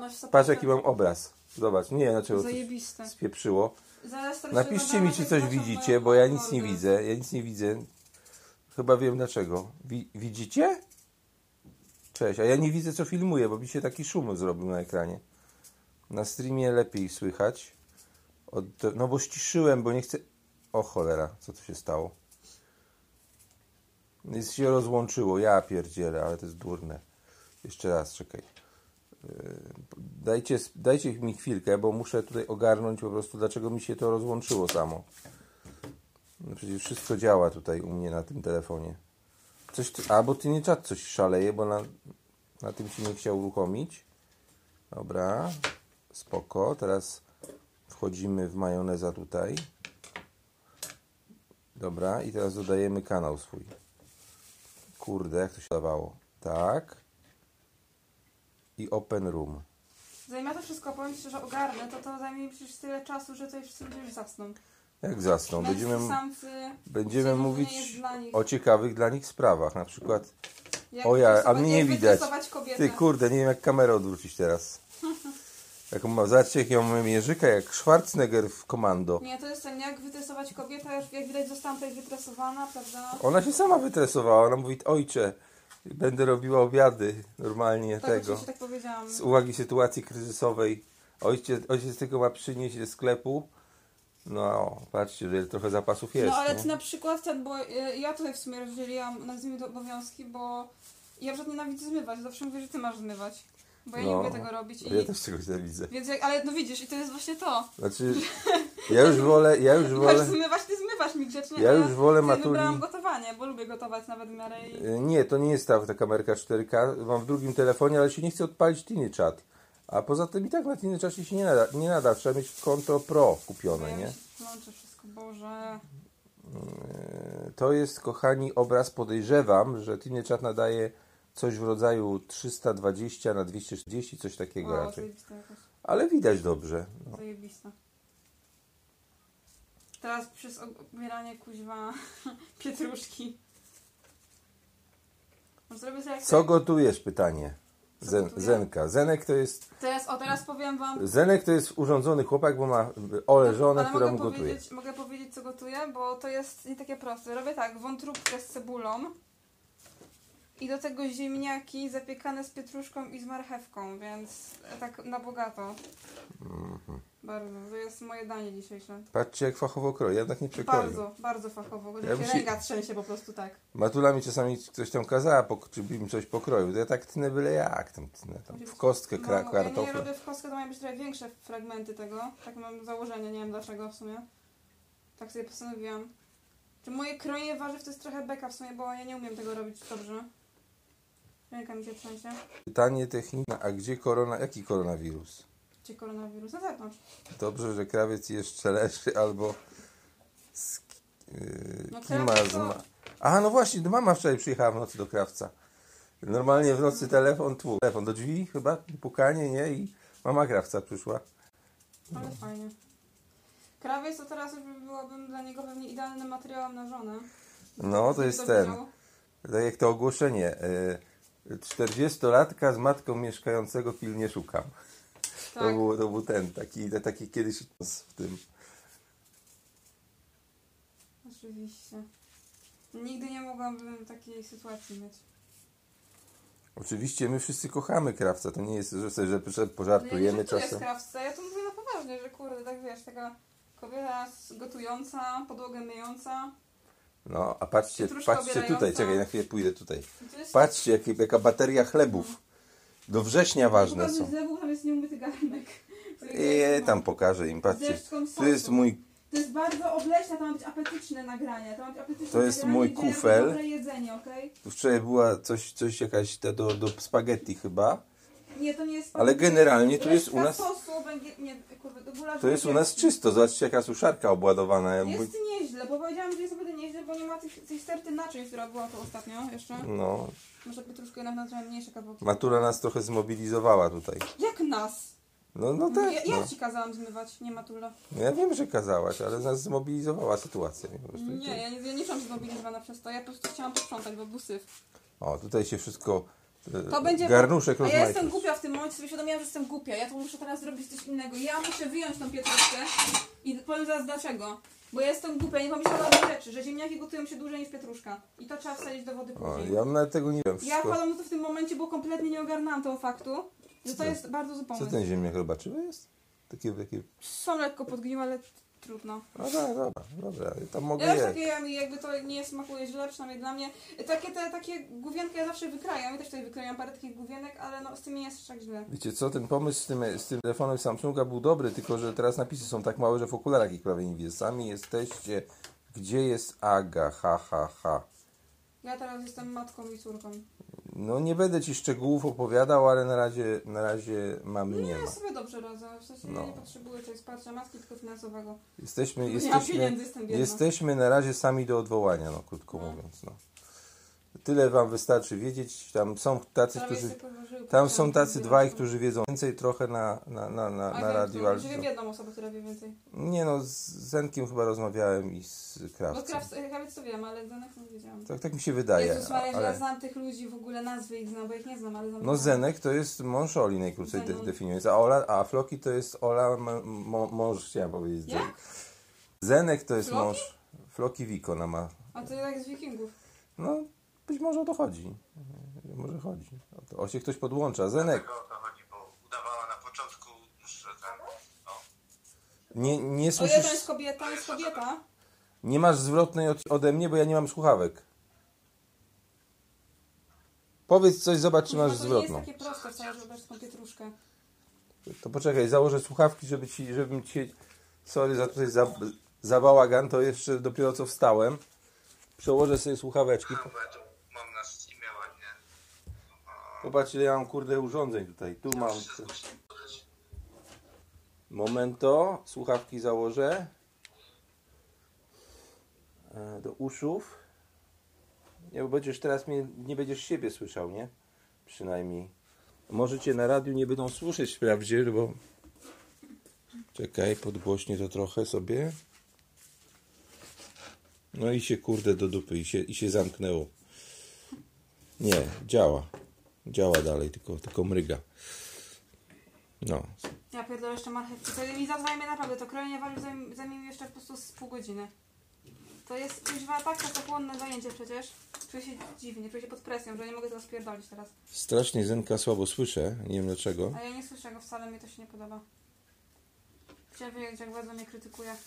masz zapytać. Patrz jaki mam obraz. Zobacz, nie dlaczego coś Zajebiste. spieprzyło. Zaraz tam Napiszcie trzeba mi, czy coś zobaczyć, widzicie, moją bo ja nic nie mordę. widzę. Ja nic nie widzę. Chyba wiem dlaczego. Wi widzicie? Cześć, a ja nie widzę co filmuję, bo mi się taki szum zrobił na ekranie. Na streamie lepiej słychać. Od, no bo ściszyłem, bo nie chcę... O cholera, co tu się stało? Jest się rozłączyło, ja pierdzielę, ale to jest durne. Jeszcze raz, czekaj. Yy, Dajcie, sp- dajcie mi chwilkę, bo muszę tutaj ogarnąć po prostu, dlaczego mi się to rozłączyło samo. No przecież wszystko działa tutaj u mnie na tym telefonie. Coś ty, a, bo ty nie czat coś szaleje, bo na, na tym się nie chciał uruchomić. Dobra, spoko. Teraz wchodzimy w majoneza tutaj. Dobra, i teraz dodajemy kanał swój. Kurde, jak to się dawało. Tak. I open room. Zajmę to wszystko, powiem ci, że ogarnę, to to zajmie mi przecież tyle czasu, że to już wszyscy ludzie już zasną. Jak zasnął? Męscy No, Będziemy, samcy, będziemy to nie mówić jest dla nich. o ciekawych dla nich sprawach. Na przykład jak O ja, a wytresować- mnie nie jak widać. wytresować Kobietę. Ty kurde, nie wiem jak kamerę odwrócić teraz. Jaką ma, zobaczcie jakiego mam języka, jak Schwarzenegger w komando. Nie, to jest ten, jak wytresować kobietę, już jak widać zostałam tutaj wytresowana, prawda? Tak Ona się sama wytresowała, ona mówi, ojcze, będę robiła obiady normalnie Tak, tego. oczywiście tak powiedziałam. Z uwagi sytuacji kryzysowej. Ojciec, ojciec tylko ma przynieść ze sklepu. No, patrzcie, że trochę zapasów jest. no ale nie? ty na przykład ten, bo y, ja tutaj w sumie rozdzieliłam, nazwijmy to obowiązki, bo ja przykład nienawidzę zmywać, zawsze mówię, że ty masz zmywać, bo ja nie No, lubię tego robić i... Ja też czegoś nie widzę. Więc jak, ale no widzisz, i to jest właśnie to. Znaczy, ja już wolę, ja już Masz wolę... zmywać, ty zmywasz mi grzecznie. Ja a już wolę ty Matuli- wybrałam gotowanie, bo lubię gotować nawet w miarę i... E, Nie, to nie jest ta, ta kamerka 4K. Mam w drugim telefonie, ale się nie chcę odpalić Tiny Chat. A poza tym i tak na Tiny Czacie się nie nada, nie nada. Trzeba mieć konto Pro kupione, ja mi nie? się plączę wszystko, Boże. E, To jest, kochani, obraz. Podejrzewam, że Tiny Chat nadaje coś w rodzaju 320 na 240, coś takiego Wow, raczej. zajebista jakaś, Ale widać dobrze. No. zajebista. Teraz przez obieranie kuźwa pietruszki. Może Zrobię sobie jak Co gotujesz? Pytanie. Co Zen, gotuję? Zenka. Zenek to jest Teraz, o teraz powiem wam... Zenek to jest urządzony chłopak, bo ma y, Ole żonę, ale która mu mogę gotuje. powiedzieć, mogę powiedzieć co gotuję, bo to jest nie takie proste. Robię tak, wątróbkę z cebulą i do tego ziemniaki zapiekane z pietruszką i z marchewką, więc tak na bogato. Mhm. Bardzo, to jest moje danie dzisiejsze. Patrzcie, jak fachowo kroi. Ja tak nie przekroję. Bardzo, bardzo fachowo. Ja Ja bym się- Ręka trzęsie po prostu tak. Matula mi czasami coś tam kazała, pok- czy bym coś pokroił. To ja tak tnę byle jak, tam tnę, tam w kostkę kra- Mamo, No, ja nie kartofla. robię w kostkę, to mają być trochę większe fragmenty tego. Tak mam założenie, nie wiem dlaczego w sumie. Tak sobie postanowiłam. Czy moje kroje warzyw to jest trochę beka w sumie, bo ja nie umiem tego robić dobrze. Ręka mi się trzęsie. Pytanie techniczne, a gdzie korona, jaki koronawirus? Gdzie koronawirus? No tak, Na Y, zewnątrz. Dobrze, że krawiec jeszcze leży, albo z, yy, No, kima krawiec z to- ma... A, no właśnie, mama wczoraj przyjechała w nocy do krawca. Normalnie w nocy telefon, tłuk, telefon do drzwi chyba, pukanie, nie? I mama krawca przyszła. Ale fajnie. Krawiec to teraz już by- byłabym dla niego pewnie idealnym materiałem na żonę. No, to jest ten... Tak jak to ogłoszenie. y, 40-latka z matką mieszkającego pilnie szukam. To, Tak. był, to był ten, taki, taki kiedyś w tym. Oczywiście. Nigdy nie mogłabym takiej sytuacji mieć. Oczywiście my wszyscy kochamy krawca, to nie jest, że sobie że, że ja pożartujemy nie żartuję z czasem. krawca, ja to mówię na poważnie, że kurde, tak wiesz, taka kobieta z- gotująca, podłogę myjąca. No, a patrzcie, Pietruszka patrzcie obierająca. tutaj, czekaj, na chwilę pójdę tutaj. Gdzieś Patrzcie, jakie, jaka bateria chlebów. Do września ważne pokażę są. zlewu, tam jest nieumyty garnek. I tam pokażę im, patrzcie. Zresztą są. To jest mój, To jest bardzo obleśne, to ma być apetyczne nagranie. To, ma być apetyczne To jest nagranie, mój gdzie robię kufel. Dobre jedzenie, okej? wczoraj była coś, coś jakaś ta do, do spaghetti chyba. Nie, to nie jest... Ale generalnie tu jest u nas- Sosu, będzie, nie, kurde, do gulasz To jest u nas czysto, zobaczcie jaka suszarka obładowana. Ja mówię, Jest nieźle, bo powiedziałam, że jest naprawdę nieźle, bo nie ma tych, tej sterty naczyń, która była tu ostatnio jeszcze. No, Może by troszkę jednak na trochę mniejsze kawałki. matura nas trochę zmobilizowała tutaj. Jak nas? No, no tak. ja, ja no. ci kazałam zmywać, nie Matula. No ja wiem, że kazałaś, ale nas zmobilizowała sytuacja. nie? Po prostu. Nie, ja nie, ja nie czułam się zmobilizowana przez to. Ja po prostu chciałam posprzątać, bo był syf. O, tutaj się wszystko e, To będzie. garnuszek A ja rozmaitych. jestem głupia w tym momencie, sobie uświadomiłam, że jestem głupia. Ja to muszę teraz zrobić coś innego. Ja muszę wyjąć tą pietruszkę i powiem zaraz dlaczego. Bo ja jestem głupia, nie pomyślałam o tej rzeczy, że ziemniaki gotują się dłużej niż pietruszka. I to trzeba wsadzić do wody O, później. ja nawet tego nie wiem. Ja Wszystko. wpadłam na to w tym momencie, bo kompletnie nie ogarnęłam tego faktu, że to ty- jest bardzo Co zupełnie. ten ziemniak robaczywy jest? Takie, takie... Są lekko podgniłe, ale trudno. No dobra, dobra, dobra. Tam mogę Ja już jeść. takie jem i jakby to nie smakuje źle, przynajmniej dla mnie. Takie te takie główienka ja zawsze wykrajam. Ja też tutaj wykrajam parę takich główienek, ale no z tym nie jest aż tak źle. Wiecie co, ten pomysł z tym, z tym telefonem Samsunga był dobry, tylko że teraz napisy są tak małe, że w okularach ich prawie nie widzę. Sami jesteście, gdzie jest Aga, ha, ha, ha. Ja teraz jestem matką i córką. No nie będę Ci szczegółów opowiadał, ale na razie, na razie mamy nie Ja ma. sobie dobrze radzę. W sensie No. ja nie potrzebuję tej wsparcia matki, tylko finansowego. Jesteśmy, nie mam jesteśmy, pieniędzy, jestem biedna. jesteśmy na razie sami do odwołania, no krótko No. mówiąc. No. Tyle Wam wystarczy wiedzieć, tam są tacy, Prawie którzy... sobie położyły, Tam potem są tacy sobie dwaj, radzę. którzy wiedzą więcej trochę na, na, na, na, A na wiem, radiu, którą- ale że wiem jedną osobę, która wie więcej. nie no, z Zenkiem chyba rozmawiałem i z Bo Krawcem. krawiec, krawiec to wiem, ale Zenek to nie wiedziałam. Tak, tak mi się wydaje. Jezus Maria, że ja ale... znam tych ludzi, w ogóle nazwy ich znam, bo ich nie znam, ale znam No ich Zenek to jest mąż Oli najkrócej de Zenon. definiując, a, Ola, a Floki to jest Ola m- m- mąż, chciałem powiedzieć. Jak? Zenek to jest Floki? mąż. Floki Wiko ona ma. A to jak z wikingów. No, być może o to chodzi. Mhm, Może chodzi. O, to, o się ktoś podłącza. Zenek, Dlatego o to chodzi, bo udawała na początku, że no, tam, o, nie, nie O, ja to jest słyszysz, kobieta, jest kobieta. nie masz zwrotnej od, ode mnie, bo ja nie mam słuchawek. Powiedz coś, zobacz czy Kurwa, masz to nie jest zwrotną. takie proste wcale, żeby brać tą pietruszkę. To poczekaj, założę słuchawki, żeby ci, żebym cię. Sorry za tutaj za, za bałagan, to jeszcze dopiero co wstałem. Przełożę sobie słuchaweczki. no, bo ja tu mam na Steamie ładnie. Popatrz ile ja mam kurde urządzeń tutaj. Tu mam. Wszystko się podać. Momento, słuchawki założę. E, Do uszów. Nie, bo będziesz teraz mnie, nie będziesz siebie słyszał, nie? Przynajmniej. Możecie na radiu nie będą słyszeć wprawdzie, bo. Czekaj, podgłośnię to trochę sobie. No i się kurde do dupy i się, i się zamknęło. Nie, działa. Działa dalej, tylko, tylko mryga. No, Ja pierdolę jeszcze marchewki. To mi to zajmie naprawdę, to krojenie warzyw zajm- zajmie mi jeszcze po prostu z pół godziny. To jest kuźwa tak czasochłonne zajęcie przecież. Czuję się dziwnie, czuję się pod presją, że nie mogę tego spierdolić teraz. Strasznie Zenka słabo słyszę, nie wiem dlaczego. A ja nie słyszę go wcale, mi to się nie podoba. Chciałam wiedzieć, jak bardzo mnie krytykuje.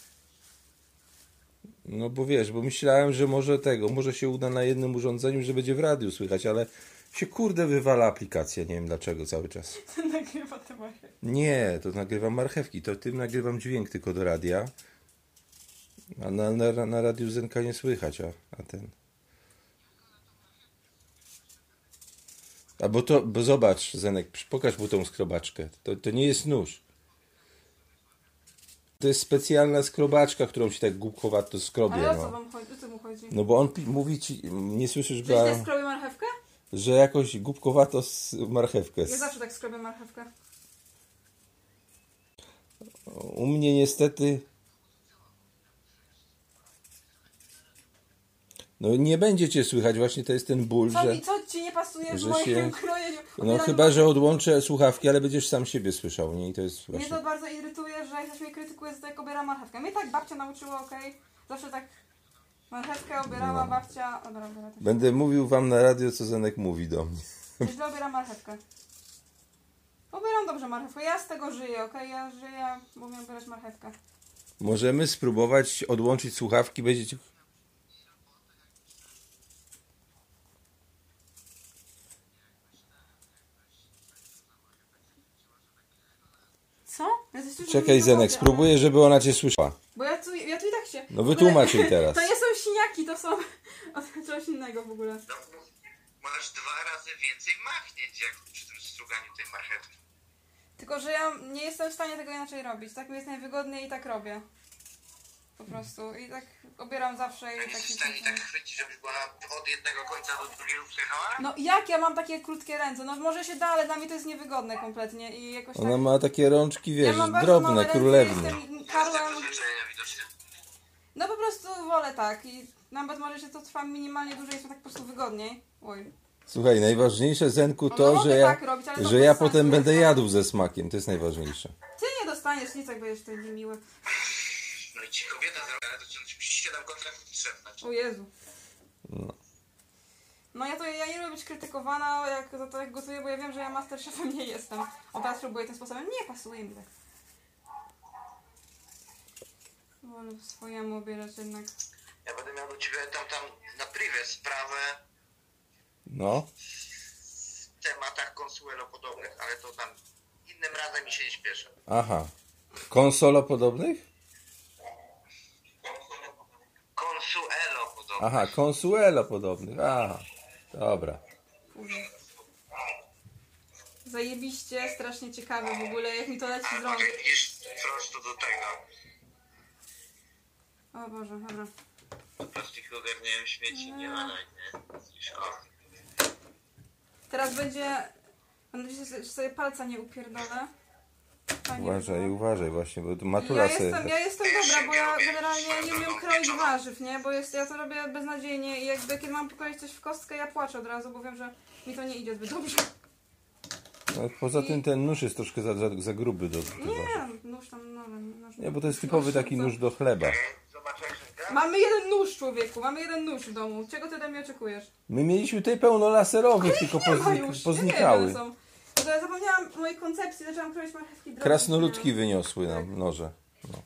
No bo wiesz, bo myślałem, że może tego, może się uda na jednym urządzeniu, że będzie w radiu słychać, ale się kurde wywala aplikacja, nie wiem dlaczego cały czas. Nagrywa te marchewki. Nie, to nagrywam marchewki, to tym nagrywam dźwięk tylko do radia. A na, na, na radiu Zenka nie słychać, a, a ten. A bo to, bo zobacz Zenek, pokaż mu tą skrobaczkę. To, to nie jest nóż. To jest specjalna skrobaczka, którą się tak głupkowato skrobie. Ale o co No. wam chodzi? O co mu chodzi? no bo on pi- mówi ci, nie słyszysz Że go, źle a- skrobię marchewkę? że jakoś głupkowato s- marchewkę. Ja s- zawsze tak skrobię marchewkę. U mnie niestety. No nie będzie cię słychać, właśnie to jest ten ból, Co, że. mi, co ci nie pasuje w że moim się- krojeniu? No Ubieram- chyba, że odłączę słuchawki, ale będziesz sam siebie słyszał, nie? I to jest Mnie właśnie. to bardzo irytuje, że jak ktoś mnie krytykuje za to, jak obieram marchewkę. Mnie tak babcia nauczyła, okej? Zawsze tak marchewkę obierała No. babcia... Dobra, obiera też. Będę mówił wam na radio, co Zenek mówi do mnie. Ja Źle obieram marchewkę. Obieram dobrze marchewkę. Ja z tego żyję, okej? Ja żyję, bo umiem obierać marchewkę. Możemy spróbować odłączyć słuchawki, będziecie. Co? Ja coś słyszę, że Czekaj, mi to Zenek, chodzi, spróbuję, żeby ona cię słyszała. ale- Bo ja tu, ja tu i tak się... No w ogóle- wytłumacz jej teraz. To nie są siniaki, to są... O, coś innego w ogóle. No, masz dwa razy więcej machnięć, jak przy tym struganiu tej marchewki. Tylko, że ja nie jestem w stanie tego inaczej robić. Tak mi jest najwygodniej i tak robię. Po prostu. I tak obieram zawsze i Jak tak jesteś w mi stanie się- tak chwycić, żebyś była od jednego końca do drugiego przejechała? No jak ja mam takie krótkie ręce? No może się da, ale dla mnie to jest niewygodne kompletnie i jakoś tak... Ona ma takie rączki, Ja wiesz, mam bardzo małe drobne, ręce, królewne. jestem Każde Karłem... przyzwyczajenia widocznie. No po prostu wolę tak i nawet może się to trwa minimalnie dłużej, jest mi tak po prostu wygodniej. Oj. Słuchaj, najważniejsze, Zenku, No, to, mogę że ja, tak robić, ale to że ja bez sensu. potem będę jadł ze smakiem. To jest najważniejsze. Ty nie dostaniesz nic, jak będziesz tutaj niemiły. No i ci kobieta zrobiła, to ci- ci siedem kontraktów trzeba. O Jezu. No ja to ja nie lubię być krytykowana jak za to jak gotuję, bo ja wiem, że ja masterchefem nie jestem. O teraz próbuję tym sposobem. Nie pasuje mi tak. Wolę swojemu obierać jednak. Ja będę miał do ciebie tam, tam na privie sprawę No, w tematach konsuelo podobnych, ale to tam innym razem mi się nie śpieszę. aha. Konsolo podobnych? Konsuelo podobnych. Aha, Consuelo podobnych. A, dobra. Kurwa. Zajebiście, strasznie ciekawe w ogóle, jak mi to leci z rąk. Mogę iść prosto do tego. O Boże, dobra. Po prostu ich ogarniają śmieci, nie ma na nie. Szkoda. Teraz będzie... Mam nadzieję, że sobie palca nie upierdolę. Fajnie Uważaj, było. uważaj właśnie, bo tu I Ja matura sobie... jestem, ja jestem dobra, bo ja generalnie nie umiem kroić warzyw, nie? Bo jest, ja to robię beznadziejnie i jakby kiedy mam pokroić coś w kostkę, ja płaczę od razu, bo wiem, że mi to nie idzie zbyt dobrze. No, Poza tym ten nóż jest troszkę za, za, za gruby do chyba. Nie, nóż tam, no, nóż, Nie, bo to jest typowy taki nóż do chleba. Zobacz jak się gra. Mamy jeden nóż, człowieku, mamy jeden nóż w domu. Czego ty ode mnie oczekujesz? My mieliśmy tutaj pełno laserowych, tylko Nie no, ma poznik- już, nie poznikały. wiem, są. Bo to ja zapomniałam mojej koncepcji, zaczęłam kroić marchewki no, drobne. Krasnoludki wyniosły nam noże. No.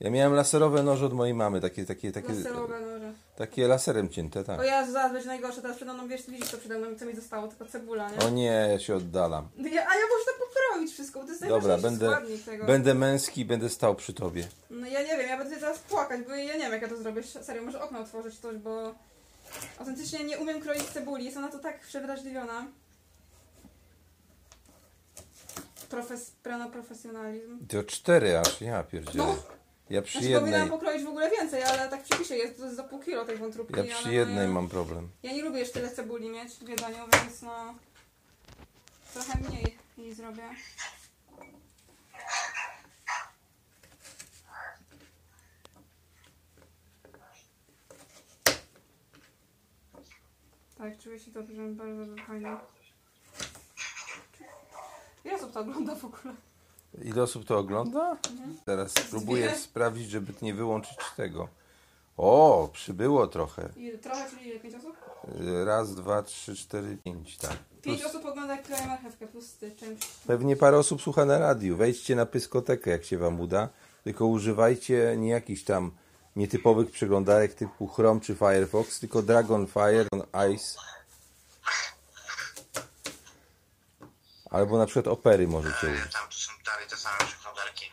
Ja miałem laserowe noże od mojej mamy, takie, takie, takie, Laserowe noże. takie laserem cięte, no, O tak. ja zaraz będzie najgorsze, teraz przede mną, wiesz, widzisz co przede mną, i co mi zostało, tylko cebula, nie? O nie, ja się oddalam. No Ja, a ja muszę to pokroić wszystko, bo to jest Dobra, najważniejszy będę, składnik tego. będę męski i będę stał przy tobie. No ja nie wiem, ja będę tutaj zaraz płakać, bo ja nie wiem jak ja to zrobię. Serio, może okno otworzyć coś, bo autentycznie nie umiem kroić cebuli. Jestem na to tak przewrażliwiona. Profes, prano profesjonalizm. To cztery aż, ja pierdzielę. No. Ja przy Znaczy powinnam jednej, pokroić w ogóle więcej, ale tak w przepisie jest, to jest za pół kilo tej wątróbki. ja ale przy no jednej ja- mam problem. Ja nie lubię już tyle cebuli mieć w jedzeniu, więc no... Trochę mniej jej zrobię. Tak, czuję się dobrze, bardzo fajnie. Ile osób to ogląda w ogóle? Ile osób to ogląda? Mhm. Teraz próbuję Dwie. sprawdzić, żeby nie wyłączyć tego. O, przybyło trochę. Ile, trochę, czyli ile? Pięć osób? Y, Raz, dwa, trzy, cztery, pięć, tak. Pięć Plus, osób ogląda jak kleje marchewkę, plus ty, czymś. pewnie parę osób słucha na radiu. Wejdźcie na pyskotekę, jak się wam uda. Tylko używajcie nie jakichś tam nietypowych przeglądarek typu Chrome czy Firefox, tylko Dragonfire, Ice. Albo na przykład Opery możecie użyć. E, Tam to są dalej te same przeglądarki.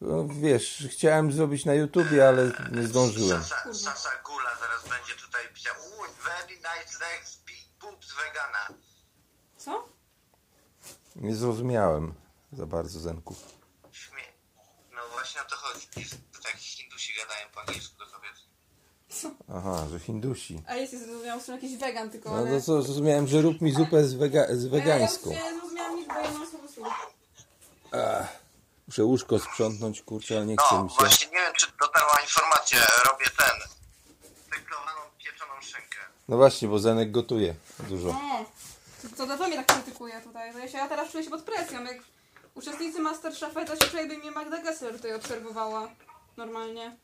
No, wiesz, chciałem zrobić na YouTubie, ale nie zdążyłem. Sasa, Kurwa. Sasa Gula zaraz będzie tutaj pisał Uuu, very nice legs, big boobs vegana. Co? Nie zrozumiałem za bardzo Zenku. Śmie- No właśnie o to chodzi. Tak Hindusi gadają po angielsku do kobiet. Aha, że Hindusi. A jest, jest zrozumiałam, są jakiś wegan tylko, No ale... E, to co, zrozumiałem, że rób mi zupę z, wega- z wegańską. Ja już nie zrozumiałam nic, bo ja mam słowo słuch. Muszę łóżko sprzątnąć, kurczę, ale nie chce No mi się. właśnie nie wiem czy dotarła informacja, robię ten. Cyklowaną pieczoną szynkę. No właśnie, bo Zenek gotuje dużo. Nie. E, To dlatego mnie tak krytykuje tutaj. To ja, się, ja teraz czuję się pod presją. Jak uczestnicy Masterchefa to się czuję, jakby mnie Magda Gessler tutaj obserwowała. Normalnie.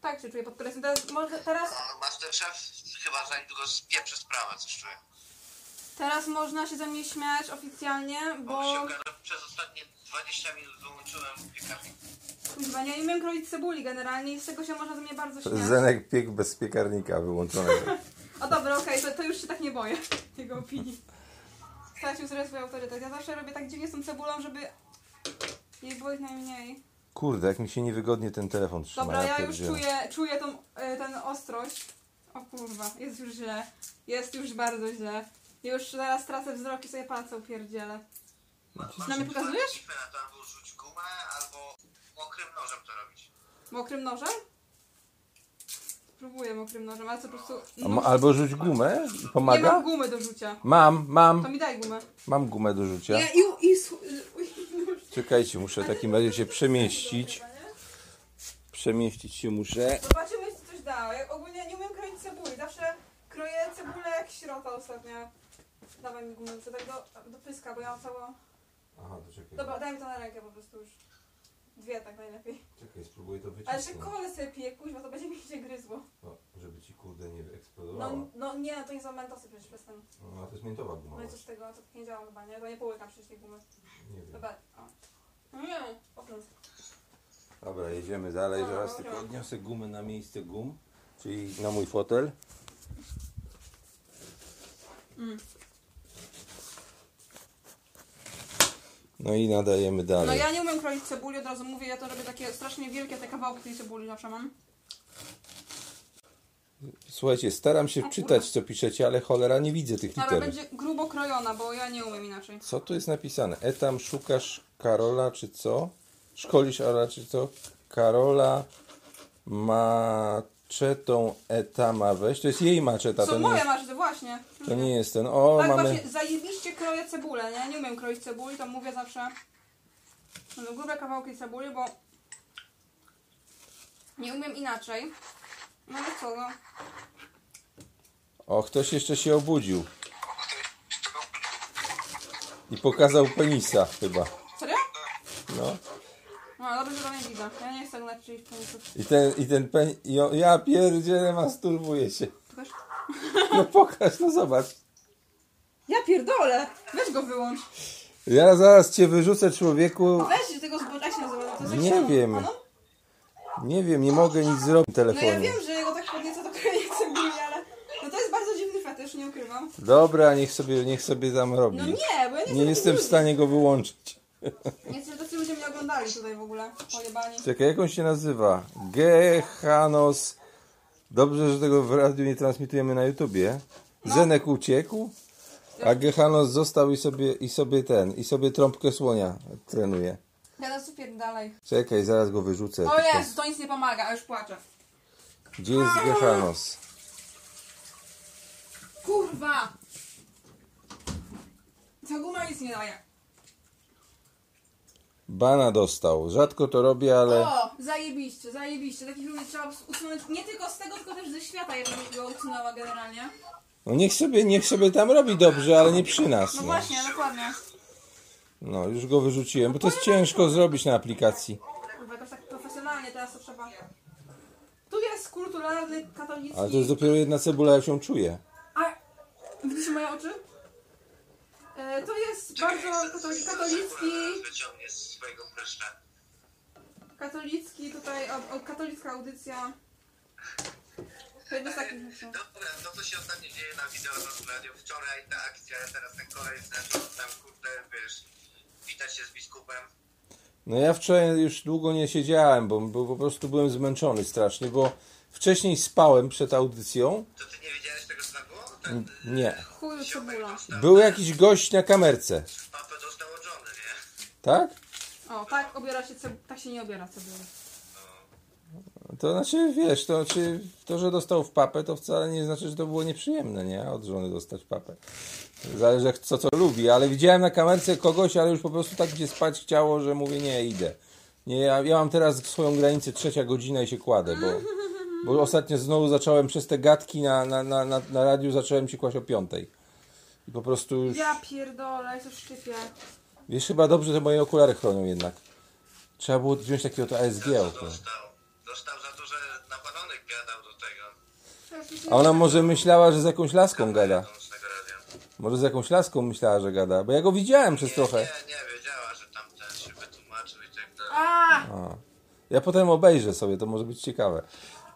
Tak się czuję pod presją. Teraz, może, teraz, No, Masterchef chyba za niedługo spieprzy sprawę, coś czuję. teraz można się ze mnie śmiać oficjalnie, bo Bo się okazało, przez ostatnie 20 minut wyłączyłem piekarnik. No, kuźwa, ja nie umiem kroić cebuli generalnie i z tego się można ze mnie bardzo śmiać. Zenek piekł bez piekarnika wyłączonego. O dobra, okej, to, to już się tak nie boję jego opinii. Stracił sobie swój autorytet. Ja zawsze robię tak dziwnie z tą cebulą, żeby jej było ich najmniej. Kurde, jak mi się niewygodnie ten telefon trzyma. Dobra, ja już pierdzielę. czuję, czuję tą, e, ten ostrość. O kurwa, jest już źle. Jest już bardzo źle. Już zaraz tracę wzrok i sobie palce upierdzielę. Na mnie pokazujesz? Kipę na to albo rzuć gumę, albo mokrym nożem to robić. Mokrym nożem? Próbuję mokrym nożem, ale co po prostu... A ma- Albo rzuć gumę, i nie mam pomaga? gumy do rzucia. Mam, To mam, mi daj gumę. mam gumę do rzucia. Nie, i, i, su- i nóż. Czekajcie, muszę w takim razie się przemieścić. Przemieścić się muszę. Zobaczymy, czy coś dało. Ja ogólnie nie umiem kroić cebuli. Zawsze cała ta ostatnia. Dawaj mi gumę, to tak do, do pyska, bo ja mam całą... Aha, to czekaj. Dobra, daj mi to na rękę po prostu już. Dwie tak najlepiej. Czekaj, spróbuję to Ale że wycisnąć. kole sobie piję, kuźwa, to będzie mi się gryzło. No, żeby ci kurde nie eksplodowała. No, no nie, to nie są mentosy przecież przestań. No, a to jest miętowa guma. No i coś z właśnie. tego, to tak nie działa chyba, nie? To nie połykam przecież tej gumy. Nie wiem. Dobra, o. No Nie, okrąc. Dobra, jedziemy dalej. Dobra, Zaraz dobra. tylko odniosę gumę na miejsce gum, czyli na mój fotel. Mm. No i nadajemy dalej. No ja nie umiem kroić cebuli, od razu mówię, ja to robię takie strasznie wielkie te kawałki tej cebuli zawsze mam. Słuchajcie, staram się czytać co piszecie, ale cholera nie widzę tych Ale liter. będzie grubo krojona, bo ja nie umiem inaczej. Co tu jest napisane? Etam szukasz Karola czy co? Szkolisz Karola czy co? Karola maczetą Etama weź. To jest jej maczeta, Co to nie, moja jest, masz, to właśnie. to nie jest ten. O, tak mamy... właśnie, zajebiście kroję cebulę, nie? Nie umiem kroić cebuli, to mówię zawsze no, grube kawałki cebuli, bo nie umiem inaczej. No i co, no. O, ktoś jeszcze się obudził. I pokazał penisa chyba. Serio? No. No, dobrze, że to nie widzę. Ja nie chcę gnać czyichś pomysłów. I ten, i ten pen... I o, ja pierdzielę, masturbuje się. Pokaż. No pokaż, no zobacz. Ja pierdolę! Weź go wyłącz. Ja zaraz cię wyrzucę, człowieku. Weź tego zboża, jak się nazywa? To jest jak Nie się- wiem. Ano? Nie wiem, nie mogę nic zrobić No ja telefonem. wiem, że jego tak podnieca do krajenia cebuli, ale... No to jest bardzo dziwny fetysz, nie ukrywam. Dobra, niech sobie, niech sobie tam robi. No nie, bo ja nie, nie chcę jestem w ludzi. stanie go wyłączyć. Nie chcę, żeby tacy ludzie mnie oglądali tutaj w ogóle. Pojebani. Czekaj, jak on się nazywa? Gehanos. Dobrze, że tego w radiu nie transmitujemy na YouTubie. No. Zenek uciekł, a Tak. Gehanos został i sobie, i sobie ten, i sobie trąbkę słonia trenuje. Teraz super dalej. Czekaj, zaraz go wyrzucę. O Tylko- Jezu, to nic nie pomaga, a już płaczę. Gdzie jest Gehanos? Kurwa! Ta guma nic nie daje. Bana dostał. Rzadko to robię, ale... O, zajebiście, zajebiście. Takich ludzi trzeba usunąć nie tylko z tego, tylko też ze świata, ja bym go usunęła generalnie. No niech sobie, niech sobie tam robi dobrze, ale nie przy nas. No no. właśnie, dokładnie. No, już go wyrzuciłem, bo to jest ciężko zrobić na aplikacji. Kurwa, jakoś tak profesjonalnie teraz to trzeba. Tu jest kulturalny katolicki. Ale to jest dopiero jedna cebula, jak się czuję. A widzisz moje oczy? E, to jest bardzo katoli- katolicki, Wyciągniesz z swojego pryszcza. katolicki tutaj, o, o, katolicka audycja. To jedno z takich rzeczy. Dobra, no to co się ostatnio dzieje na wideo na radio, wczoraj ta akcja, teraz ten kolej zaczął tam kurde, wiesz, witać się z biskupem. No ja wczoraj już długo nie siedziałem, bo, bo po prostu byłem zmęczony strasznie, bo wcześniej spałem przed audycją. To ty nie wiedziałeś tego, co tam było? Ten y, Nie. Chuju cebula. dostał, Był jakiś gość na kamerce, papę dostał od żony, nie? tak? O, tak obiera się cebula. Tak się nie obiera cebula. To znaczy, wiesz, to, znaczy, to, że dostał w papę, to wcale nie znaczy, że to było nieprzyjemne, nie? Od żony dostać papę. Zależy, jak- co co lubi, ale widziałem na kamerce kogoś, ale już po prostu tak się spać chciało, że mówię, nie, idę. Nie, ja, ja mam teraz swoją granicę trzecia godzina i się kładę, bo, bo ostatnio znowu zacząłem przez te gadki na, na, na, na, na radiu, zacząłem się kłaść o piątej. I po prostu już, Ja pierdolę, ja się szczypię. wiesz, chyba dobrze, że moje okulary chronią jednak. Trzeba było wziąć takiego to ASG okulary. Dostał. Dostał za to, że napalonych gadał do tego, A ona może myślała, że z jakąś laską gada. do nocnego radia. Może z jakąś laską myślała, że gada, bo ja go widziałem przez trochę. Nie, nie, wiedziała, że tam ten się wytłumaczył i tak dalej. A! Ja potem obejrzę sobie, to może być ciekawe.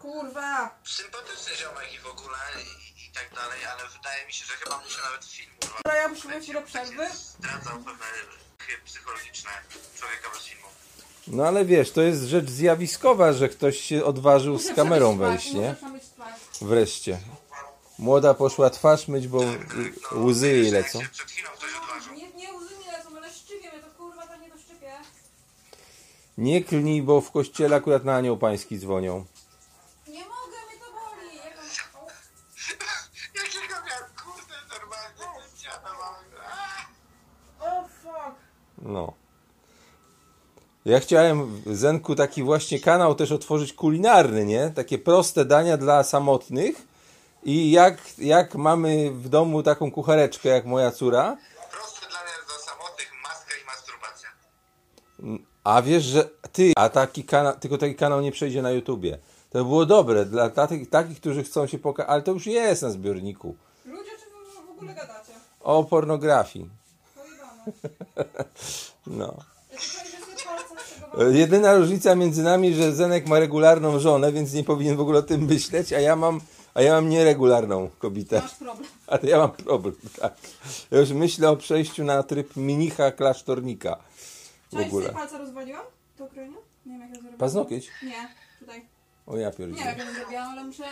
Kurwa! Sympatyczny ziomek i w ogóle i, i tak dalej, ale wydaje mi się, że chyba muszę nawet film urwać. Dobra, ja muszę wejść do przerwy. Zdradzał pewne chy psychologiczne człowieka bez filmu. No ale wiesz, to jest rzecz zjawiskowa, że ktoś się odważył z kamerą Muszę wejść, przemyć nie? twarz, muszę przemyć twarz. Wreszcie. Młoda poszła twarz myć, bo łzy jej wiesz, lecą. Jak tak. się przed chwilą ktoś odważył. Nie, nie łzy mi lecą, ale szczypie mnie to kurwa, to nie to szczypie. Nie klnij, bo w kościele akurat na anioł pański dzwonią. Nie mogę, mnie to boli. Jak on- o, Ja się go miałem, kurde, normalnie, nie siadałam. O fuck. No. Ja chciałem w Zenku taki właśnie kanał też otworzyć kulinarny, nie? Takie proste dania dla samotnych, I jak, jak mamy w domu taką kuchareczkę jak moja córa, Proste dla nas do samotnych maska i masturbacja. a wiesz, że ty, a taki kana, tylko taki kanał nie przejdzie na YouTubie. To by było dobre dla, dla tych, takich, którzy chcą się pokazać, ale to już jest na zbiorniku. Ludzie, czy wy w ogóle gadacie? O pornografii. Pojebane. No. Ja tutaj wysyłam palcem z tego E, Jedyna różnica między nami, że Zenek ma regularną żonę, więc nie powinien w ogóle o tym myśleć, a ja mam, a ja mam nieregularną kobietę. Masz problem. A to ja mam problem, tak. Ja już myślę o przejściu na tryb minicha klasztornika w Cześć, ogóle. sobie palca rozwaliłam? To kryjnie? Nie wiem, jak ja zrobiłam. Paznokieć? Nie, tutaj. O ja Nie wiem, jak pierdzielę. ja zrobiłam, ale muszę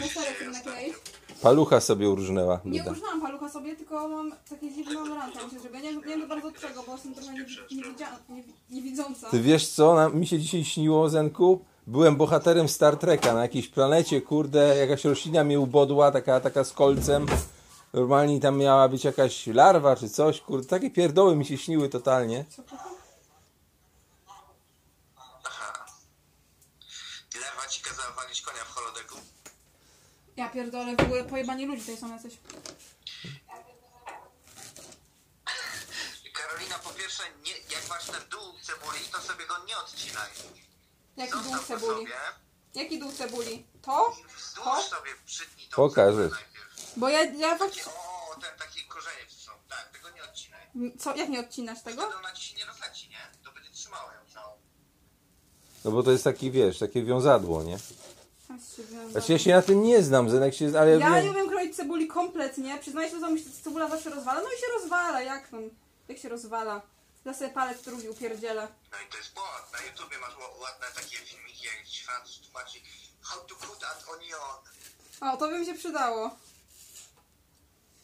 posterek tym nakleić. Palucha sobie urżnęła. Nie Duda. używam palucha sobie, tylko mam takie dziwne mamranta, muszę zrobić. Ja nie, nie wiem bardzo od czego, bo jestem trochę nie, nie, widzia, nie, nie widząca. Ty wiesz co, na, mi się dzisiaj śniło, Zenku? Byłem bohaterem Star Treka na jakiejś planecie, kurde, jakaś roślina mnie ubodła, taka, taka z kolcem. Normalnie tam miała być jakaś larwa czy coś, kurde, takie pierdoły mi się śniły totalnie. Co, kocham? Lewa ci kazała walić konia w holodeku. Ja pierdolę, w ogóle pojebani ludzie tutaj są jacyś. Karolina, po pierwsze, nie, jak masz ten dół cebuli, to sobie go nie odcinaj. Jaki dół Zostaw go cebuli? sobie, Jaki dół cebuli? To? To? wzdłuż sobie przytnij tą Pokażę. cebulę najpierw. Bo ja, ja fakt... O, ten taki korzenie są. Tak, tego nie odcinaj. Co, jak nie odcinasz tego? Wtedy ona ci się nie rozleci, nie? To będzie trzymała ją całą. No bo to jest taki, wiesz, takie wiązadło, nie? Tam się wiąże. Znaczy ja się na tym nie znam, Zenek się, ale Ja wiem- nie umiem kroić cebuli kompletnie. Przyznaję się, że mi się cebula zawsze rozwala. No i się rozwala, jak tam? Jak się rozwala? Ja sobie palec drugi upierdzielę. No i to jest błąd. Na YouTubie masz ł- ładne takie filmiki, jak ci Francuz tłumaczy How to cut an onion. O, to by mi się przydało.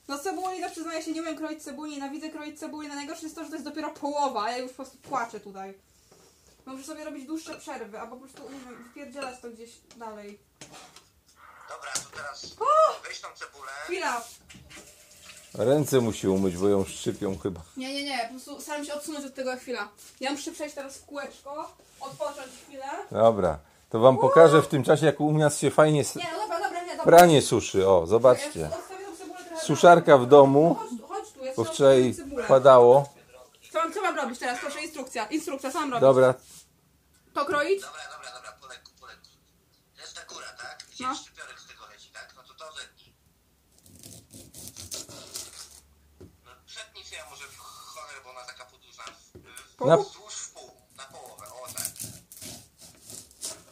No z cebuli też przyznaję się, nie umiem kroić cebuli, nienawidzę kroić cebuli. Na najgorsze jest to, że to jest dopiero połowa, a ja już po prostu płaczę tutaj. No, Muszę sobie robić dłuższe przerwy, albo po prostu, nie wiem, wypierdzielać to gdzieś dalej. Dobra, to teraz weź tą cebulę. Chwila! Ręce musi umyć, bo ją szczypią chyba. Nie, nie, nie, po prostu staram się odsunąć od tego chwila. Ja muszę przejść teraz w kółeczko, odpocząć chwilę. Dobra, to wam pokażę w tym czasie, jak u nas się fajnie s- Nie, no dobra, dobra, nie, dobra. pranie suszy. O, Ja zobaczcie. odstawię tą cebulę trochę Suszarka w domu, Chodź, tu, chodź tu, ja bo trzeba wczoraj odstawić cebulę. padało. Co mam, co mam robić teraz? Proszę, instrukcja, instrukcja, co mam robić? Dobra, To kroić? Dobra, dobra, dobra, po lekku, po lekku. Jest ta góra, tak? Gdzie No. szczypiorek z tego leci, tak? No to to zetnij. No przetnij sobie może w cholerę, bo ona taka podłużna. W- Na- Wzdłuż w pół, na połowę, o tak.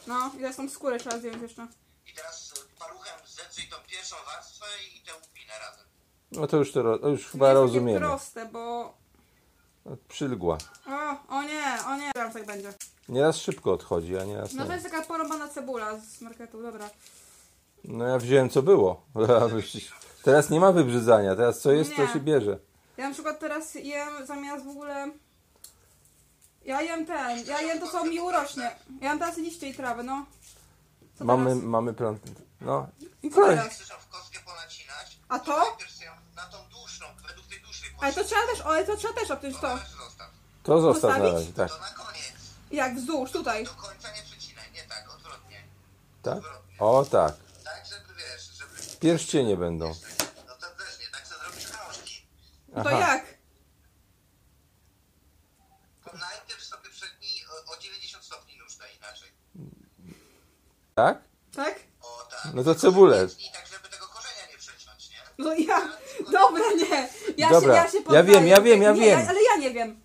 No, ile są skóry, trzeba zdjąć jeszcze. I teraz y, paluchem zetrzyj tą pierwszą warstwę i tę upinę razem. no to już, to, ro- już To chyba jest takie rozumiemy. proste, bo... Przylgła. O, o nie, o nie, teraz tak będzie. Nieraz szybko odchodzi, a nieraz No to nie. jest taka porąbana cebula z marketu, dobra. No ja wziąłem co było. Teraz nie ma wybrzydzania, teraz co jest, to Nie. się bierze. Ja na przykład teraz jem zamiast w ogóle... Ja jem ten, ja jem to, co mi urośnie. Ja jem teraz liście i trawy, no. Co Mamy, teraz? mamy plan. No i Co kolej. teraz? Chcesz ją w kostkę ponacinać? A to to? najpierw sobie ją na tą dłuższą, według tej dłuższej Ale to poszli. trzeba też, ale to trzeba też obciąć to. należy zostaw. To zostaw na Postawić? razie, tak. To na koniec. Jak wzdłuż, tutaj. Do końca nie przecinaj, nie tak, odwrotnie. tak. O tak. Tak, żeby wiesz, żeby... Pierścienie będą. No to też nie, tak co zrobisz krążki. No To Aha. jak? To najpierw sobie przedni o, o 90 stopni nóż daj inaczej. Tak? Tak? O tak. No to cebulę. I tak, żeby tego korzenia nie przeciąć, nie? No ja, dobra, nie. Ja Dobra, się, ja się ja poddaję. wiem, ja wiem, ja nie, wiem. Ale ja nie wiem.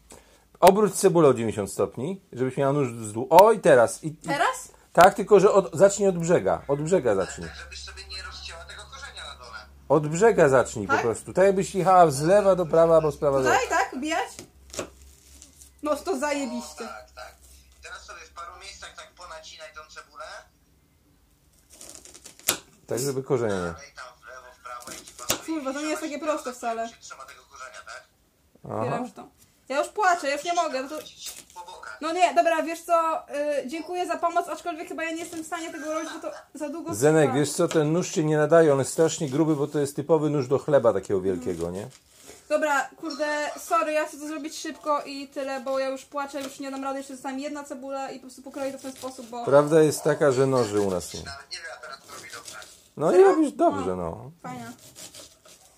Obróć cebulę o 90 stopni, żebyś miała nóż wzdłuż. O i teraz. I, i, Teraz? tak, tylko że od, zacznij od brzega. Od brzega zacznij. Tak, żebyś sobie nie rozcięła tego korzenia na dole. Od brzega zacznij po Tak? prostu. Tak jakbyś jechała z lewa do prawa albo z prawa do lewa. Tutaj, tak? Ubijać? No to O zajebiście. tak, tak. Teraz sobie w paru miejscach tak ponacinaj tą cebulę. Tak, żeby korzenie. Dalej tam w lewo, w prawo i ci pasuje. Kurwa, to nie jest takie proste wcale. Się trzyma tego korzenia, tak? Otwieram już to. Ja już płaczę, ja już nie mogę. No, to... Ci po bokach. no nie, dobra, wiesz co, y, dziękuję za pomoc, aczkolwiek chyba ja nie jestem w stanie tego robić, bo to za długo Zenek, trwa. wiesz co, ten nóż się nie nadaje, on jest strasznie gruby, bo to jest typowy nóż do chleba takiego wielkiego, nie? Dobra, kurde, sorry, ja chcę to zrobić szybko i tyle, bo ja już płaczę, już nie dam rady, jeszcze zostałem jedna cebula i po prostu pokroję to w ten sposób, bo... Prawda jest taka, że noży u nas nie. ma. Nawet nie wiem, a teraz to robi dobrze. No i Serio? robisz dobrze, no. Fajnie.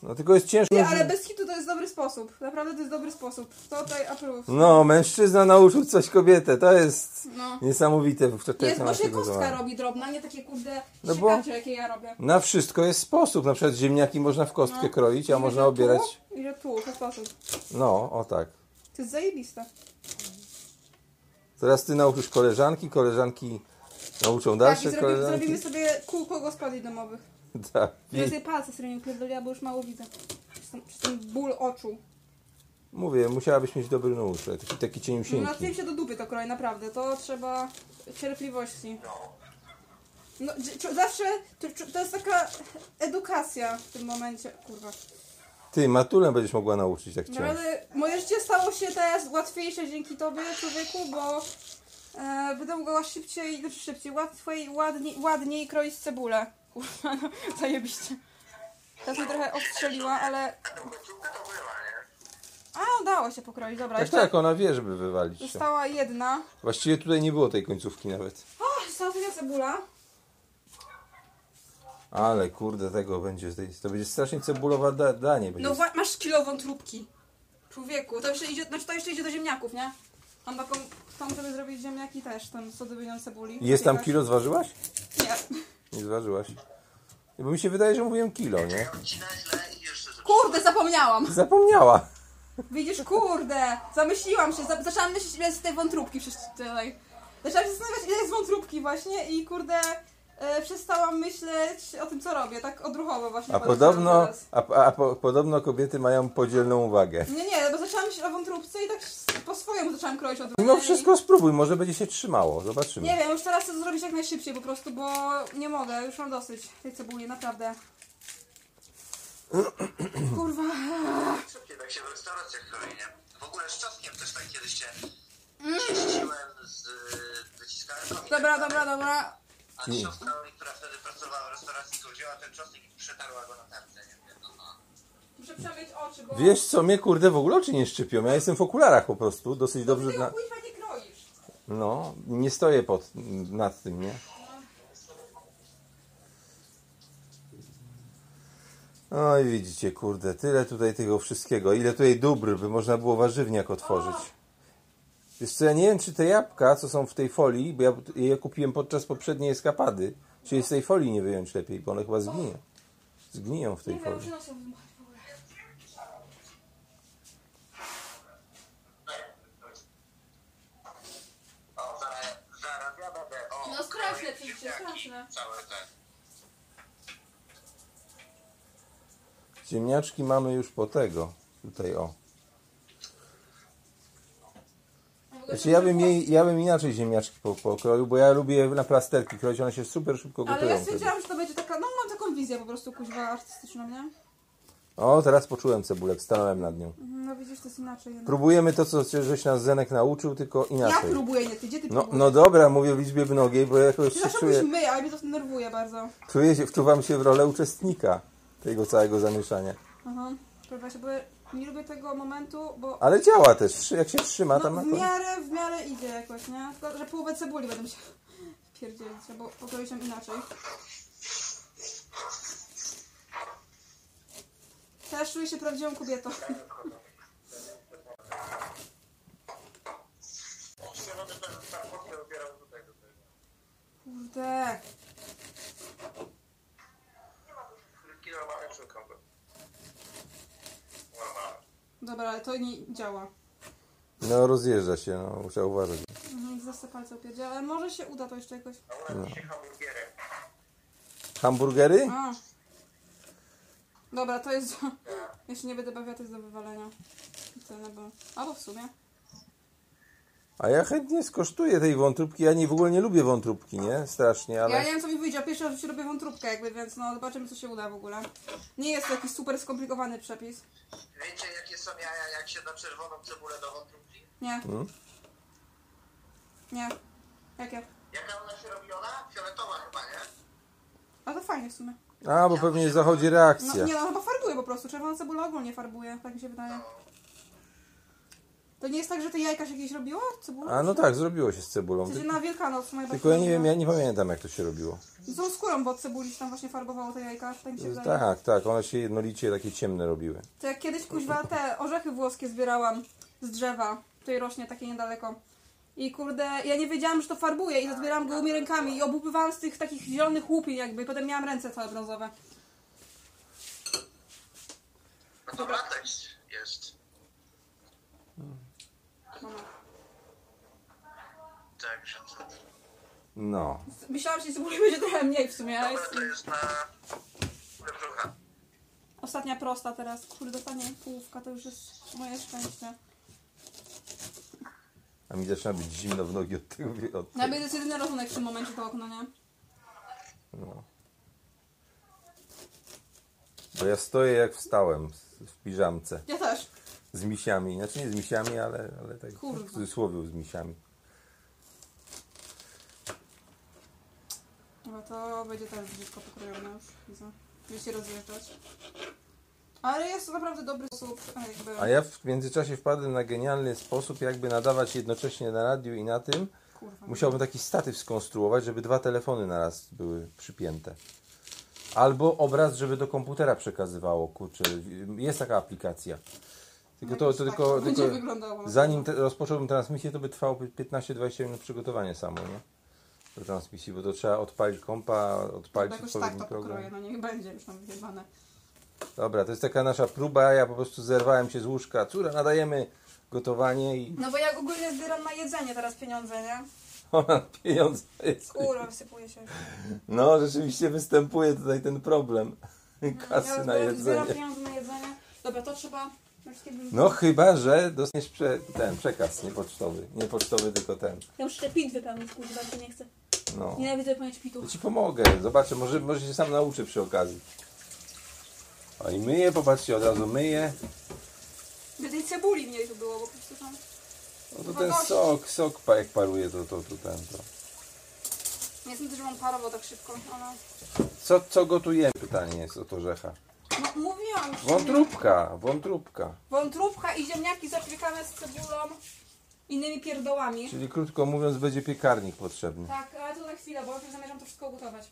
No tylko jest ciężko. Ty, ale bez hitu to jest dobry sposób. Naprawdę to jest dobry sposób. To tutaj approve. No, mężczyzna nauczył coś kobietę. To jest No. niesamowite. w- To, to Jest, bo na się tego kostka złamane. robi drobna, nie takie kurde No no bo- jakie ja robię. Na wszystko jest sposób. Na przykład ziemniaki można w kostkę No. kroić, a można tu, obierać. I że tu, ten sposób. No, o tak. To jest zajebiste. Teraz ty nauczysz koleżanki, koleżanki nauczą Tak, dalsze i zrobi, koleżanki. zrobimy sobie kółko gospodyń domowych. Tak. Ja I sobie palce sobie nie pierdoliła, bo już mało widzę. Przez ten, przez ten ból oczu. mówię, musiałabyś mieć dobry nóż, taki, taki No na tym cieniusieńki. się do dupy to kroi, naprawdę. To trzeba cierpliwości. No. No, dz- czy- zawsze to, czy- to jest taka edukacja w tym momencie. Kurwa. Ty, matulę będziesz mogła nauczyć, jak chciałaś. Naprawdę moje życie stało się teraz łatwiejsze dzięki tobie, człowieku, bo e, będę mogła szybciej, znaczy szybciej, łatwiej, ładniej, ładniej kroić cebulę. Kurwa, no, zajebiście. Teraz mnie trochę ostrzeliła, ale... A to końcówka No, to była, nie? A, udało się pokroić, dobra. Tak, jeszcze tak, ona wie, żeby wywalić się. Została jedna. Właściwie tutaj nie było tej końcówki nawet. O, została tylko cebula. Ale kurde, tego będzie. z tej- To będzie strasznie cebulowa da danie. Będzie. No wa- masz kilową trubki. Człowieku, to jeszcze idzie, znaczy to jeszcze idzie do ziemniaków, nie? Mam taką, tą, żeby zrobić ziemniaki też, tam z odrobiną cebuli. Jest tam Jakaś- kilo, zważyłaś? Nie. Nie zważyłaś. Bo mi się wydaje, że mówiłem kilo, nie? Odcina źle i jeszcze zepsuła. Kurde, zapomniałam! Zapomniała. Widzisz, kurde! Zamyśliłam się, za- zaczęłam myśleć, ile jest tej wątróbki przez tutaj. Zaczęłam się zastanawiać, ile jest wątróbki właśnie i kurde, e, przestałam myśleć o tym, co robię, tak odruchowo właśnie. A podeszłam podobno, teraz. a, a, a po, podobno kobiety mają podzielną uwagę. Nie, nie, bo zaczęłam myśleć o wątróbce i tak s- po swojemu zaczęłam kroić odwrotnie. Mimo No wszystko spróbuj, może będzie się trzymało. Zobaczymy. Nie wiem, już teraz chcę to zrobić jak najszybciej po prostu, bo nie mogę, już mam dosyć tej cebuli, naprawdę. Kurwa. Szybkie, tak się w restauracjach kroi, nie? W ogóle z czosnkiem też tak kiedyś się cieściłem z y, wyciskałem komin. Mm. Dobra, dobra, dobra. A siostra, która wtedy pracowała w restauracji, to wzięła ten czosnek i przetarła go na tarce, nie wiem, no, no. Muszę przemyć oczy, bo... Wiesz co, mnie kurde w ogóle oczy nie szczypią. Ja jestem w okularach po prostu, dosyć Ty dobrze. tego Na... kuźwa nie kroisz. No, nie stoję pod, nad tym, nie? No i widzicie, kurde, tyle tutaj tego wszystkiego. Ile tutaj dóbr by można było warzywniak otworzyć. Wiesz co, ja nie wiem, czy te jabłka, co są w tej folii, bo ja je kupiłem podczas poprzedniej eskapady, czy je z tej folii nie wyjąć lepiej, bo one chyba zgniją. Zgniją w tej Nie wiem, folii. muszę nosem wydmuchać w ogóle. No, O, zaraz, zaraz ja będę, o. No straszne kroję przecież, ziemniaki, straszne. Całe te. Ziemniaczki mamy już po tego. Tutaj o. Ja w ogóle Znaczy, ja, się bym jej, ja bym inaczej ziemniaczki po- pokroił, bo ja lubię je na plasterki kroić, one się super szybko Ale gotują. ja wtedy. stwierdziłam, że to będzie taka, no mam taką wizję po prostu kuźwa artystyczną, nie? O, teraz poczułem cebulek, stanąłem nad nią. Mhm, No widzisz, to jest inaczej. jednak. Próbujemy to, co cię- żeś nas Zenek nauczył, tylko Ja inaczej. próbuję, nie ty, gdzie ty No, próbujesz? no dobra, mówię w liczbie mnogiej, bo ja jakoś Ty się zawsze czuję, mówisz my, ale mnie to denerwuje bardzo. czuję się, wczuwam się w rolę uczestnika tego całego zamieszania. Aha. Próbuję się, bo ja nie lubię tego momentu, bo Ale działa też, trzy- jak się trzyma tam no, na w to. miarę, w miarę idzie jakoś, nie? Tylko, że połowę cebuli będę musiała pierdzielić, bo pokroić się inaczej. Teraz czuję się prawdziwą kobietą. Zielony ten parfum się ubierał do tego. Kurde. Frytki normalne szukam go. Normalne. Dobra, ale to nie działa. No rozjeżdża się, no, trzeba uważać. Mhm, Zawsze palce upierdziała, ale może się uda to jeszcze jakoś. A u nas dzisiaj hamburgierem. Hamburgery? A. Dobra, to jest. Jeśli nie będę bawiła, to jest do wywalenia. I tyle, bo... Albo w sumie. A ja chętnie skosztuję tej wątróbki. Ja nie, w ogóle nie lubię wątróbki, nie? Strasznie, ale... Ja nie wiem, co mi wyjdzie. Pierwszy raz w życiu robię wątróbkę, jakby, więc no zobaczymy, co się uda w ogóle. Nie jest to jakiś super skomplikowany przepis. Wiecie jakie są jaja, jak się da czerwoną cebulę do wątróbki? Nie. No. Nie. Jakie? Jaka ona się robiona? Fioletowa chyba, nie? A to fajnie w sumie. A, bo pewnie zachodzi No, reakcja. nie no, chyba farbuje po prostu. Czerwona cebula ogólnie farbuje, tak mi się wydaje. To nie jest tak, że ty jajka się jakieś robiła? Cebulą? A no tak, zrobiło się z cebulą. Przecież Ty, na Wielkanoc moja tylko ja nie wiem, ja nie pamiętam jak to się robiło. Z tą skórą, bo od cebuli się tam właśnie farbowało te jajka, tak mi się wydaje. Tak, tak, one się jednolicie takie ciemne robiły. To jak kiedyś kuźwa te orzechy włoskie zbierałam z drzewa, tutaj rośnie takie niedaleko. I kurde, ja nie wiedziałam, że to farbuje i to zbierałam gołymi rękami i obłupywałam z tych takich zielonych łupin jakby i potem miałam ręce całe brązowe. No to latex jest. Mama. Także to... No. Myślałam, że tej cebuli będzie trochę mniej w sumie, ale Dobra, jest to jest na... na brzucha. ostatnia prosta teraz. Kurde, dostanie połówka, to już jest moje szczęście. A mi zaczyna być zimno w nogi od tego. wie- Od No Jakby tego. to jest jedyny rachunek w tym momencie to okno, nie? No. Bo ja stoję jak wstałem z- w piżamce. Ja też. Z misiami. Znaczy nie z misiami, ale, ale tak Kurwa. w cudzysłowie z misiami. Dobra, to będzie teraz brzydko pokrojone już, widzę. Będzie się rozjeżdżać. Ale jest to naprawdę dobry sposób, a jakby... A ja w międzyczasie wpadłem na genialny sposób, jakby nadawać jednocześnie na radiu i na tym. Kurwa. Musiałbym taki statyw skonstruować, żeby dwa telefony naraz były przypięte. Albo obraz, żeby do komputera przekazywało. Kurczę, jest taka aplikacja. Tylko No to, to Tak, tylko, będzie tylko wyglądało. no. zanim te, rozpocząłbym transmisję, to by trwało 15-20 minut przygotowanie samo, nie? Do transmisji, bo to trzeba odpalić kompa, Albo odpalić jakoś tak odpowiedni to program. pokroję, no niech będzie już tam wyjebane. Dobra, to jest taka nasza próba. Ja po prostu zerwałem się z łóżka. Córa, nadajemy gotowanie i No bo ja ogólnie zbieram na jedzenie teraz pieniądze, nie? ona pieniądze jest. Kurwa, wysypuje się. No, rzeczywiście występuje tutaj ten problem No, kasy ja na zbieram, zbieram jedzenie. pieniądze na jedzenie. Dobra, to trzeba... już kiedy- No chyba, że dostaniesz prze, ten przekaz, nie pocztowy. Nie pocztowy, tylko ten. Ja muszę te pit wypełnić, kurwa, bo nie chcę. No. Nienawidzę wypełniać pitów. Ja ci pomogę, zobaczę, może, może się sam nauczę przy okazji. O i myję, popatrzcie, od razu myję. By tej cebuli mniej tu było, bo po prostu tam... No to ten sok, sok pa- jak paruje, to, to, to ten, to. Nie sądzę, że mam parowo tak szybko, ale... Co, co gotujemy? Pytanie jest od orzecha. No, mówiłam już. Wątróbka, wątróbka. Wątróbka i ziemniaki zapiekane z cebulą, innymi pierdołami. Czyli krótko mówiąc, będzie piekarnik potrzebny. Tak, ale to na chwilę, bo najpierw zamierzam to wszystko ugotować.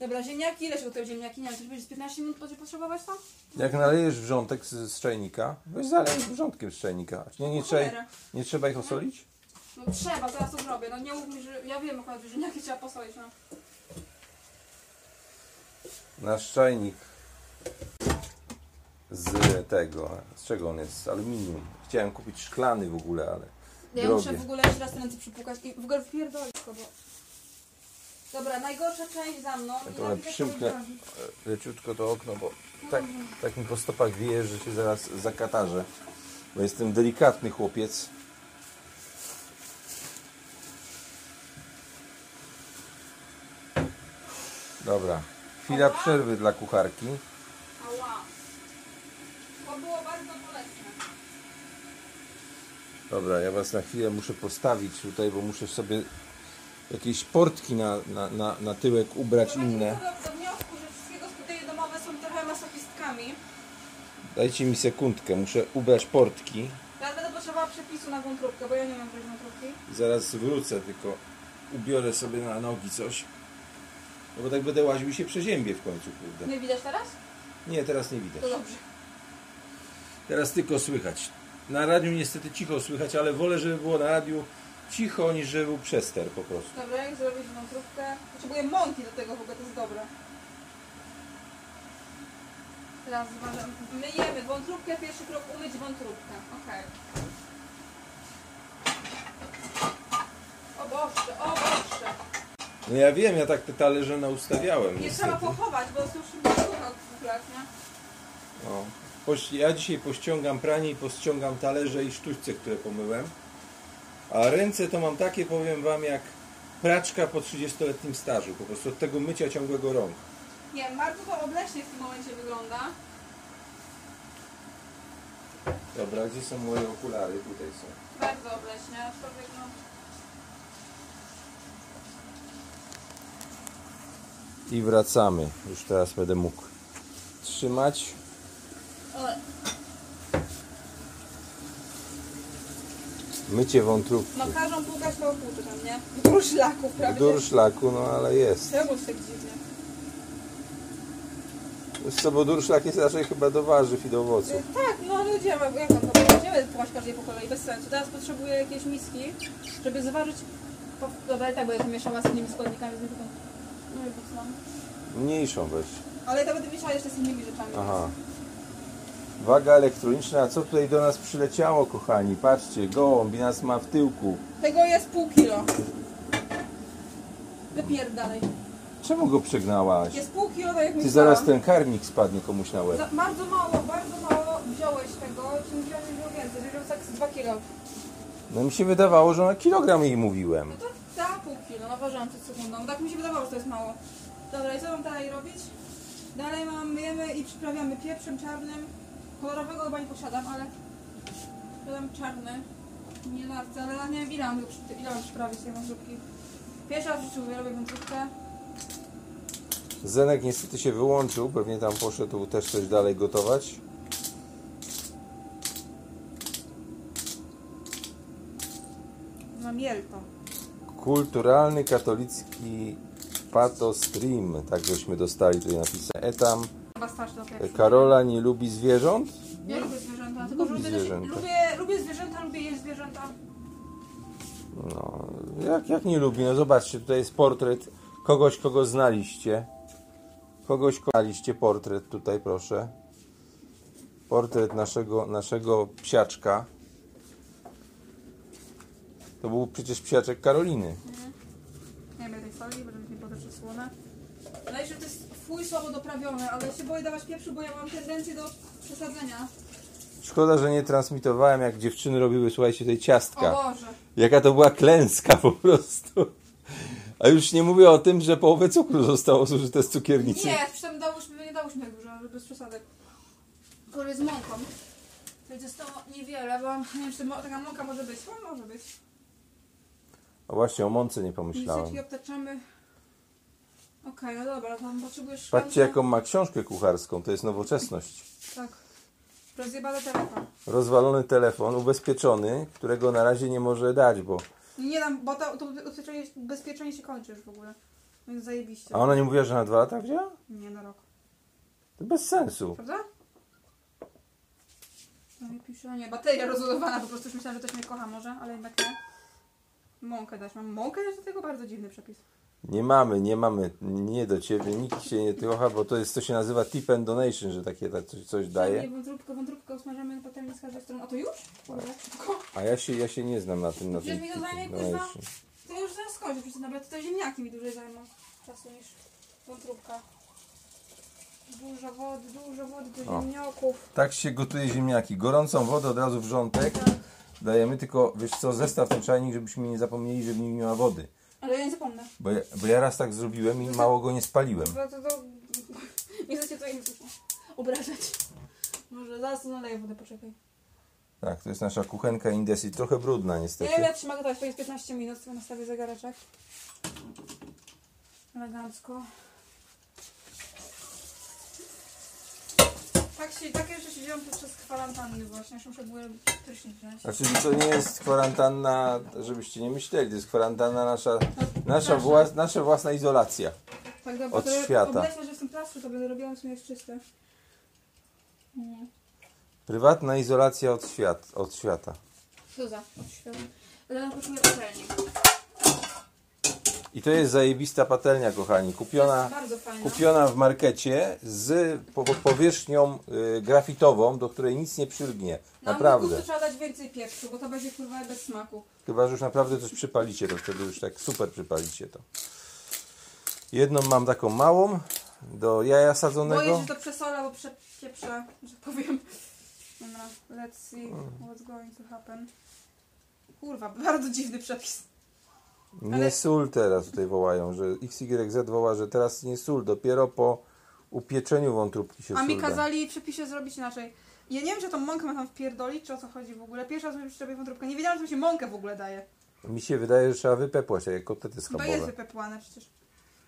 Dobra, ziemniaki, ile się gotuje ziemniaki? Nie wiem, to będzie z 15 minut będzie potrzebować to? Jak nalejesz wrzątek z, z czajnika, weź zalej wrzątkiem z czajnika. Nie, nie, trzeba, Cholera. Mhm. nie trzeba ich osolić? No trzeba, zaraz to zrobię. No nie mów mi, że ja wiem akurat, że ziemniaki trzeba posolić, no. Nasz czajnik z tego, z czego on jest? Z aluminium. Chciałem kupić szklany w ogóle, ale Ja muszę drogie. w ogóle jeszcze raz te ręce przypukać i w ogóle wpierdolić to, bo... Dobra, najgorsza część za mną. Ja I trochę napiszę przymknę sobie e, leciutko to okno, bo tak, tak mi po stopach wieje, że się zaraz zakatarzę. Bo jestem delikatny chłopiec. Dobra, chwila Dobra. przerwy dla kucharki. Ała. To było bardzo bolesne. Dobra, ja was na chwilę muszę postawić tutaj, bo muszę sobie jakieś portki na, na, na, na tyłek ubrać inne. Dochodzę do wniosku, że wszystkie gospodyje domowe są trochę masochistkami. Dajcie mi sekundkę, muszę ubrać portki. Ja będę potrzebowała przepisu na wątróbkę, bo ja nie mam żadnej wątróbki. Zaraz wrócę, tylko ubiorę sobie na nogi coś. No bo tak będę łaził i się przeziębię w końcu, kurde. Nie widać teraz? Nie, teraz nie widać. To dobrze. Teraz tylko słychać. Na radiu niestety cicho słychać, ale wolę, żeby było na radiu cicho, niż żeby był przester po prostu. Dobra, jak zrobić wątróbkę? Potrzebuję mąki do tego w ogóle, to jest dobre. Teraz uważam. Myjemy wątróbkę, pierwszy krok umyć wątróbkę. Okej. O Boże, o Boże. No ja wiem, ja tak te talerze naustawiałem. Nie niestety. trzeba pochować, bo to już nie słucha od dwóch lat, nie? O. No. Poś- Ja dzisiaj pościągam pranie i pościągam talerze i sztućce, które pomyłem. A ręce to mam takie, powiem Wam, jak praczka po 30-letnim stażu. Po prostu od tego mycia ciągłego rąk. Nie, bardzo to obleśnie w tym momencie wygląda. Dobra, gdzie są moje okulary? Tutaj są. Bardzo obleśnie, aczkolwiek no... I wracamy. Już teraz będę mógł trzymać. Ale... Mycie wątróbki. No każą płukać koło płuczu tam, nie? Dur szlaków, prawda? Dur szlaku, no ale jest. Czemu tak dziwnie? Wiesz co, bo dur szlak jest raczej chyba do warzyw i do Y, owoców. Tak, no ale idziemy, jak tam to będziemy płaszcz każdej po kolei, bez sensu. Teraz potrzebuję jakiejś miski, żeby zważyć... Po... Dobra, i tak będę to mieszała z innymi składnikami, z tylko... No i po co? Mniejszą weź. Ale to będę mieszała jeszcze z innymi rzeczami. Aha. Waga elektroniczna, a co tutaj do nas przyleciało, kochani? Patrzcie, gołąb i nas ma w tyłku. Tego jest pół kilo. Wypierdalej. Czemu go przegnałaś? Jest pół kilo, tak jak Ty myślałam. zaraz ten karmik spadnie komuś na łeb. Za, bardzo mało, bardzo mało wziąłeś tego, czym wziąłem było więcej, że wziął tak z dwa kilo. No mi się wydawało, że na kilogram jej mówiłem. No to da pół kilo, no ważyłam przed sekundą. Tak mi się wydawało, że to jest mało. Dobra, i co mam dalej robić? Dalej mam, myjemy i przyprawiamy pieprzem czarnym. Kolorowego chyba nie posiadam, ale dodam czarny. Nie bardzo, ale ja nie wiem ile mam, już- ile mam przyprawić tej wątróbki. Pierwsza w życiu robię wątróbkę. Zenek niestety się wyłączył, pewnie tam poszedł też coś dalej gotować. Mam jelko. Kulturalny katolicki pato stream, tak żeśmy dostali tutaj napisane. Etam, Chyba starczy do pieprzu. Karola nie lubi zwierząt? Ja lubię zwierzęta, tylko Lubi lubię, też- zwierzęta. lubię, lubię zwierzęta, lubię jeść zwierzęta. No, jak, jak nie lubi? No zobaczcie, tutaj jest portret kogoś, kogo znaliście. Kogoś, kogo znaliście, portret tutaj, proszę. Portret naszego, naszego psiaczka. To był przecież psiaczek Karoliny. Nie wiem tej soli, bo mi potem przysłone. No i że to jest fuj słabo doprawione, ale ja się boję dawać pieprzu, bo ja mam tendencję do przesadzenia. Szkoda, że nie transmitowałem, jak dziewczyny robiły, słuchajcie, tej O ciastka. Boże. Jaka to była klęska po prostu. A już nie mówię o tym, że połowę cukru zostało zużyte z cukiernicy. Nie, przynajmniej dałyśmy, nie dałyśmy tak dużo, żeby bez przesadek. Kolej z mąką. Więc zostało niewiele, bo nie wiem, czy to mo- taka mąka może być. No, może być. A właśnie, o mące nie pomyślałem. Miseczki obtaczamy. Okej, no dobra, tam potrzebujesz Patrzcie, szklankę. jaką ma książkę kucharską, to jest nowoczesność. Tak. Rozjebane telefon. Rozwalony telefon, ubezpieczony, którego na razie nie może dać, bo. No Nie dam, bo to, to ubezpieczenie, ubezpieczenie się kończy już w ogóle. Więc zajebiście. A ona nie mówiła, że na dwa lata wzięła? Nie, na rok. To bez sensu. Prawda? No i pisze, nie, bateria rozładowana, po prostu już myślałam, że ktoś mnie kocha może, ale jednak nie. Mąkę dać, mam mąkę dać do tego? Bardzo dziwny przepis. Nie mamy, nie mamy, nie do ciebie, nikt się nie trocha, bo to jest, co się nazywa tip and donation, że takie tak coś, coś Przynajmniej daje. Wątróbkę, wątróbkę usmażamy potem z każdej strony. A to już? Dobra, szybko. A ja się, ja się nie znam na tym, na Przecież tym mi tip to zajmie and kurwa, donation. to już zaraz skończę, przecież nawet te ziemniaki mi dłużej zajmą czasu niż wątróbka. Dużo wody, dużo wody do O. ziemniaków. Tak się gotuje ziemniaki. Gorącą wodę od razu wrzątek dajemy, tylko wiesz co, zestaw ten czajnik, żebyśmy nie zapomnieli, żeby nie miała wody. Ale ja nie zapomnę. Bo ja, bo ja raz tak zrobiłem i mało go nie spaliłem. Bo No to, to... Nie chcę cię tutaj obrażać. Może zaraz naleję wodę, poczekaj. Tak, to jest nasza kuchenka Indesi. Trochę brudna Nie wiem, niestety. jak trzyma gotować, to jest 15 minut, to nastawię zegareczek. Elegancko. Tak się, takie rzeczy się dzieją podczas kwarantanny właśnie, aż muszę było prysznic wziąć. Znaczy to nie jest kwarantanna, żebyście nie myśleli, to jest kwarantanna nasza, nasza, Nasza. włas, nasza własna izolacja. No, Tak dobrze, Od to świata. Obleśne, że w tym plastrzu to będę robiła w sumie jest czyste. Nie. Prywatna izolacja od, świat, od świata. Suza, od świata. Lena poszukuje patelnik. I to jest zajebista patelnia, kochani. Kupiona, Bardzo fajna. kupiona w markecie z po- po- powierzchnią y, grafitową, do której nic nie przylgnie. Na Naprawdę. ogórku trzeba dać więcej pieprzu, bo to będzie kurwa bez smaku. Chyba, że już naprawdę coś przypalicie, to wtedy już tak super przypalicie to. Jedną mam taką małą, do jaja sadzonego. Boję się, że to przesolę, bo przepieprzę, że powiem. Dobra, let's see what's going to happen. Kurwa, bardzo dziwny przepis. Nie Ale- sól teraz tutaj wołają, że XYZ woła, że teraz nie sól, dopiero po upieczeniu wątróbki się A mi sól da. kazali w przepisie zrobić inaczej. Ja nie wiem, czy tą mąkę ma tam wpierdolić, czy o co chodzi w ogóle. Pierwsza raz mi przyczepię wątróbkę. Nie wiedziałam, że mi się mąkę w ogóle daje. Mi się wydaje, że trzeba wypepłać, tak jak kotlety Chyba jest schabowe. wypepłane przecież.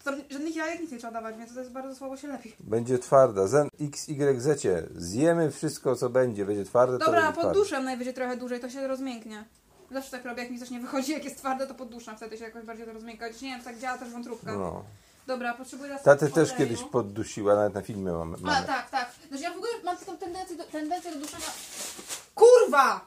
To tam żadnych jajek nic nie trzeba dawać, więc to jest bardzo słabo się lepi. Będzie twarda. Zen XYZ. Zjemy wszystko, co będzie. Będzie twarde, to Dobra, będzie pod twarde. duszem najwyżej trochę dłużej, to się rozmięknie. Zawsze tak robię, jak mi coś nie wychodzi, jak jest twarde, to podduszam, wtedy się jakoś bardziej to rozmięka. Chociaż nie wiem, tak działa też wątróbka. No. Dobra, potrzebuję teraz Tatę oleju. też kiedyś poddusiła, nawet na filmie mamy. A, mamy. tak, tak. Znaczy ja w ogóle mam taką tendencję do, tendencję do duszenia... Kurwa!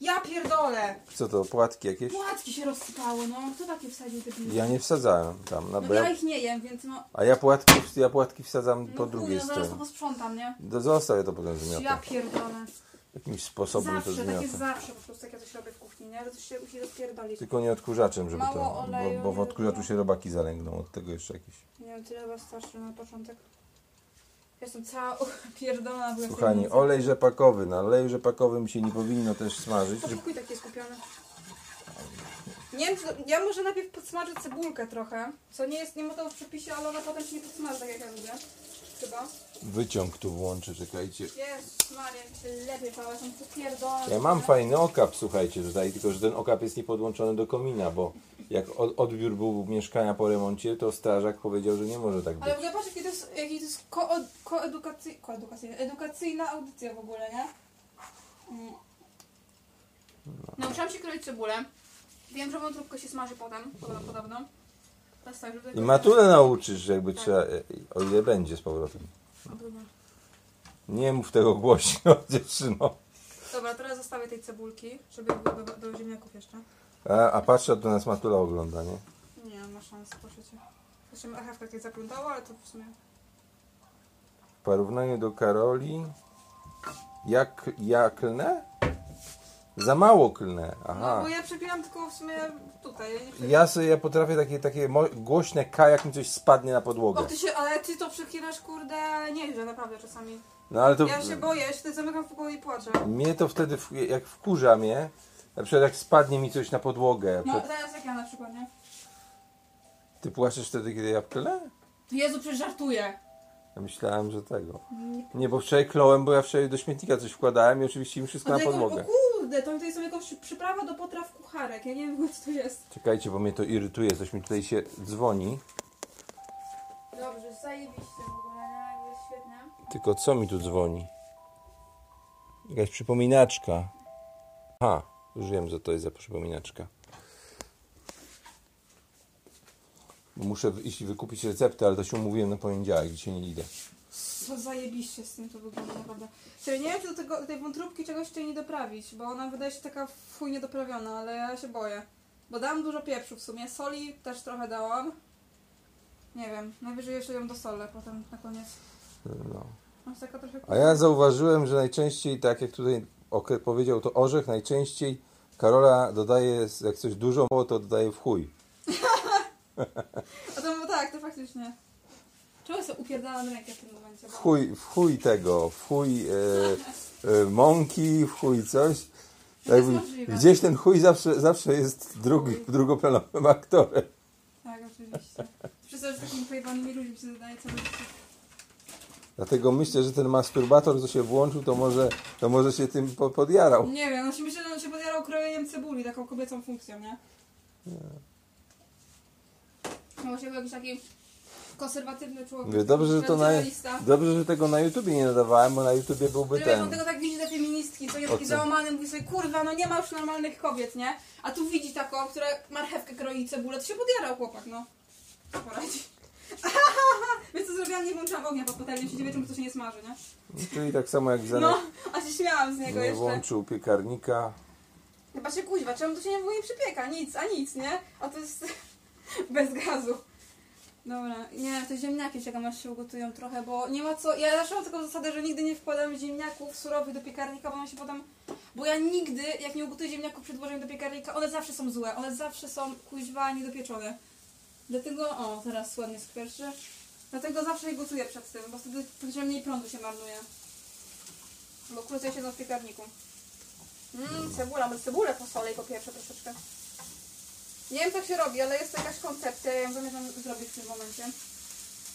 Ja pierdolę! Co to, płatki jakieś? Płatki się rozsypały, no. Kto takie wsadził te piłki? Ja nie wsadzałem tam, no No bo bo ja ja, ich nie jem, więc no... a ja płatki, ja płatki wsadzam no po chuj, drugiej no, zaraz to stronie. posprzątam, nie? Do, zostawię to potem zmiotę. Ja pierdolę. Jakimś sposobem to zawsze, tak jest zmiotę. zawsze po prostu, jak ja coś robię w kuchni, nie? Że coś się musi rozpierdolić. Tylko nie odkurzaczem, żeby Mało to, oleju, bo, bo w nie odkurzaczu dużo. się robaki zalęgną, od tego jeszcze jakieś. Nie wiem, tyle was starczy na początek. Jestem cała pierdolona. bo jestem Kochani, nic. olej rzepakowy, na oleju rzepakowym się nie powinno też smażyć. To że- pokój taki skupiony. Nie wiem, czy- ja może najpierw podsmażę cebulkę trochę, co nie jest, nie ma to w przepisie, ale ona potem się nie podsmaży, tak jak ja lubię. Chyba. Wyciąg tu włączę, czekajcie. Jest, Maria, lepiej, Paweł, są popierdolone. Ja mam fajny okap, słuchajcie, tutaj, tylko że ten okap jest niepodłączony do komina, bo jak od- odbiór był mieszkania po remoncie, to strażak powiedział, że nie może tak Ale w być. ogóle patrz, jaki to jest, jaki to jest ko- koedukacy, koedukacyjna, edukacyjna audycja w ogóle, nie? Mm. Nauczyłam się kroić cebulę. Wiem, że wątróbkę się smaży potem, poda- podobno. Teraz tak, żeby... I matulę nauczysz, jakby trzeba, e, o ile będzie z powrotem. Dobra. Nie mów tego głośno, dziewczyno. Dobra, teraz zostawię tej cebulki, żeby były do, do ziemniaków jeszcze. A, a patrzę, to nas matula ogląda, nie? Nie, ma szans, proszę cię. Zresztą marchewka tutaj zaplątała, ale to w sumie... W porównaniu do Karoli, jak, ja klnę? Za mało klnę, No, aha. bo ja przepiłam tylko w sumie tutaj. Ja nie przepiłam. Ja sobie, ja potrafię takie, takie mo- głośne K, jak mi coś spadnie na O, podłogę. ty się, ale ty to przechylasz, kurde, nieźle, naprawdę czasami. No ale to... Ja się boję, ja się tutaj zamykam w pokoju i płaczę. Mnie to wtedy, w- jak wkurza mnie, na przykład jak spadnie mi coś na podłogę, No, to teraz jak ja na przykład, nie? ty płaczesz wtedy, kiedy ja klę? Jezu, przecież żartuję. Ja myślałem, że tego. Nie, bo wczoraj klołem, bo ja wczoraj do śmietnika coś wkładałem i oczywiście mi wszystko na o podłogę. kurde, to tutaj są jakąś przyprawa do potraw kucharek, ja nie wiem, co to jest. Czekajcie, bo mnie to irytuje, coś mi tutaj się dzwoni. Dobrze, zajebiście w ogóle, nie? Jest świetnie. Tylko co mi tu dzwoni? Jakaś przypominaczka. Aha, już wiem, co to jest za przypominaczka. Muszę iść i wykupić receptę, ale to się umówiłem na poniedziałek, dzisiaj nie idę. Co zajebiście z tym to wygląda, naprawdę. Czyli nie wiem, czy do, tego, do tej wątróbki czegoś tutaj nie doprawić, bo ona wydaje się taka w chuj niedoprawiona, ale ja się boję. Bo dałam dużo pieprzu w sumie, soli też trochę dałam. Nie wiem, najwyżej jeszcze ją dosolę potem na koniec. No. Masz taka trochę... A ja zauważyłem, że najczęściej, tak jak tutaj ok- powiedział to orzech, najczęściej Karola dodaje, jak coś dużo, mało, to dodaje w chuj. A to tak, to faktycznie. Czemu sobie upierdalam rękę w tym momencie? W chuj, w chuj tego, w chuj e, e, mąki, w chuj coś. Tak Jakby, możliwe. gdzieś ten chuj zawsze, zawsze jest drugi, drugoplanowym aktorem. Tak, oczywiście. Wszyscy już takimi pojebanymi ludźmi się zadaje co robicie. Dlatego myślę, że ten masturbator, co się włączył, to może, to może się tym po- podjarał. Nie wiem, on się myślę, że on się podjarał krojeniem cebuli, taką kobiecą funkcją, nie? No właśnie był jakiś taki konserwatywny człowiek. Mówię, dobrze, że to na, nacjonalista. dobrze, że tego na YouTubie nie nadawałem, bo na YouTubie byłby Że wiesz, on ten. tego tak widzi te feministki, co nie taki O co? załamany, mówi sobie, kurwa, no nie ma już normalnych kobiet, nie? A tu widzi taką, która marchewkę kroi i cebulę, to się podjarał chłopak, no. Co poradzi? Wiesz co zrobiłam? Nie włączam ognia po patelni, siedzi wieczorem, bo to się nie smaży, nie? Czyli tak samo jak Zenek No, a się śmiałam z niego nie jeszcze. włączył piekarnika. Chyba się No kuźwa, czemu to się nie w ogóle nie przypieka? Nic, a nic, nie? A to jest bez gazu. Dobra, nie, to ziemniaki czekam aż się ugotują trochę, bo nie ma co. Ja zawsze mam taką zasadę, że nigdy nie wkładam ziemniaków surowych do piekarnika, bo one się potem. Bo ja nigdy, jak nie ugotuję ziemniaków przed włożeniem do piekarnika, one zawsze są złe, one zawsze są kuźwa niedopieczone. Dlatego, o, teraz ładnie skwierczy. Dlatego zawsze je gotuję przed tym, bo wtedy że mniej prądu się marnuje. Bo krócej siedzą w piekarniku. Mmm, cebula, bo cebulę posolę i popieprze troszeczkę. Nie wiem, co się robi, ale jest jakaś koncepcja, ja ją zamierzam zrobić w tym momencie.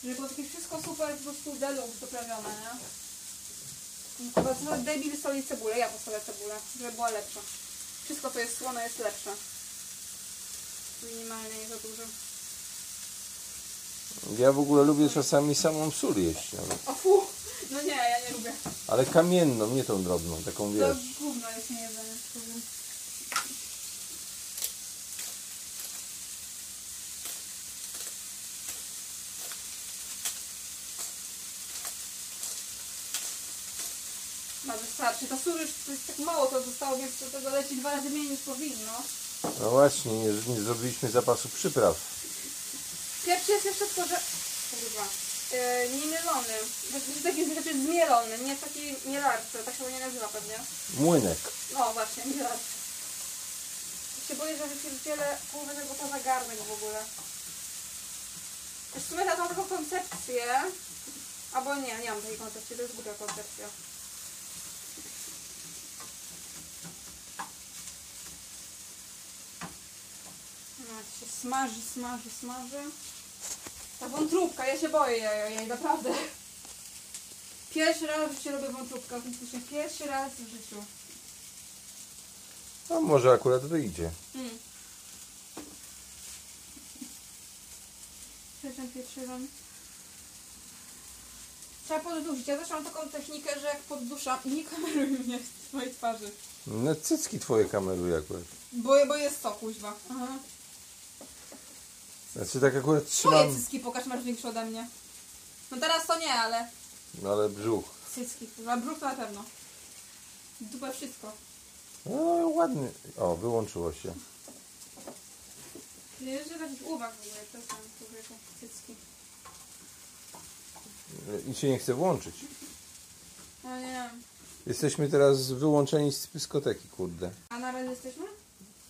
Żeby było takie wszystko super, po prostu deluxe doprawione, nie? Chyba to debil soli cebulę, ja posolę cebulę, żeby była lepsza. Wszystko, co jest słone, jest lepsze. Minimalnie, nie za dużo. Ja w ogóle lubię czasami samą sól jeść, ale, O fu! No nie, ja nie lubię. ale kamienną, nie tą drobną, taką To wiesz. gówno jest niejedzenie, powiem. ma wystarczy. Ta susz, to jest tak mało, to zostało, więc do tego leci dwa razy mniej niż powinno. No właśnie, nie, nie zrobiliśmy zapasu przypraw. Pierwszy jest jeszcze tylko, że... Kurwa. Yy, nie mielony. Znaczy taki znaczy zmielony, nie w takiej mielarce, tak się nie nazywa pewnie. Młynek. No właśnie, mielarce. Ja się boję, że wypierdzielę połowę tego poza garnek w ogóle. Też w sumie ja mam taką koncepcję. Albo nie, nie mam takiej koncepcji, to jest głupia koncepcja. No, to się smaży, smaży, smaży. Ta wątróbka, ja się boję jej, jej naprawdę. Pierwszy raz w życiu robię wątróbkę, autentycznie pierwszy raz w życiu. No może akurat wyjdzie. Mm. Pieczem pieczyłem. Trzeba poddusić. Ja też mam taką technikę, że jak podduszam i nie kameruj mnie w mojej twarzy. No cycki twoje kameruje akurat. Bo, bo jest to, kuźwa. Aha. Znaczy tak akurat Moje trzymam, cycki pokaż, masz większe ode mnie. No teraz to nie, ale no ale brzuch. cycki, kurwa, brzuch to na pewno. Dupa wszystko. No ładny. O, wyłączyło się. Nie jest takich uwag w ogóle, to są człowieku, cycki. I się nie chce włączyć. No nie wiem. Jesteśmy teraz wyłączeni z dyskoteki, kurde. A na razie jesteśmy?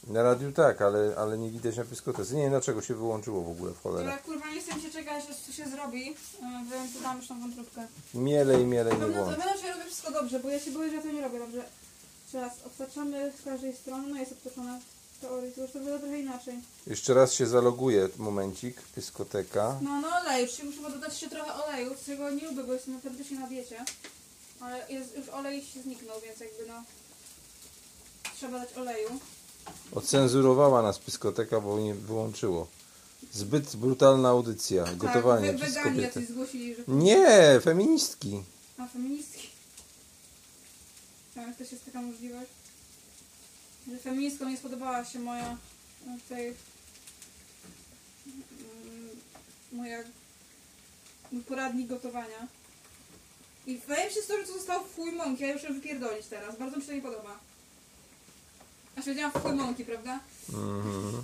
Na radiu tak, ale, ale nie widać na dyskotece. Nie wiem dlaczego się wyłączyło w ogóle w Dobra, cholerę. kurwa, nie chcę mi się czekać, aż coś się zrobi, yy, więc dam już tą wątróbkę. Mielej, mielej Na nie pewno, na włączy. pewno, że no, ja robię wszystko dobrze, bo ja się boję, że ja to nie robię dobrze. Jeszcze raz, obtaczamy z każdej strony, no jest obtaczone w teorii, to już to wygląda trochę inaczej. Jeszcze raz się zaloguję, momencik, dyskoteka. No, no olej, czyli muszę dodać jeszcze trochę oleju, z czego nie lubię, bo jestem teoretycznie na diecie. Ale jest, już olej się zniknął, więc jakby no... Trzeba dać oleju. Tak, Ocenzurowała nas dyskoteka, bo nie wyłączyło. Zbyt brutalna audycja, gotowanie tak, we- przez weganie kobiety. jacyś zgłosili, że... Nie, feministki. A, feministki. Tam też jest taka możliwość. Że feministkom nie spodobała się moja no, tutaj mm, moja mój poradnik gotowania. I wydaje mi się, że to zostało w chuj mąki, ja już ją wypierdolić teraz. Bardzo mi się to nie podoba. A siedziałam w chuj mąki, prawda? Mhm.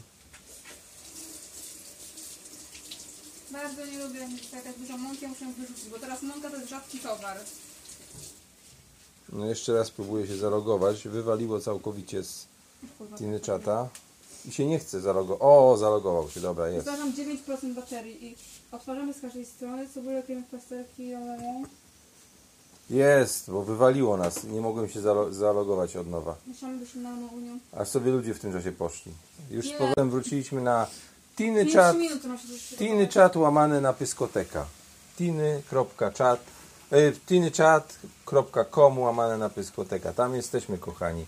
Bardzo nie lubię mieć jakaś dużo mąki, ja muszę ją wyrzucić, bo teraz mąka to jest rzadki towar. No jeszcze raz próbuję się zalogować. Wywaliło całkowicie z Kurwa. Tiny Chata. I się nie chce zalogować. O, zalogował się, dobra, jest. Zdarzam 9% baterii i otwarzamy z każdej strony cebulę, krem, plasterki, oleju. Jest, bo wywaliło nas. Nie mogłem się zalo- zalogować od nowa. Mieszamy do silnego unią. Aż sobie ludzie w tym czasie poszli. Już z Nie. powrotem wróciliśmy na Tiny 5 Chat. minut to ma się jeszcze Tiny Chat łamany na pyskoteka. Tiny.chat e, tinychat.com łamane na pyskoteka. Tam jesteśmy, kochani.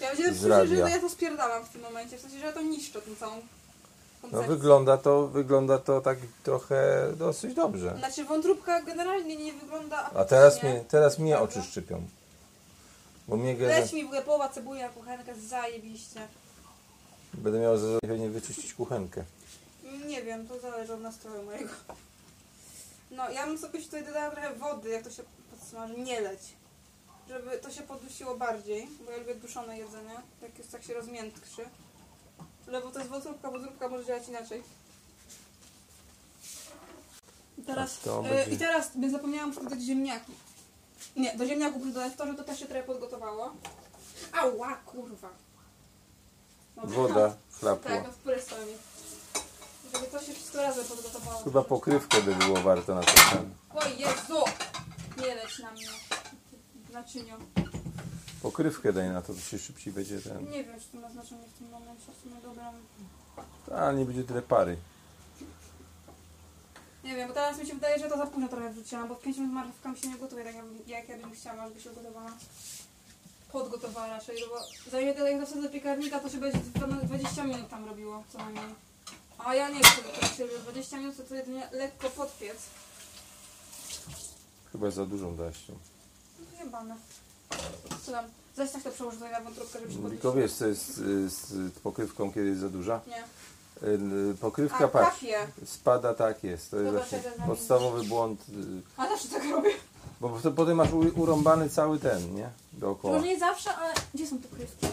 Ja będę z słyszę, że radia. ja to spierdalam w tym momencie, w sensie, że ja to niszczę tą całą No koncepcję. wygląda to, wygląda to tak trochę dosyć dobrze. Znaczy wątróbka generalnie nie wygląda A teraz apetycznie. mnie, teraz mnie Prawda? oczy szczypią. Bo mnie gada, Leć mi w ogóle połowa cebuli na kuchenkę, zajebiście. będę miał za nie wyczyścić kuchenkę. Nie wiem, to zależy od nastroju mojego. No, ja bym sobie tutaj dodała trochę wody, jak to się podsmaży, nie leć. Żeby to się podusiło bardziej, bo ja lubię duszone jedzenie, jak jest tak się rozmiętkrzy. Ale bo to jest wodróbka, wodróbka może działać inaczej. I teraz, A to e, będzie- I teraz bym zapomniałam muszę dodać ziemniaki. Nie, do ziemniaków muszę dodać to, że to też się trochę podgotowało. Ała, kurwa. Dobra. Woda Tak, chlapła. no w purę stoi. Żeby to się wszystko razem podgotowało. Chyba pokrywkę by było warto na ten ten. O Jezu! Nie leć na mnie. Naczynio. Pokrywkę daj na to, to się szybciej będzie ten. Nie wiem, czy to ma znaczenie w tym momencie. W sumie dobra. A nie będzie tyle pary. Nie wiem, bo teraz mi się wydaje, że to za późno trochę wrzuciłam, bo w 5 minut marchewka mi się nie gotuje, tak jak, jak ja bym chciała, żeby się gotowała. Podgotowała raczej, no bo zajmie tyle jak dostanę do piekarnika, to się będzie dwa- 20 minut tam robiło co najmniej. A ja nie chcę do tego siebie. 20 minut to jedynie lekko podpiec. Chyba za dużą daś. tu. No Jebane. Co tam? Zaś tak to przełożę tutaj na wątróbkę, żeby się Tylko podnieść. wiesz, co jest y, z pokrywką, kiedy jest za duża? Nie. Y, y, Pokrywka, A, patrz, kapie. tak. spada tak jest. To jest Dobra, właśnie czekaj, zanim- podstawowy błąd y, A zawsze tak robię. Bo po- potem masz u- urąbany cały ten, nie? Dookoła. Może nie zawsze, ale gdzie są pokrywki?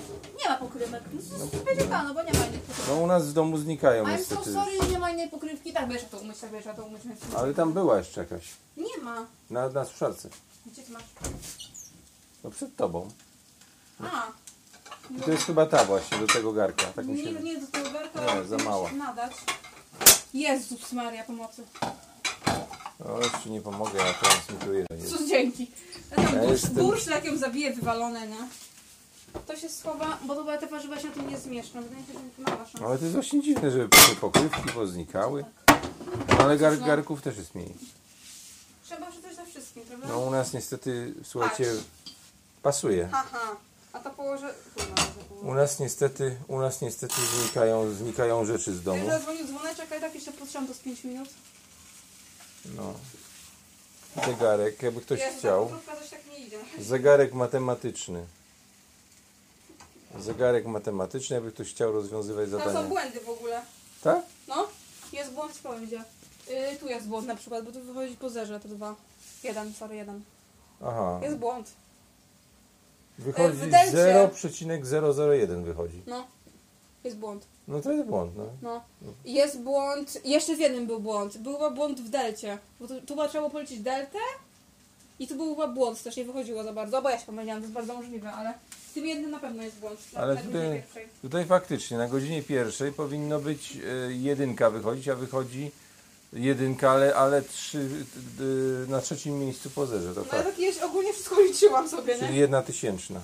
Nie ma pokrywek. No, to jest będzie no bo nie ma innych pokrywek. No u nas w domu znikają I'm so No, niestety. sorry, nie ma innej pokrywki. Tak, będziesz to umyć, tak, będziesz to umyć. będziesz to umyć. Ale tam była jeszcze jakaś. Nie ma. Na, na suszarce. Gdzie ty masz? No przed tobą. A, I to jest chyba ta właśnie, do tego garka. Tak mi się... nie, nie do tego garka. Nie, za musisz mała. Nadać. Jezus Maria, pomocy. No już ci nie pomogę, ja transmituję. Cóż, dzięki. Ja tam Ja bursz, jestem- burszlakiem zabiję wywalone, nie? To się schowa, bo dobra, te warzywa się tu nie zmieszczą. Wydaje mi się, że mała szansa. Ale to jest właśnie dziwne, żeby te pokrywki poznikały. No ale gar, garków też jest mniej. Trzeba przeczytać za wszystkim, prawda? No u nas niestety, słuchajcie, pasuje. Haha. A to położę... Kurwa, to położę. U nas niestety, u nas niestety znikają, znikają rzeczy z domu. Ja zadzwonił dzwoneczek, a i tak jeszcze potrzebam do 5 minut. No. Zegarek, jakby ktoś Jezu, ta chciał. pokrówka coś tak nie idzie. Zegarek matematyczny. Zegarek matematyczny, jakby ktoś chciał rozwiązywać Tam są zadania. błędy w ogóle. Tak? No. Jest błąd w powiedzie. Yy, tu jest błąd na przykład, bo tu wychodzi po zerze, to dwa. Jeden, sorry, jeden. Aha. Jest błąd. Wychodzi w delcie. 0,001 wychodzi. No. Jest błąd. No to jest błąd, no. No. I Jest błąd. Jeszcze w jednym był błąd. Był chyba błąd w delcie. Bo tu, tu chyba trzeba było policzyć deltę. I tu był chyba błąd, też nie wychodziło za bardzo. Bo ja się pomyliłam, to jest bardzo możliwe, ale w tym jednym na pewno jest błąd. Na- Ale na godzinie tutaj, pierwszej. tutaj faktycznie na godzinie pierwszej powinno być e, jedynka wychodzić, a wychodzi jedynka, ale, ale trzy, y, na trzecim miejscu po zerze, to No ja fakt. tak kiedyś ogólnie wszystko liczyłam sobie, nie? Czyli jedna tysięczna.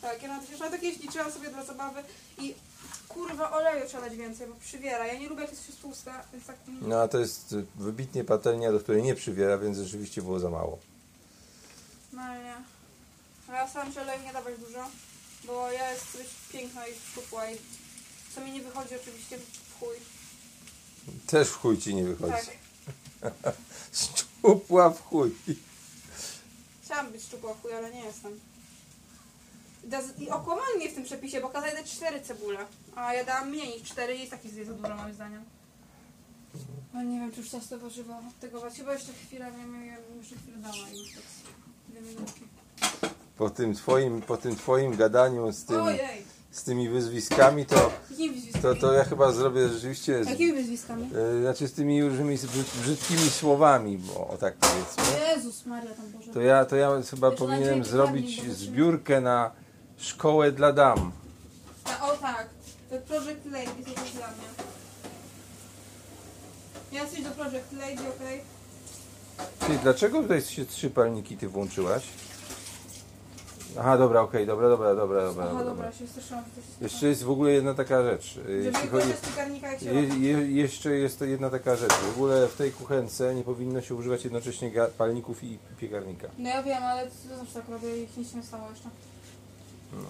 Tak, ja na to się ja tak kiedyś liczyłam sobie dla zabawy i kurwa oleju trzeba dać więcej, bo przywiera. Ja nie lubię jak jest się tłuste, więc tak... mm. No a to jest y, wybitnie patelnia, do której nie przywiera, więc rzeczywiście było za mało. Normalnie. Ale ja staram się oleju nie dawać dużo, bo ja jest dość piękna i szczupła i co mi nie wychodzi oczywiście w chuj. Też w chuj ci nie wychodzi. Tak. Szczupła w chuj. Chciałam być szczupła w chuj, ale nie jestem. Dez- I okłamali mnie w tym przepisie, bo kazali dać cztery cebule, a ja dałam mniej niż cztery i jest taki jest za dużo moim zdaniem. No nie wiem, czy już czas to warzywa. Tego właśnie, chyba jeszcze chwilę, wiem, ja bym jeszcze chwilę dała i już tak z- dwie minutki. Po tym twoim, po tym twoim gadaniu z, tym, Ojej! z tymi wyzwiskami, to, Jakimi wyzwiskami? to, to ja chyba zrobię rzeczywiście... Z, Jakimi wyzwiskami? y, znaczy z tymi różnymi z- brzyd- brzydkimi słowami, bo o tak powiedzmy. Jezus Maria tam Boże. To ja, to ja chyba Jeszcze na powinienem dzień zrobić dokładnie, bo zbiórkę na szkołę dla dam. Ta, o tak, Project Lady to jest dla mnie. Ja coś do Project Lady, okej? Ty, dlaczego tutaj się trzy palniki ty włączyłaś? Aha, dobra, okej, dobra, dobra, dobra, dobra, Aha, dobra, dobra, się straszyłam, że to się Jeszcze jest w ogóle jedna taka rzecz. Y, Żeby Jeśli nie chodzi, korzystać z piekarnika jak się je, robi. je, jeszcze jest to jedna taka rzecz. W ogóle w tej kuchence nie powinno się używać jednocześnie ga- palników i piekarnika. No ja wiem, ale to zawsze tak robię i nic się nie stało jeszcze. No.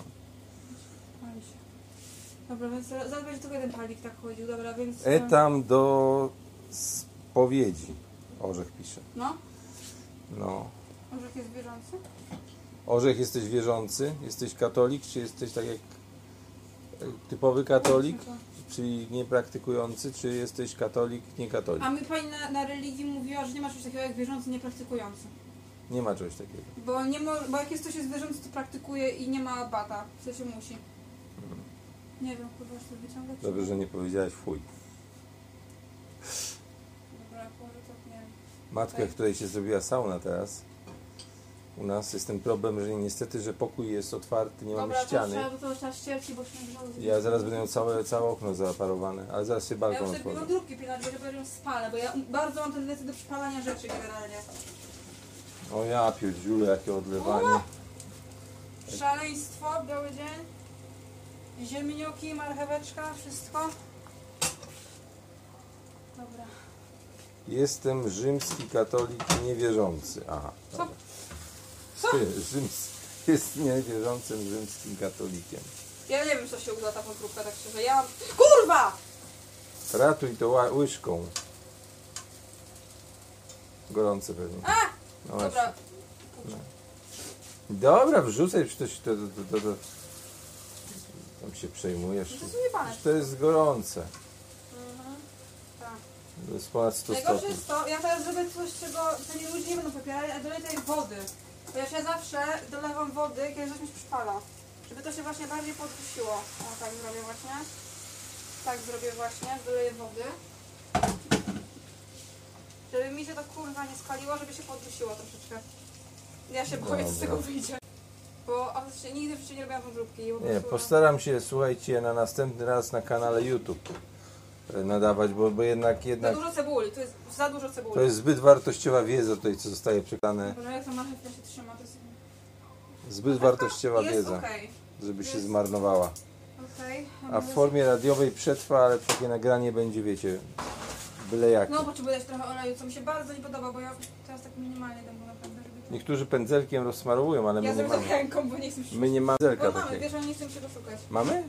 się. Dobra, więc zaraz zaraz będzie tylko jeden palik tak chodził, dobra, więc... e, Etam do spowiedzi. Orzech pisze. No, No. orzech jest bieżący. Orzech, jesteś wierzący? Jesteś katolik? Czy jesteś tak jak e, typowy katolik? Znaczy- Czyli niepraktykujący? Czy jesteś katolik, niekatolik? A mi pani na, na religii mówiła, że nie ma czegoś takiego jak wierzący, niepraktykujący. Nie ma czegoś takiego. Bo, nie mo- bo jak jest coś jest wierzący, to praktykuje i nie ma bata, co się musi. Nie wiem, kurwa, czy to wyciągać. Hmm. Dobrze, że nie powiedziałeś fuj. Dobra, może tak nie wiem. matkę, której się zrobiła sauna teraz. U nas jest ten problem, że niestety, że pokój jest otwarty, nie mamy Dobra, to już ściany. trzeba, to już trzeba ścierki, bo się nagrzało. Ja zaraz będę miał całe, całe okno zaparowane, ale zaraz się Ja balkon już sobie otworzy. mam drugi pilot, bo ja ją spalę, bo ja um, bardzo mam tendencję do przypalania rzeczy generalnie. O ja pierdziule, jakie odlewanie. Szaleństwo, biały dzień. Ziemniaki, marcheweczka, wszystko. Dobra. Jestem rzymski katolik niewierzący. Aha. dobra. Ty, Rzyms... Jest niewierzącym rzymskim katolikiem. Ja nie wiem, co się uda ta wątróbka, tak szczerze. Ja mam... Kurwa! Ratuj to ła- łyżką. Gorące pewnie. A! No właśnie. Dobra. Dobra, wrzucaj przecież to, to, to, to, to. Tam się przejmujesz. No to sobie patrz. To jest gorące. Mhm. Tak. To jest ponad 100 Najgorsze stopni. jest to, ja teraz zrobię coś, czego pewnie ludzie nie będą popierali, ale dolej tej wody. Ponieważ ja zawsze dolewam wody, kiedy coś mi się przypala. Żeby to się właśnie bardziej poddusiło. O, tak zrobię właśnie. Tak zrobię właśnie, doleję wody. Żeby mi się to kurwa nie skaliło, żeby się poddusiło troszeczkę. Ja się boję, co z tego Dobra. wyjdzie. Bo a, się nigdy w życiu nie robiłam wątróbki. i po Nie, prostu- postaram się, słuchajcie, na następny raz na kanale YouTube e, nadawać, bo, bo jednak, Za jednak dużo cebuli, No to jest za dużo cebuli. tak. to jest zbyt wartościowa wiedza tutaj, co zostaje przekazane. Boże, no, jak to marchewka się trzyma, to jest... Zbyt wartościowa Jest wiedza, okej. żeby się Jest. zmarnowała. Okej. A w formie radiowej przetrwa, ale takie nagranie będzie, wiecie, byle jakie. No, potrzebuję też trochę oleju, co mi się bardzo nie podoba, bo ja teraz tak minimalnie dam go naprawdę, żeby... to- Niektórzy pędzelkiem rozsmarowują, ale my Ja nie zrobię tak mamy. ręką, bo nie chcę mi się... My nie mamy Bo pędzelka mamy, takiego. wiesz, ale nie chcę mi się go szukać. Mamy?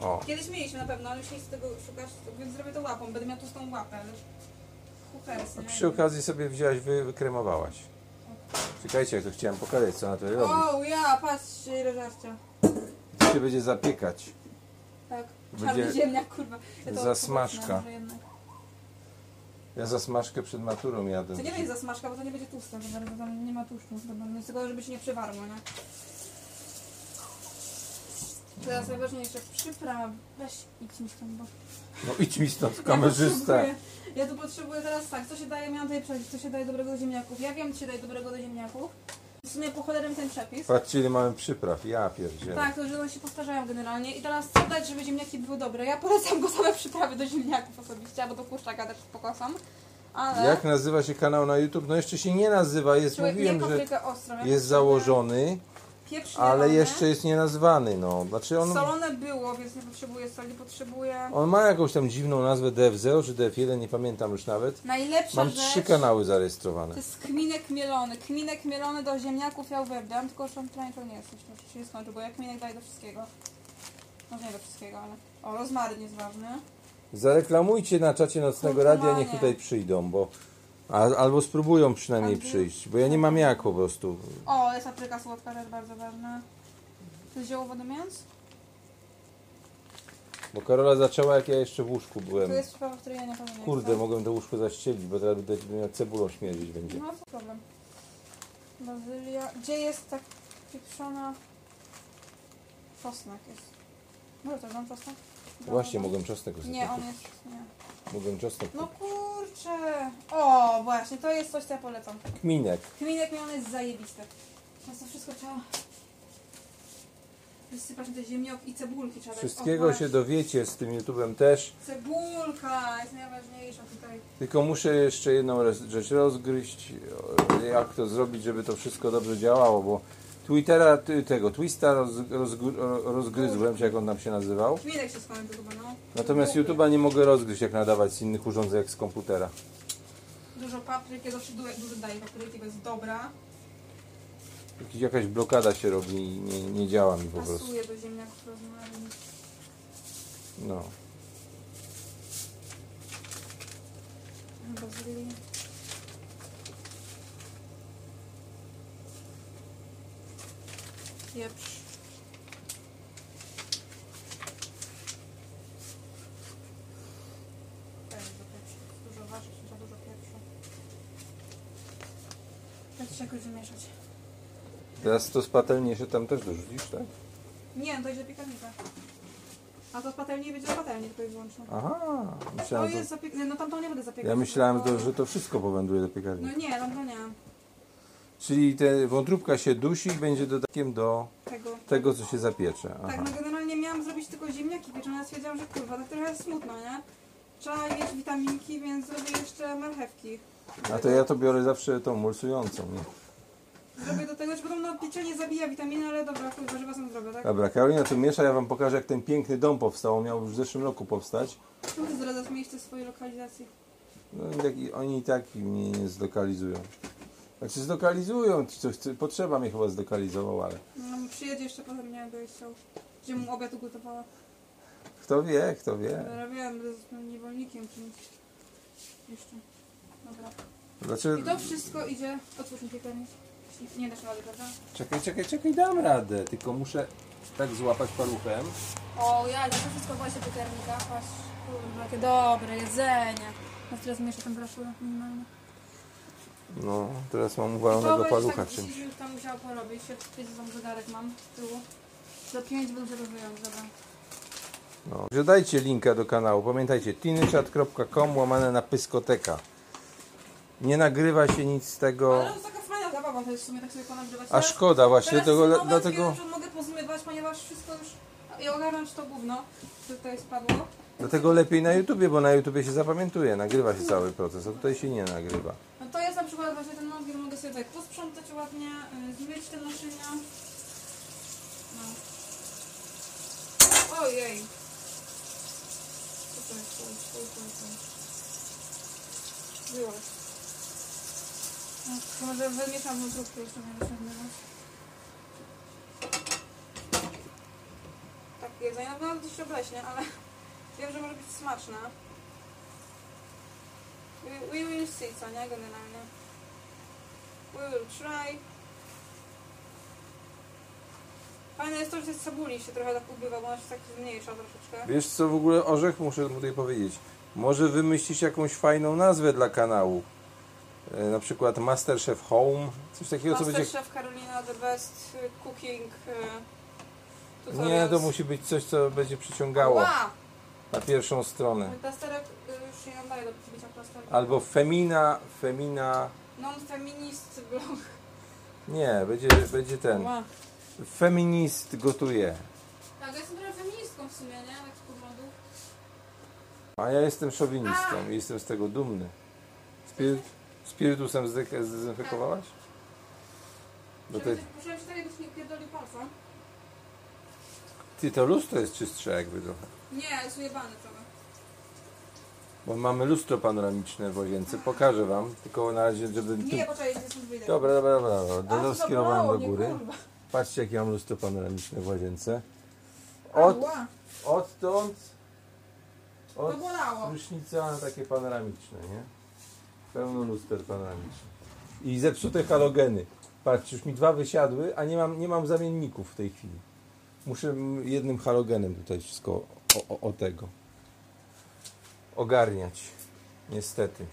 No. O, Kiedyś mieliśmy na pewno, ale już nie chcę tego szukać, to- więc zrobię to łapą, będę miała tłustą łapę, ale... Hukers, a nie? No, przy okazji sobie wzięłaś, wy, wykremowałaś. Czekajcie, jak to chciałem pokazać, co na to robi. O, ja, patrz, ile żarcia. To się będzie zapiekać. Tak, czarny Będzie- ziemniak, kurwa. Ja to Zasmażka. odsunę może jednak. Ja zasmażkę przed maturą jadę. To nie będzie zasmażka, bo to nie będzie tłuste, bo bardzo tam nie ma tłuszczu zdobanego, więc tylko żeby się nie przewarło, nie? Teraz najważniejsze, przypraw, weź idź mi stąd, bo... No idź mi stąd, Ja kamerzysta. potrzebuję, ja tu potrzebuję teraz tak, co się daje, miałam tutaj przepis, co się daje dobrego do ziemniaków. Ja wiem, co się daje dobrego do ziemniaków. W sumie po cholerę mi ten przepis. Patrzcie, ile mamy przypraw. Ja pierdzielę. Tak, to już one się powtarzają generalnie. I teraz co dać, żeby ziemniaki były dobre? Ja polecam gotowe przyprawy do ziemniaków osobiście, albo do kurczaka też pokosam. Ale... Jak nazywa się kanał na YouTube? No jeszcze się nie nazywa, jest, Człowiek mówiłem, nie że paprykę ostrą. Ja jest potrzebuję założony, pieprz ale mielony. jeszcze jest nienazwany, no. Znaczy on, Solone było, więc nie potrzebuję soli, potrzebuję... on ma jakąś tam dziwną nazwę DF0 czy DF1, nie pamiętam już nawet. Najlepsza Mam rzecz trzy kanały to zarejestrowane. jest kminek mielony. Kminek mielony do ziemniaków ja uwielbiam, tylko już on prawie to nie jest, już to się nie skończy, bo ja kminek daję do wszystkiego. Może nie do wszystkiego, ale... O, rozmaryn jest ważny. Zareklamujcie na czacie Nocnego Radia, niech Kulturalnie. tutaj przyjdą, bo... A, albo spróbują przynajmniej Albo- przyjść, bo ja nie mam jak po prostu. O, jest papryka słodka, też bardzo ważna. To jest ziołowo do mięs? Bo Karola zaczęła jak ja jeszcze w łóżku byłem. To jest przyprawa, której ja na pewno nie Kurde, chcę. mogłem to łóżko zaścielić, bo teraz będę będę miał cebulą śmierdzić będzie. No, to problem. Bazylia. Gdzie jest tak pieprzona... Czosnek jest. Może też mam czosnek? Dobra, Właśnie, dobra. mogłem czosnek ostatnio Nie, on kupić. jest... Nie. Mogłem czosnek No kupić. kurczę! O, właśnie, to jest coś, co ja polecam. No Kminek. Kminek mielony jest zajebisty. Teraz to wszystko trzeba... Wysypać te ziemniaki i cebulki trzeba dać. O, Wszystkiego się właśnie. dowiecie z tym YouTubem też. Cebulka jest najważniejsza tutaj. Tylko muszę jeszcze jedną roz- rzecz rozgryźć, o, jak to zrobić, żeby to wszystko dobrze działało, bo Twittera, ty- tego Twista roz, rozgr- ro- rozgryzłem, czy jak on tam się nazywał. Kminek się skończy chyba, no. Natomiast YouTube'a nie mogę rozgryźć, jak nadawać z innych urządzeń, jak z komputera. Dużo papryk, ja zawsze dużo, dużo daję papryki, bo jest dobra. Jakiś- Jakaś blokada się robi i nie, nie działa mi po prostu. Pasuje do ziemniaków rozmarnych. No. Bazylii. Pieprz. Też do pieprzu. tak Dużo warzyw, za dużo pieprzu. Będzie się jakoś wymieszać. Teraz to z patelni się tam też dorzucisz, tak? Nie, to idzie do piekarnika. A to z patelni będzie z patelni tylko i wyłącznie. Aha, To myślałem, jest to, zapiek... No tamtą nie będę zapiekać. ja myślałem, tylko- to, że to wszystko powędruje do piekarni. No nie, tamtą nie. Czyli te wątróbka się dusi i będzie dodatkiem do Tego. tego, co się zapiecze. Tak, Aha. no generalnie miałam zrobić tylko ziemniaki pieczone, ale stwierdziłam, że kurwa, tak trochę smutno, nie? Trzeba mieć witaminki, więc zrobię jeszcze marchewki. A to ja to biorę zawsze tą mulsującą. Nie? Zrobię do tego, że podobno pieczenie zabija witaminy, ale dobra, chuj, warzywa są zdrowe, tak? Dobra, Karolina tu miesza, ja wam pokażę, jak ten piękny dom powstał. On miał już w zeszłym roku powstać. Czemu ty zdradzasz miejsce swojej lokalizacji? No, jak, i- oni i tak mnie nie zlokalizują. Znaczy zlokalizują, czy coś, czy- potrzeba mnie chyba zlokalizował, ale No, przyjedzie jeszcze potem, nie wiem, chciał. Gdzie mu obiad ugotowała. kto wie, kto wie. Ja wiem, że z tym niewolnikiem czymś. Jeszcze. Dobra. Znaczy, I to wszystko idzie... Otwórz mi piekarnik. Nie dasz rady, prawda? czekaj, czekaj, czekaj, dam radę, tylko muszę tak złapać paluchem. O, ja, to wszystko właśnie piekarnika. Patrz, kurwa, jakie dobre jedzenie. A teraz zmniejsza temperaturę minimalnie. No, teraz mam uwalonego palucha tak, czymś. dzisiaj już tam musiała porobić. Ja tutaj za tam zegarek mam z tyłu. Za pięć będę rozwijał, dobra. No. Że dajcie linka do kanału. Pamiętajcie, tinychat.com łamane na pyskoteka. Nie nagrywa się nic z tego. Ale to taka fajna zabawa to jest w sumie, tak sobie ponagrywać. A szkoda właśnie, teraz tego, moment, dlatego, Wiem, że mogę pozmywać, ponieważ wszystko już... Ja ogarnąć to gówno, które tutaj spadło. dlatego lepiej na YouTubie, bo na YouTubie się zapamiętuje, nagrywa się cały proces, a tutaj się nie nagrywa. No to jest na przykład właśnie ten nogi, mogę sobie tak posprzątać ładnie, y, zmyć te naczynia. No. Ojej. Co to jest? Co jest? Co jest? Co jest? Było. No, to może wymieszam wątróbkę jeszcze nie wyciągnęłaś. Tak jedzenie, no wygląda dość obleśnie, ale wiem, że może być smaczne. We, we will see, co nie? Generalnie. We will try. Fajne jest to, że z cebuli się trochę tak ubywa, bo ona się tak zmniejsza troszeczkę. Wiesz co, w ogóle Orzech muszę mu tutaj powiedzieć. Może wymyślić jakąś fajną nazwę dla kanału. E, Na przykład Masterchef Home, coś takiego, co będzie... Masterchef Karolina The Best y, Cooking y, Nie, tutorials. to musi być coś, co będzie przyciągało Ła! na pierwszą stronę. Mój plasterek y, już się nie nadaje do bycia plasterkiem. Albo Femina, Femina... Non-feminist blog. Nie, będzie, będzie ten. Ła. Feminist gotuje. Tak, ja jestem trochę feministką w sumie, nie? Tak z powodu. A ja jestem szowinistą i jestem z tego dumny. Spir spirytusem zdek- zdezynfekowałaś? Bo te, Żeby coś- Musiałem się tak jakbyś nie pierdolił palca. ty, to lustro jest czystsze jakby trochę. Nie, jest ujebany trochę. Bo mamy lustro panoramiczne w łazience, pokażę wam, tylko na razie, żeby... Nie, poczekaj, gdzie są wyjdę. Dobra, dobra, dobra, dobra. A, Do- to skierowałem do mało, nie, góry. kurwa. Patrzcie, jakie mam lustro panoramiczne w łazience. Od, Ała. odtąd... Od To bolało. prysznica takie panoramiczne, nie? Pełno luster panoramicznych. I zepsute halogeny. Patrz, już mi dwa wysiadły, a nie mam, nie mam zamienników w tej chwili. Muszę mm, jednym halogenem tutaj wszystko o, o, o tego ogarniać. Niestety.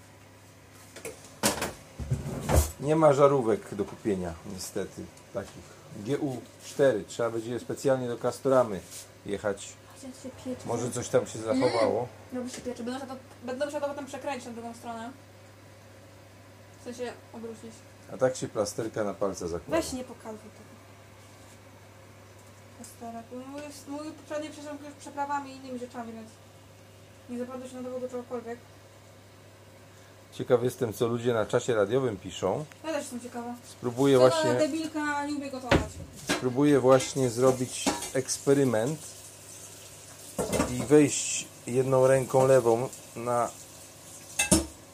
Nie ma żarówek do kupienia, niestety, takich. GU4, trzeba będzie je specjalnie do Castoramy jechać. Chciałem się pieczyć. Może coś tam się zachowało. Robi się pieczy. Będę musiała to, będę musiała to potem przekręcić na drugą stronę. W sensie obrócić. A tak się plasterka na palce zakłada. Weź nie pokazuj tego. Plasterek. Mój, mój poprzedni przesiąg już przeprawami i innymi rzeczami, więc nie zapadł się na dowód do czegokolwiek. Ciekaw jestem, co ludzie na czasie radiowym piszą. Ja też jestem ciekawa. Spróbuję Ta właśnie, debilka nie umie gotować. spróbuję właśnie zrobić eksperyment i wejść jedną ręką lewą na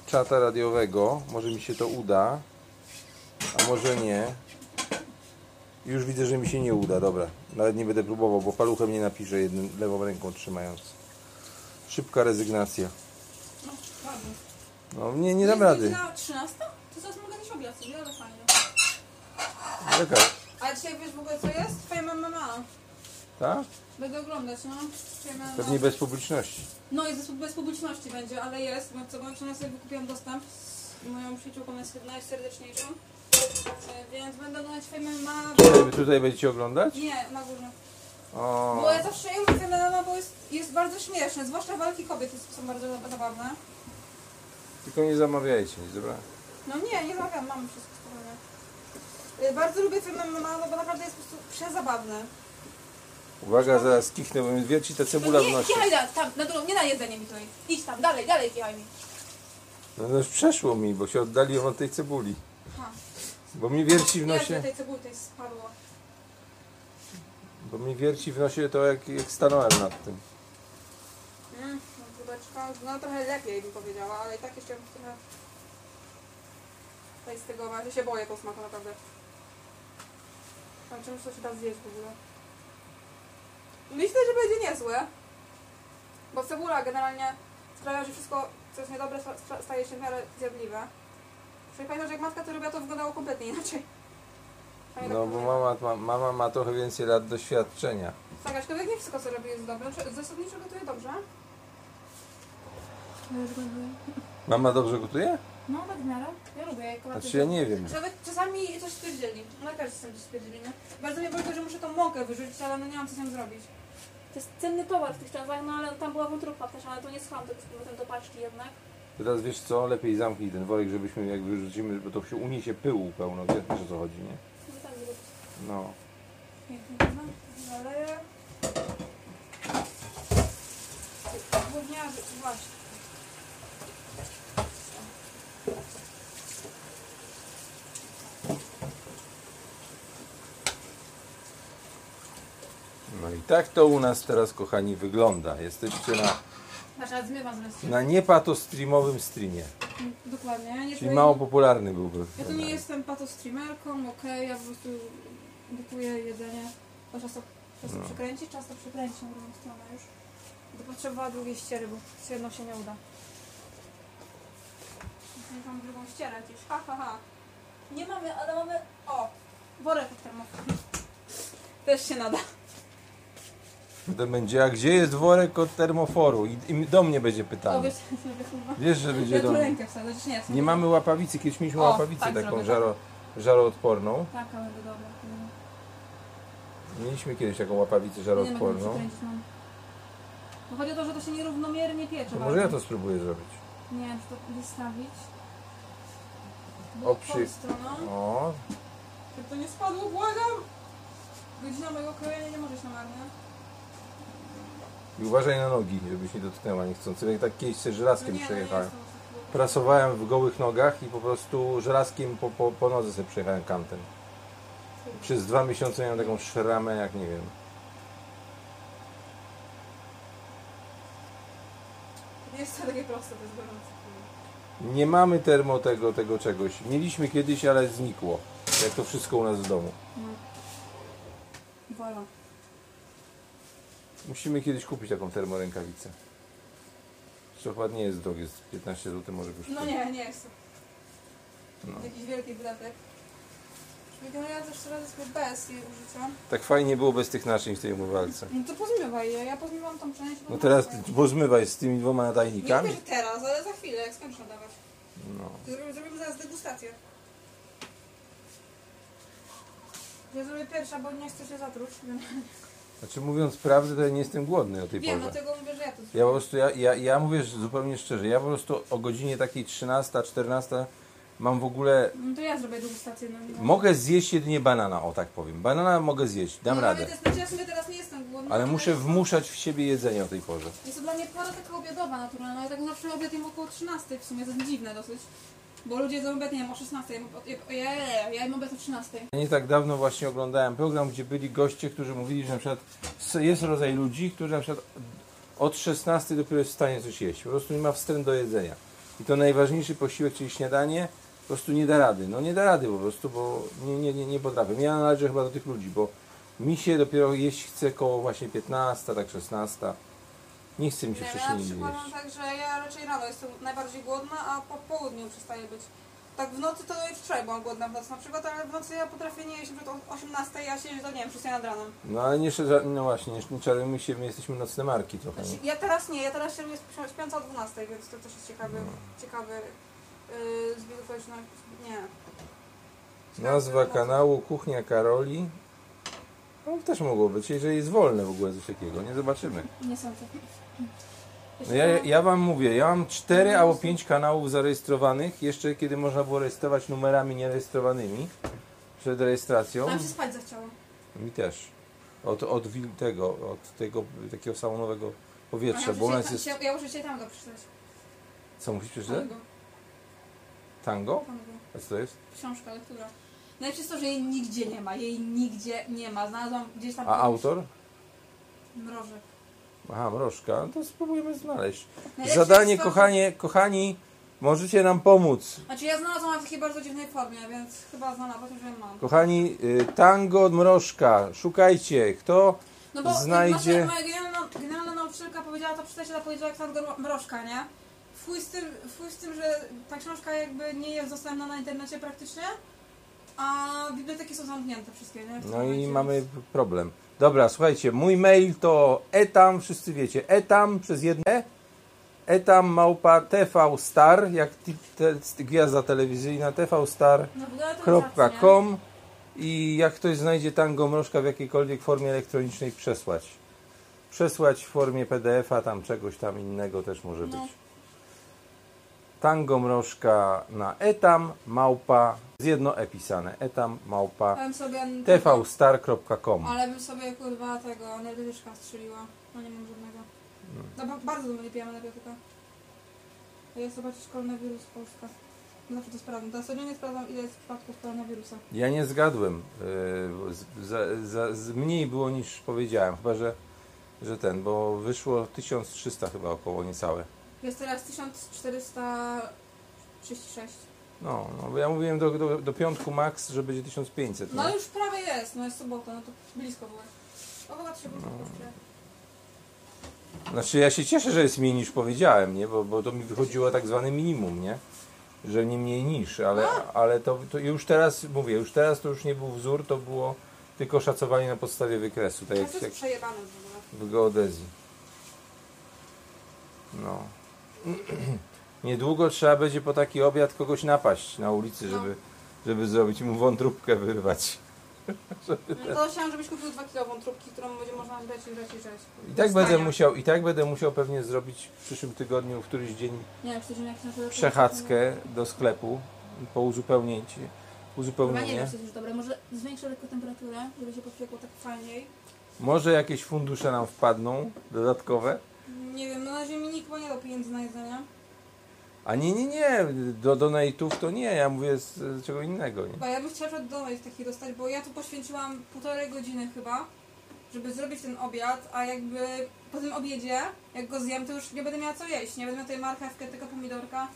czata radiowego. Może mi się to uda, a może nie. Już widzę, że mi się nie uda, dobra. Nawet nie będę próbował, bo paluchem nie napiszę jednym, lewą ręką trzymając. Szybka rezygnacja. No, ładnie. No nie, nie dam rady. Na 13? To zaraz mogę też obiad sobie, ale fajnie. Czekaj. A dzisiaj wiesz w ogóle co jest? Twoja mama ma. Tak? Będę oglądać, no. Twoja mama. Pewnie bez publiczności. No i bez, bez publiczności będzie, ale jest. No co, bo wczoraj sobie kupiłam dostęp z moją przyjaciółką jest najserdeczniejszą. E, Więc będę oglądać Twoja mama. Tutaj, tutaj będziecie oglądać? Nie, na górze. O, Bo ja zawsze ją Twoja mama, bo jest, jest bardzo śmieszne. Zwłaszcza walki kobiet jest- są bardzo zabawne. tylko nie zamawiajcie, nic, dobra? No nie, nie zamawiam, mam wszystko spokojnie. Y, Bardzo lubię Twoja mama, no bo naprawdę jest po prostu przezabawne. No Uwaga, zaraz kichnę, bo mi wierci ta cebula w nie, nosie. kichaj da- tam, na drugą, nie na jedzenie mi tutaj. Idź tam, dalej, dalej kichaj mi. No, no już przeszło mi, bo się oddaliłem od tej cebuli. Ha. Bo mi wierci w Nie, nosie, tutaj cebuli tej spadło. bo mi wierci w nosie to jak, jak stanąłem nad tym. Mm, no, kubeczka, no trochę lepiej bym powiedziała, ale i tak jeszcze trochę... Tutaj z tego, ja się boję tego smaku naprawdę. Tam czymś to się da zjeść w ogóle. Myślę, że będzie niezłe. Bo cebula generalnie sprawia, że wszystko, co jest niedobre, sta- sta- staje się w miarę zjadliwe. Przecież pamiętam, że jak matka to robiła, to wyglądało kompletnie inaczej. tak Pamiętam, No bo jak- mama ma, mama ma trochę więcej lat doświadczenia. Tak, aczkolwiek nie wszystko co robi jest dobre. Czy Zasadniczo gotuje dobrze. Mama dobrze gotuje? No, tak w miarę. Ja lubię, jak ona coś- Znaczy ja nie wiem. Nawet czasami coś spierdzieli. Lekarze czasami coś spierdzieli, nie? Bardzo mnie boli to, że muszę tą mąkę wyrzucić, ale no nie mam co z nią zrobić. To jest cenny towar w tych czasach, no ale tam była wątróbka też, ale to nie schowam tego z powrotem do paczki jednak. Teraz wiesz co, lepiej zamknij ten worek, żebyśmy jak wyrzucimy, bo to się uniesie pyłu pełno, wiesz wiesz, o co chodzi, nie? No tak zrobić. No. Pięknie, prawda? Zaleję. Gówniarze, właśnie. No i tak to u nas teraz, kochani, wygląda. Jesteście na, Znaczy, ja zmywam zamiast. na niepatostreamowym streamie, Dokładnie. Ja nie czyli czuję- mało popularny byłby. Ja tu nie jestem patostreamerką, okej, ja po prostu bukuję jedzenie. Bo czas to, czas No. to przekręcić, czas to przekręcić na drugą stronę już. Będę potrzebowała drugiej ściery, bo z jedną się nie uda. Nie mam drugą ścierę gdzieś, ha ha ha. Nie mamy, ale mamy, o, worek od termofonu. Też się nada. To będzie, a gdzie jest worek od termoforu? I, i do mnie będzie O, pytanie. wiesz, sobie chyba. Wiesz, że będzie Ja Tak. do tu mnie. rękę wsadzę, czy nie? Nie mamy łapawicy, kiedyś mieliśmy O, łapawicę tak taką zrobię. żaro, żaroodporną. Taka będzie dobra. Mieliśmy kiedyś taką łapawicę Nie wiem, jak to żaroodporną. przekręcić mam. Bo chodzi o to, że to się nierównomiernie piecze. To może bardzo. ja to spróbuję zrobić. Nie wiem, czy to wystawić. O, przy- Obszy... stroną. O, Żeby to nie spadło, błagam! Godzina mojego krojenia nie możesz na marnie. i uważaj na nogi, żebyś nie dotknęła niechcący. Jak tak kiedyś sobie żelazkiem nie, przejechałem. No nie, jestem osobą. Pracowałem w gołych nogach i po prostu żelazkiem po, po, po nodze sobie przejechałem kantem. Przez dwa miesiące miałem taką szramę, jak nie wiem. nie jest to takie proste, to jest gorące. Nie mamy termo tego, tego czegoś. Mieliśmy kiedyś, ale znikło. Jak to wszystko u nas w domu. Voilà. Musimy kiedyś kupić taką termorękawicę. Co chyba nie jest drogie, jest 15 zł może kosztuje. No nie, nie jest to. No. Jakiś wielki wydatek. Wygląda też razy sobie bez jej użycia. Tak fajnie było bez tych naczyń w tej umywalce. No to pozmiewaj je, ja pozmiewam tą część. No teraz Nie pozmywaj z tymi dwoma mówię, nadajnikami. że teraz, ale za chwilę, jak skończę dawać. No. Zrobimy, zrobimy zaraz degustację. Ja zrobię pierwsza, bo nie chcę się zatruć. Znaczy mówiąc prawdę, to ja nie jestem głodny o tej Wiem, porze. dlatego mówię, że ja to zrobię. Ja po prostu, ja, ja, ja mówię zupełnie szczerze, ja po prostu o godzinie takiej 13, 14 mam w ogóle... No to ja zrobię degustację. No, no. Mogę zjeść jedynie banana, o tak powiem. Banana mogę zjeść, dam no, radę. Jest, znaczy ja sobie teraz nie jestem głodna. Ale muszę wmuszać w siebie jedzenie o tej porze. Jest to dla mnie pora taka obiadowa naturalna. Ja tak zawsze obiad jem około 13 w sumie, to jest dziwne dosyć. Bo ludzie jedzą obiad, nie wiem, o 16. Ja, jem ob- ja, ja, ja jem obiad o 13. Ja Nie tak dawno właśnie oglądałem program, gdzie byli goście, którzy mówili, że na przykład s- jest rodzaj ludzi, którzy na przykład od 16 dopiero jest w stanie coś jeść. Po prostu nie ma wstręt do jedzenia. I to najważniejszy posiłek, czyli śniadanie, po prostu nie da rady. No nie da rady po prostu, bo nie, nie, nie, nie potrafię. Ja należę chyba do tych ludzi, bo mi się dopiero jeść chce koło właśnie 15, tak 16. Nie chce mi się Nie, No, ja na wcześniej nic przykład mam jeść. tak, że ja raczej rano jestem najbardziej głodna, a po południu przestaję być. Tak w nocy to i wczoraj byłam głodna w nocy na przykład, ale w nocy ja potrafię nie jeść na przykład o 18, ja się do nie wiem, 6 nad ranem. No ale nie, szarza- no właśnie, nie czarujmy się, my jesteśmy nocne marki trochę. nie? Znaczy, ja teraz nie, ja teraz się robię śpi- śpiąca o 12, więc to też jest ciekawy, No. ciekawy yy, zbiór okoliczności. Nie. Ciekawy Nazwa zbiór kanału Kuchnia Karoli. No też mogło być, jeżeli jest wolne w ogóle coś takiego, nie zobaczymy. okoliczności. Nie sądzę. No ja, ja wam mówię, ja mam 4 albo 5 kanałów zarejestrowanych, jeszcze kiedy można było rejestrować numerami nierejestrowanymi przed rejestracją. Tam się spać zachciało. Mi też. Od, od wil- tego, od tego takiego salonowego A powietrza, ja bo u nas muszę jest... się- Ja muszę się tam go przeczytać. Co musisz przeczytać? Tango. Tango? Tango. A co to jest? Książka, lektura. No i przez to, że jej nigdzie nie ma, jej nigdzie nie ma. Znalazłam gdzieś tam A autor? mrożek. Aha, mrożka. No to spróbujemy znaleźć. Najlepsze Zadanie, jest to- kochanie, kochani, możecie nam pomóc. Znaczy ja znalazłam w takiej bardzo dziwnej formie, więc chyba znalazłam, że ją mam. Kochani, y, tango od mrożka. Szukajcie, kto No bo znajdzie. nasza, moja generalna, generalna nauczycielka powiedziała to przecież, powiedziała jak Sandra Mrożka, nie? Fuj z, tym, fuj z tym, że ta książka jakby nie jest dostępna na internecie praktycznie, a biblioteki są zamknięte wszystkie, nie? W tym No i momencie, mamy więc- problem. Dobra, słuchajcie, mój mail to etam, wszyscy wiecie, etam przez jedne etam małpa tvstar, jak ti- te, te, gwiazda telewizyjna tvstar.com No wygląda to zacnie. i jak ktoś znajdzie tango mrożka w jakiejkolwiek formie elektronicznej przesłać. Przesłać w formie PDF-a, tam czegoś tam innego też może być. Tango mrożka na etam małpa, z jedno e pisane, etam małpa Ja bym sobie... tvstar.com. Ale bym sobie kurwa tego energetyczka strzeliła. No nie mam żadnego. No bo bardzo dużo nie pijam energetyka. A ja zobaczyć koronawirus Polska. Zawsze to sprawdzam. Teraz codziennie sprawdzam ile jest przypadków koronawirusa. Ja nie zgadłem. Yy, z- za- za- z- Mniej było niż powiedziałem, chyba że, że ten, bo wyszło 1300 chyba około niecałe. Jest teraz 1436. No, no bo ja mówiłem do, do, do piątku max, że będzie 1500. No No. już prawie jest, no jest sobota, no to blisko byłeś. O, chyba się blisko no. Znaczy ja się cieszę, że jest mniej niż powiedziałem, nie? Bo, bo to mi wychodziło tak zwane minimum, nie? Że nie mniej niż, ale, No. ale to, to już teraz, mówię, już teraz to już nie był wzór, to było tylko szacowanie na podstawie wykresu, tak Ja No jak, to jak jest przejebane w ogóle. w geodezji. No. Niedługo trzeba będzie po taki obiad kogoś napaść na ulicy, No. żeby, żeby zrobić mu wątróbkę wyrwać. No to chciałam, żebyś kupił 2 kg wątróbki, którą będzie można brać i brać i brać. I tak, Wstania. będę musiał, I tak będę musiał pewnie zrobić w przyszłym tygodniu, w któryś dzień Nie wiem, czy to jak na przechadzkę do sklepu po uzupełnięciu. Chyba nie wiem, Uzupełnienie. czy to jest już dobre. Może zwiększę lekko temperaturę, żeby się podpiekło tak fajniej. Może jakieś fundusze nam wpadną dodatkowe? Nie wiem, no na razie mi nikt nie dał pieniędzy na jedzenie. A nie, nie, nie. Do donate'ów to nie. Ja mówię z, z czego innego. Nie? Chyba ja bym chciała przed domek taki dostać, bo ja tu poświęciłam półtorej godziny chyba, żeby zrobić ten obiad, a jakby po tym obiedzie, jak go zjem, to już nie będę miała co jeść. Nie będę miała tej marchewkę, tylko pomidorka.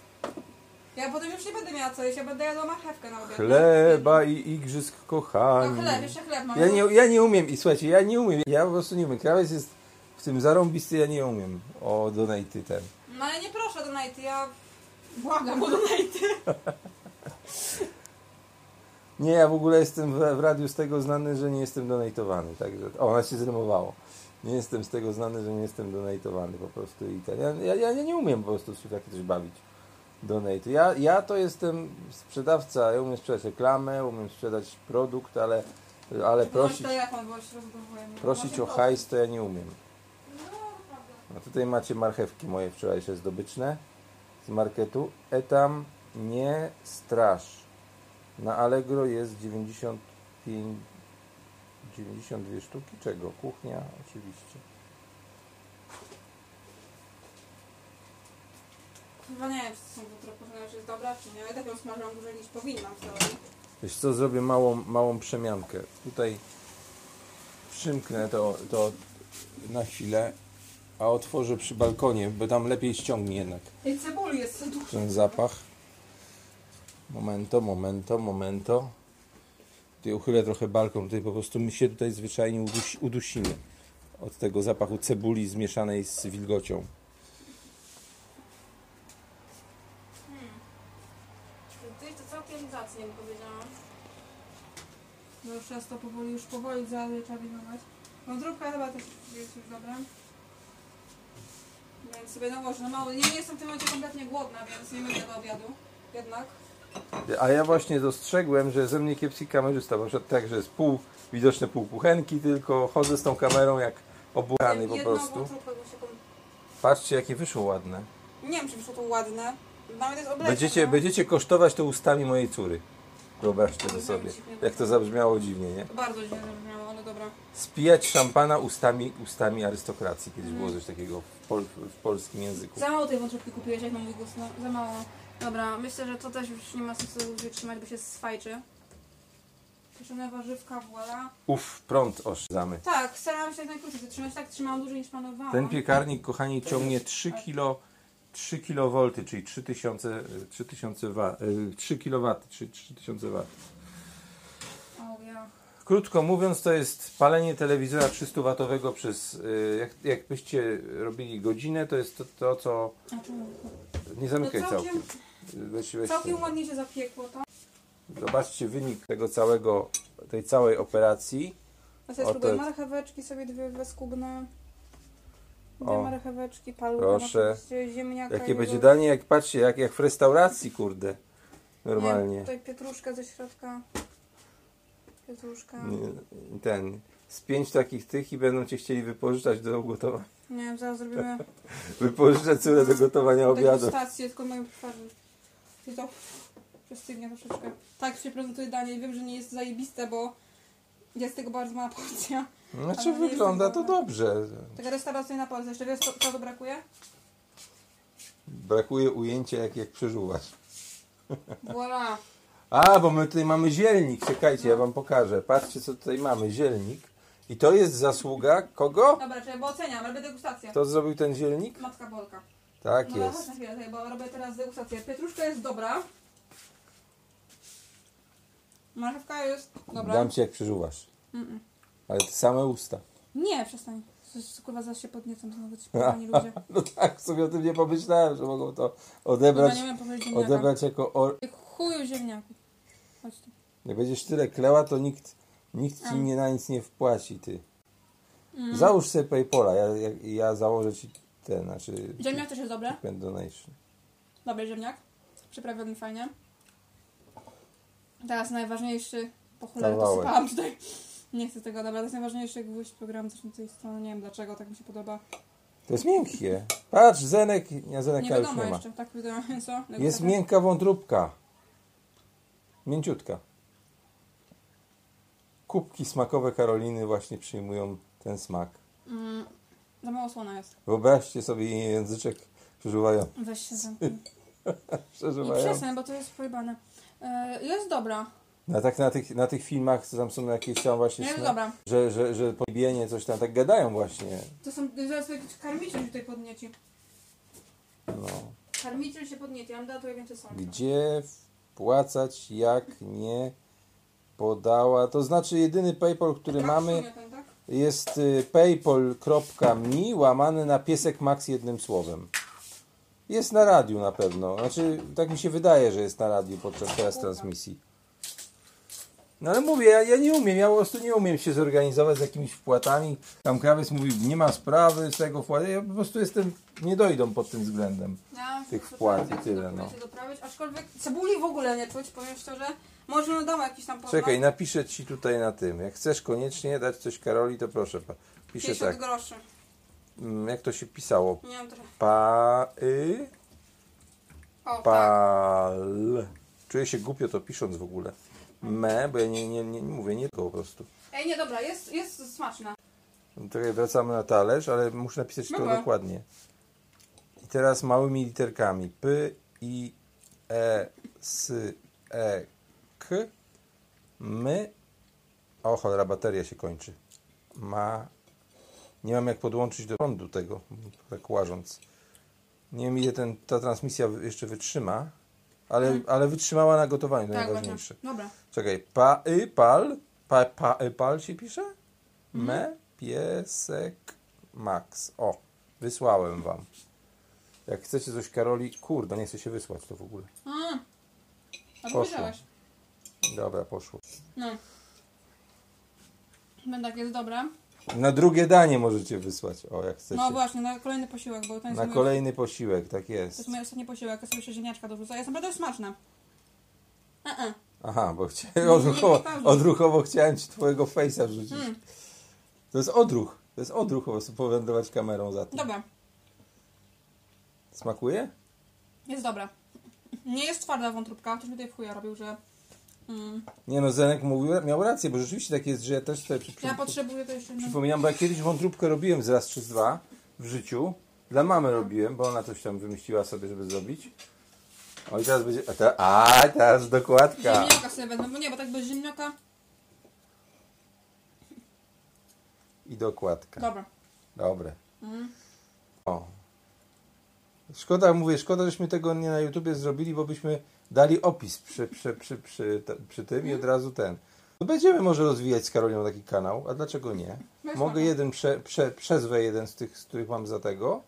Ja potem już nie będę miała co jeść, ja będę jadła marchewkę na obiad. Chleba i igrzysk No kochani. chleb, jeszcze chleb mam. Ja nie, ja nie umiem i słuchajcie, ja nie umiem. Ja po prostu nie umiem. Krawiec jest w tym zarąbisty, ja nie umiem o donaty ten. No ale nie proszę o donate, ja błagam o donate. Nie, ja w ogóle jestem w, w radiu z tego znany, że nie jestem donatowany. Także, o, ona się zrymowało. Nie jestem z tego znany, że nie jestem donatowany po prostu i ten. Ja, ja, ja nie umiem po prostu się w takie coś bawić. Donate. Ja, ja to jestem sprzedawca, ja umiem sprzedać reklamę, umiem sprzedać produkt, ale, ale Proszę prosić, telefon, bo się No, rozbudowuję. prosić o hajs to ja nie umiem. A tutaj macie marchewki moje wczorajsze zdobyczne z marketu. Etam nie straż. Na Allegro jest 95, 92 sztuki. Czego? Kuchnia oczywiście. Chyba nie wiem, czy to są wątropy, czy jest dobra, czy nie. Ja tak ją smażam dłużej niż powinnam w teorii. Wiesz co, zrobię małą, małą przemiankę. Tutaj przymknę to, to na chwilę, a otworzę przy balkonie, bo tam lepiej ściągnie jednak. Tej cebuli jest dużo. ten zapach. Momento, momento, momento. Tutaj uchylę trochę balkon, tutaj po prostu my się tutaj zwyczajnie udusi, udusimy od tego zapachu cebuli zmieszanej z wilgocią. Tak. To jest to całkiem zacnie, bym powiedziała. No już teraz to powoli, już powoli zaledwie trzeba wyjmować. Wątróbka chyba też jest już dobra. No Więc sobie nałożę na mało. Nie jestem w tym momencie kompletnie głodna, więc nie będę do obiadu. Jednak. A ja właśnie dostrzegłem, że ze mnie kiepski kamerzysta, bo na przykład tak, że jest pół, widoczne pół kuchenki, tylko chodzę z tą kamerą jak obłany po Jedną prostu. wątróbkę bym się kom- Patrzcie jakie wyszło ładne. Nie wiem, czy wyszło to ładne. Nawet jest no. obleczone. Będziecie, będziecie kosztować to ustami mojej córy. Wyobraźcie to sobie, jak to zabrzmiało dziwnie, nie? Bardzo źle zabrzmiało, ale dobra. Spijać szampana ustami, ustami arystokracji. Kiedyś było coś takiego w, pol, w polskim języku. Za mało tej wątróbki kupiłeś, jak na mój głos. No, za mało. Dobra, myślę, że to też już nie ma sensu wytrzymać, bo się sfajczy. Kieszone warzywka, voilà. Uff, prąd oszczędzamy. Tak, starałam się jak najkrócej zatrzymać. Tak, trzymałam dłużej niż planowałam. Ten piekarnik, kochani, ciągnie 3 kilo 3 kV, czyli 3000, 3000 wa, y, 3 kW, czyli 3000 W. O ja. Krótko mówiąc, to jest palenie telewizora 300-watowego przez, y, jak, jakbyście robili godzinę, to jest to, to co... A czemu? Nie No zamykaj całkiem, całkiem. Weź, weź, całkiem ładnie się zapiekło tak? to. Zobaczcie wynik tego całego, tej całej operacji. A sobie O, spróbuję to- marcheweczki sobie dwie weskubne. O. marcheweczki, paluch, Proszę. ziemniaka. Jakie jego- będzie danie, jak patrzcie, jak, jak w restauracji, kurde. Nie, Normalnie. Tutaj pietruszka ze środka. Pietruszka. Nie, Mm, Ten. Z pięć takich tych i będą cię chcieli wypożyczać do gotowania. Nie wiem, zaraz zrobimy Wypożyczać córę do gotowania obiadu. degustację, tylko moim twarzy. I to przestygnie troszeczkę. Tak się prezentuje danie i wiem, że nie jest zajebiste, bo jest tego bardzo mała porcja. Znaczy Ale nie wygląda jestem to dobrze. Taka restauracyjna porcja. Jeszcze wiesz, co, co to brakuje? Brakuje ujęcia jak, jak przeżuwasz. Voilà. A, bo my tutaj mamy zielnik. Czekajcie, ja wam pokażę. Patrzcie, co tutaj mamy. Zielnik. I to jest zasługa kogo? Dobra, czyli bo oceniam, robię degustację. Kto zrobił ten zielnik? Matka Polka. Tak No ale chodź jest. na chwilę, tutaj, bo robię teraz degustację. Pietruszka jest dobra. Marchewka jest dobra. Dam ci jak przeżuwasz. Mm-mm. Ale te same usta. Nie, przestań. Coś, Kurwa, zaraz się podniecam znowu ci pani ludzie. No tak, sobie o tym nie pomyślałem, że mogą to Dobra, odebrać, nie wiem powiedzieć ziemniaka. odebrać jako... Or... Ty Chuju ziemniaków. Chodź tu. Jak będziesz tyle kleła, to nikt, nikt ci Mm. nie na nic nie wpłaci, ty. Załóż sobie Paypola, ja, ja, ja założę ci ten, znaczy... Ziemniak też jest dobry. Pen donation. Dobry ziemniak. Przyprawiony fajnie. Teraz najważniejszy... Po cholerę to Kawałek. sypałam tutaj. Nie chcę tego, dobra. To jest najważniejszy gwóźdź programu też na tej stronie. Nie wiem dlaczego, tak mi się podoba. To jest miękkie. Patrz, Zenek, nie, nie Zeneka już wiadomo nie ma. jeszcze, tak wiadomo, co? Dobra, Jest dobra. miękka wątróbka. Mięciutka. Kubki smakowe Karoliny właśnie przyjmują ten smak. Mm, za mało słona jest. Wyobraźcie sobie jej języczek przeżuwają. Weź się zamknij. I przeżuwają. przestań, bo to jest pojebane. E, jest dobra. No tak na tych, na tych filmach, co tam są jakieś tam właśnie, Jest sna- dobra. że, że, że pobienie coś tam tak gadają właśnie. To są, zaraz jakiś karmiciel się tutaj podnieci. No. Karmiciel się podnieci, ja bym dała tutaj więcej sądu. Gdzie wpłacać, jak nie podała. To znaczy jedyny PayPal, który mamy Ten, tak? jest y, paypal.me łamany na piesek max jednym słowem. Jest na radiu na pewno. Znaczy, tak mi się wydaje, że jest na radiu podczas teraz transmisji. No ale mówię, ja, ja nie umiem, ja po prostu nie umiem się zorganizować z jakimiś wpłatami. Tam krawiec mówił, nie ma sprawy z tego wpłaty. Ja po prostu jestem, nie dojdą pod tym względem. Ja Tych przepraszam, wpłat i ja tyle, to no. próbuję doprawić, aczkolwiek cebuli w ogóle nie czuć, powiem szczerze. Może no dam jakiś tam podlak. Czekaj, napiszę ci tutaj na tym. Jak chcesz koniecznie dać coś Karoli, to proszę. pa- Piszę 50 tak. groszy. Mm, Jak to się pisało? Nie wiem trochę. Pa... Y... O, tak. Pal. Czuję się głupio to pisząc w ogóle. Me, bo ja nie, nie, nie mówię nie tylko po prostu. Ej, nie, dobra, jest, jest Tak, smaczna. Tutaj wracamy na talerz, ale muszę napisać to Dobra. dokładnie. I teraz małymi literkami. P, I, E, S, E, K, My. O cholera, bateria się kończy. Ma. Nie mam jak podłączyć do prądu tego, tak łażąc. Nie wiem ile ten, ta transmisja wy- jeszcze wytrzyma, ale, ale wytrzymała na gotowaniu, to Mhm. Tak, właśnie. najważniejsze. Dobra. Czekaj, pa, y, pal, pa, pa, y, pal się pisze? Me, piesek, max. O, wysłałem wam. Jak chcecie coś Karoli, kurde, nie chcę się wysłać to w ogóle. Mm. A Poszło. powiedziałeś. Dobra, poszło. No. Będę tak jest dobra. Na drugie danie możecie wysłać, o jak chcecie. No właśnie, na kolejny posiłek, bo ten jest Na mój- kolejny posiłek, tak To jest. jest mój ostatni posiłek, ja sobie jeszcze ziemniaczka dorzucę. Jest naprawdę smaczna. A -a. Aha, bo chciałem, odruchowo, wypadło. odruchowo chciałem ci twojego face'a wrzucić. Mm. To jest odruch, to jest odruch po prostu powędrować kamerą za tym. Dobra, Smakuje? jest dobra. Nie jest twarda wątróbka, ktoś mi tutaj w chuja robił, że... Mm. Nie no, Zenek mówił, miał rację, bo rzeczywiście tak jest, że ja też sobie przy, Ja potrzebuję to jeszcze... jednego. przypominam, bo ja kiedyś wątróbkę robiłem z raz czy z dwa w życiu. Dla mamy robiłem, bo ona coś tam wymyśliła sobie, żeby zrobić. O i teraz będzie... A, te, a teraz dokładka. Ziemniaka sobie wezmę, bo nie, bo tak bez ziemniaka... I dokładka. Dobra. Dobre. Mm. O. Szkoda, mówię, szkoda, żeśmy tego nie na YouTubie zrobili, bo byśmy dali opis przy, przy, przy, przy, t- przy tym i od razu ten. No będziemy może rozwijać z Karoliną taki kanał, a dlaczego nie? Weź Mogę mogę. jeden, prze, prze, przezwę jeden z tych, z których mam za tego.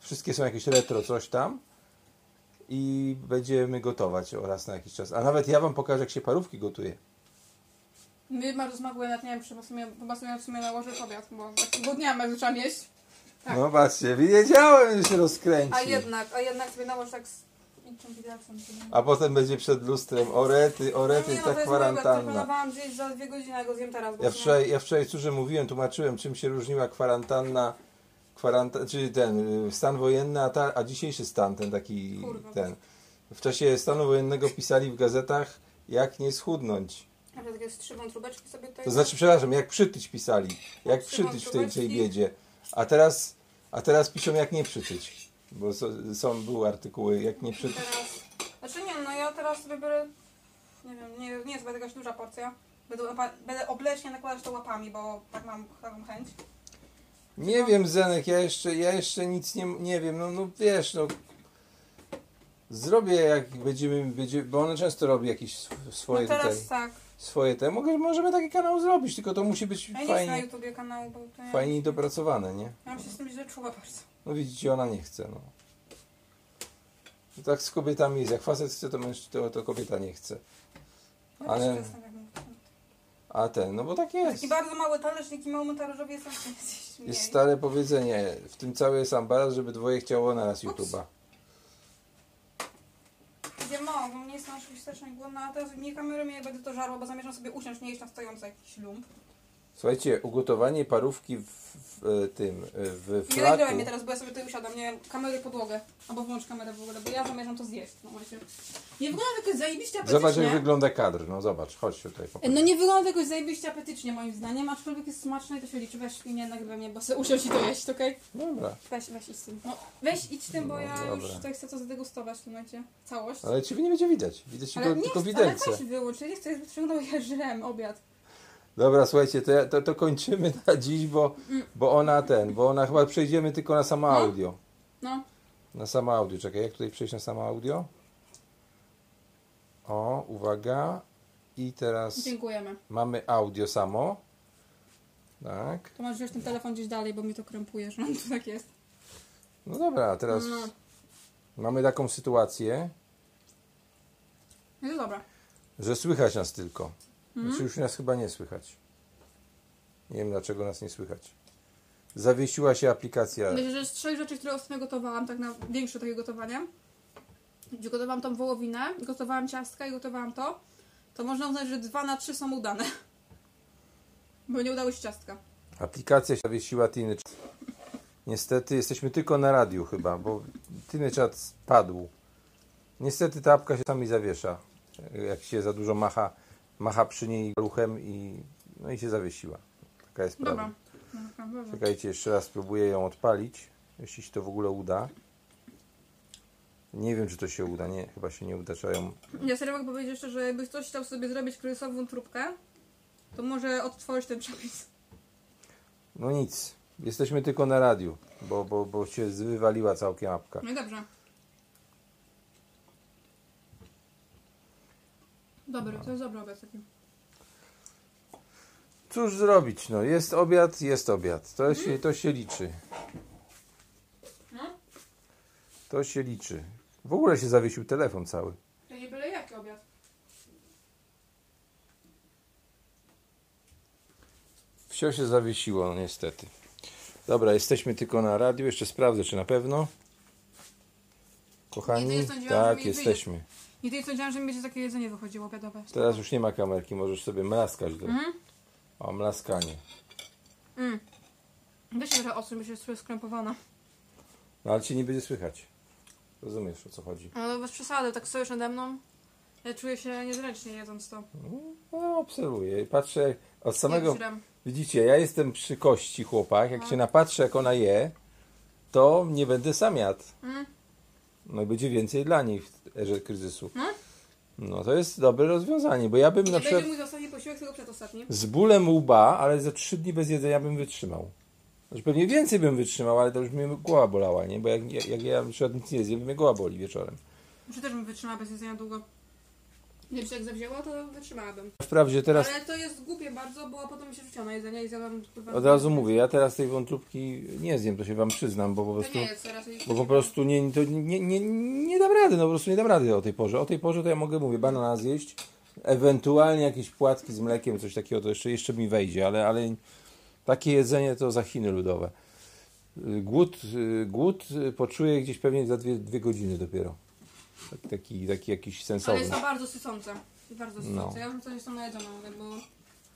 Wszystkie są jakieś retro, coś tam. I będziemy gotować oraz na jakiś czas. A nawet ja wam pokażę, jak się parówki gotuje. Mi bardzo smakuje, nawet nie wiem, czy chyba sobie, chyba sobie w sumie nałożę w obiad, bo tak, bo nie mam jak zaczęłam jeść. No patrzcie, wiedziałem, że się A rozkręci. jednak, a jednak sobie nałoż tak z niczym widelcem. sobie. A potem będzie przed lustrem, orety, orety, no, ta to jest mój obiad, który tak kwarantanna. planowałam zjeść za dwie godziny, a go zjem teraz. bo Ja się- wczoraj, ja wczoraj córze mówiłem, tłumaczyłem, czym się różniła kwarantanna, kwaranta, czyli ten y, stan wojenny, a, ta, a dzisiejszy stan, ten taki, Kurwa. ten. W czasie stanu wojennego pisali w gazetach, jak nie schudnąć. Ja takie z trzy wątróbeczki sobie tutaj... To znaczy, przepraszam, jak przytyć pisali, jak przytyć w tej, tej biedzie. A teraz, a teraz piszą, jak nie przytyć. Bo so, są, były artykuły, jak nie przytyć. Teraz... Znaczy nie, no ja teraz sobie biorę... Nie wiem, nie, nie jest chyba jakaś duża porcja. Będę, opa- będę obleśnie nakładać to łapami, bo tak mam taką chęć. Nie wiem, Zenek, ja jeszcze, ja jeszcze nic nie, nie wiem, no, no wiesz, no zrobię jak będziemy, będzie, bo ona często robi jakieś sw- No swoje teraz tutaj, tak. swoje te, mogę, możemy taki kanał zrobić, tylko to musi być Ja nie chcę na fajnie, YouTubie kanału, bo to ja... fajnie dopracowane, nie? Ja mam się z tym źle czuła bardzo. No widzicie, ona nie chce, no. No Tak z kobietami jest, jak facet chce, to, męż, to, to kobieta nie chce, Ja Ale- też jestem jak mówię. a ten, no bo tak jest. Taki bardzo mały talerz, taki mały talerzowy jest zawsze gdzieś mniej. Jest tak. stare powiedzenie, w tym cały jest ambaraz, żeby dwoje chciało na raz Ups. YouTube'a. Gdzie mało, bo mnie jest na oczywiście strasznie głodna, a teraz mnie kamerą ja będę to żarła, bo zamierzam sobie usiąść, nie iść na stojący jakiś lump. Słuchajcie, ugotowanie parówki w, w e, tym, e, w Nie nagrywaj flaku. mnie teraz, bo ja sobie tutaj usiadam, nie wiem, kamery podłogę, albo włącz kamerę w ogóle, bo ja zamierzam to zjeść. No właśnie. Nie wygląda jakoś zajebiście Zobacz apetycznie. jak wygląda kadr, no zobacz, chodź tutaj. popatrz. No nie wygląda jakoś zajebiście apetycznie moim zdaniem, aczkolwiek jest smaczne i to się liczy. Weź nie nagrywaj mnie, bo sobie usiąść i to jeść, okej? Dobra, Weź, weź i z tym. No weź idź tym, bo No, ja już dobra. tutaj chcę to zadegustować w tym momencie. Całość. ale ciebie nie będzie widać, widać Ale tylko, nie, tylko chcę, ale widelce. weź wyłącz, ja nie chcę, żeby ciągnął ja żrem obiad. Dobra, słuchajcie, to, ja- to, to kończymy na dziś, bo, bo ona ten, bo ona chyba przejdziemy tylko na samo audio. No. Na samo audio, czekaj, jak tutaj przejść na samo audio? O, uwaga. I teraz Dziękujemy. mamy audio samo. Tak. To masz wziąć ten telefon gdzieś dalej, bo mi to krępuje, że on tu tak jest. No dobra, a teraz No. mamy taką sytuację, No to dobra. że słychać nas tylko. Znaczy już nas chyba nie słychać. Nie wiem dlaczego nas nie słychać. Zawiesiła się aplikacja. Myślę, że z trzech rzeczy, które ostatnio gotowałam, tak na większe takie gotowanie, gdzie gotowałam tą wołowinę, gotowałam ciastka i gotowałam to, to można uznać, że dwa na trzy są udane. Bo nie udało się ciastka. Aplikacja się zawiesiła Tiny. Chat. Niestety jesteśmy tylko na radiu chyba, bo Tiny Chat spadł. Niestety ta apka się sami zawiesza. Jak się za dużo macha, macha przy niej ruchem i, no i się zawiesiła. Taka jest prawda. Dobra. No, Dobra, dobra. Czekajcie, jeszcze raz spróbuję ją odpalić, jeśli się to w ogóle uda. Nie wiem, czy to się uda, nie, chyba się nie uda, trzeba ją... Ja serio mogę powiedzieć jeszcze, że jakbyś ktoś chciał sobie zrobić kryzysową trubkę, to może odtworzyć ten przepis. No nic, jesteśmy tylko na radiu, bo, bo, bo się wywaliła całkiem apka. No i dobrze. Dobry, to jest dobry obiad taki. Cóż zrobić, no, jest obiad, jest obiad, to się, to się liczy. To się liczy. W ogóle się zawiesił telefon cały. To nie byle jaki obiad. Wsio się zawiesiło, no niestety. Dobra, jesteśmy tylko na radiu. Jeszcze sprawdzę, czy na pewno. Nie, Kochani, nie sądziłam, że tak, mi jesteśmy. Nigdy nie sądziłam, że mi będzie takie jedzenie wychodziło obiadowe. Teraz już nie ma kamerki, możesz sobie mlaskać. Do... Mhm. O, mlaskanie. Weź trochę ostro, bo się czuję skrępowana. No ale cię nie będzie słychać. Rozumiesz, o co chodzi. Ale bez przesady, tak stoisz nade mną. Ja czuję się niezręcznie jedząc to. No, obserwuję i patrzę jak- od samego... Jak żrem. Widzicie, ja jestem przy kości chłopak. No. Jak się napatrzę, jak ona je, to nie będę sam jadł. Mm. No i będzie więcej dla niej w erze kryzysu. No to jest dobre rozwiązanie, bo ja bym na Nie przykład... będzie mój ostatni posiłek, tylko przedostatni. z bólem łba, ale za trzy dni bez jedzenia bym wytrzymał. Znaczy pewnie więcej bym wytrzymał, ale to już mnie głowa bolała, nie? Bo jak, jak, jak ja na przykład nic nie zjem, to mnie głowa boli wieczorem. Czy też bym wytrzymała bez jedzenia długo? Nie wiem, czy jak zawzięła, to wytrzymałabym. Wprawdzie teraz Ale to jest głupie bardzo, bo potem mi się rzuciło na jedzenie i zjadłam... kurwa, od razu mówię, ja teraz tej wątróbki nie zjem, to się wam przyznam, bo po To prostu, nie jest teraz. no. bo po prostu nie, to nie, nie, nie dam rady, no po prostu nie dam rady o tej porze. O tej porze to ja mogę, mówię, banana zjeść, ewentualnie jakieś płatki z mlekiem, coś takiego, to jeszcze, jeszcze mi wejdzie, ale, ale takie jedzenie to za Chiny ludowe. Y, Głód, y, głód y, poczuję gdzieś pewnie za dwie, dwie godziny dopiero. Tak- Taki, taki jakiś Ale sensowny. jest to bardzo sycące. Bardzo No. sycące. Ja już coś jestem najedzona, mówię, bo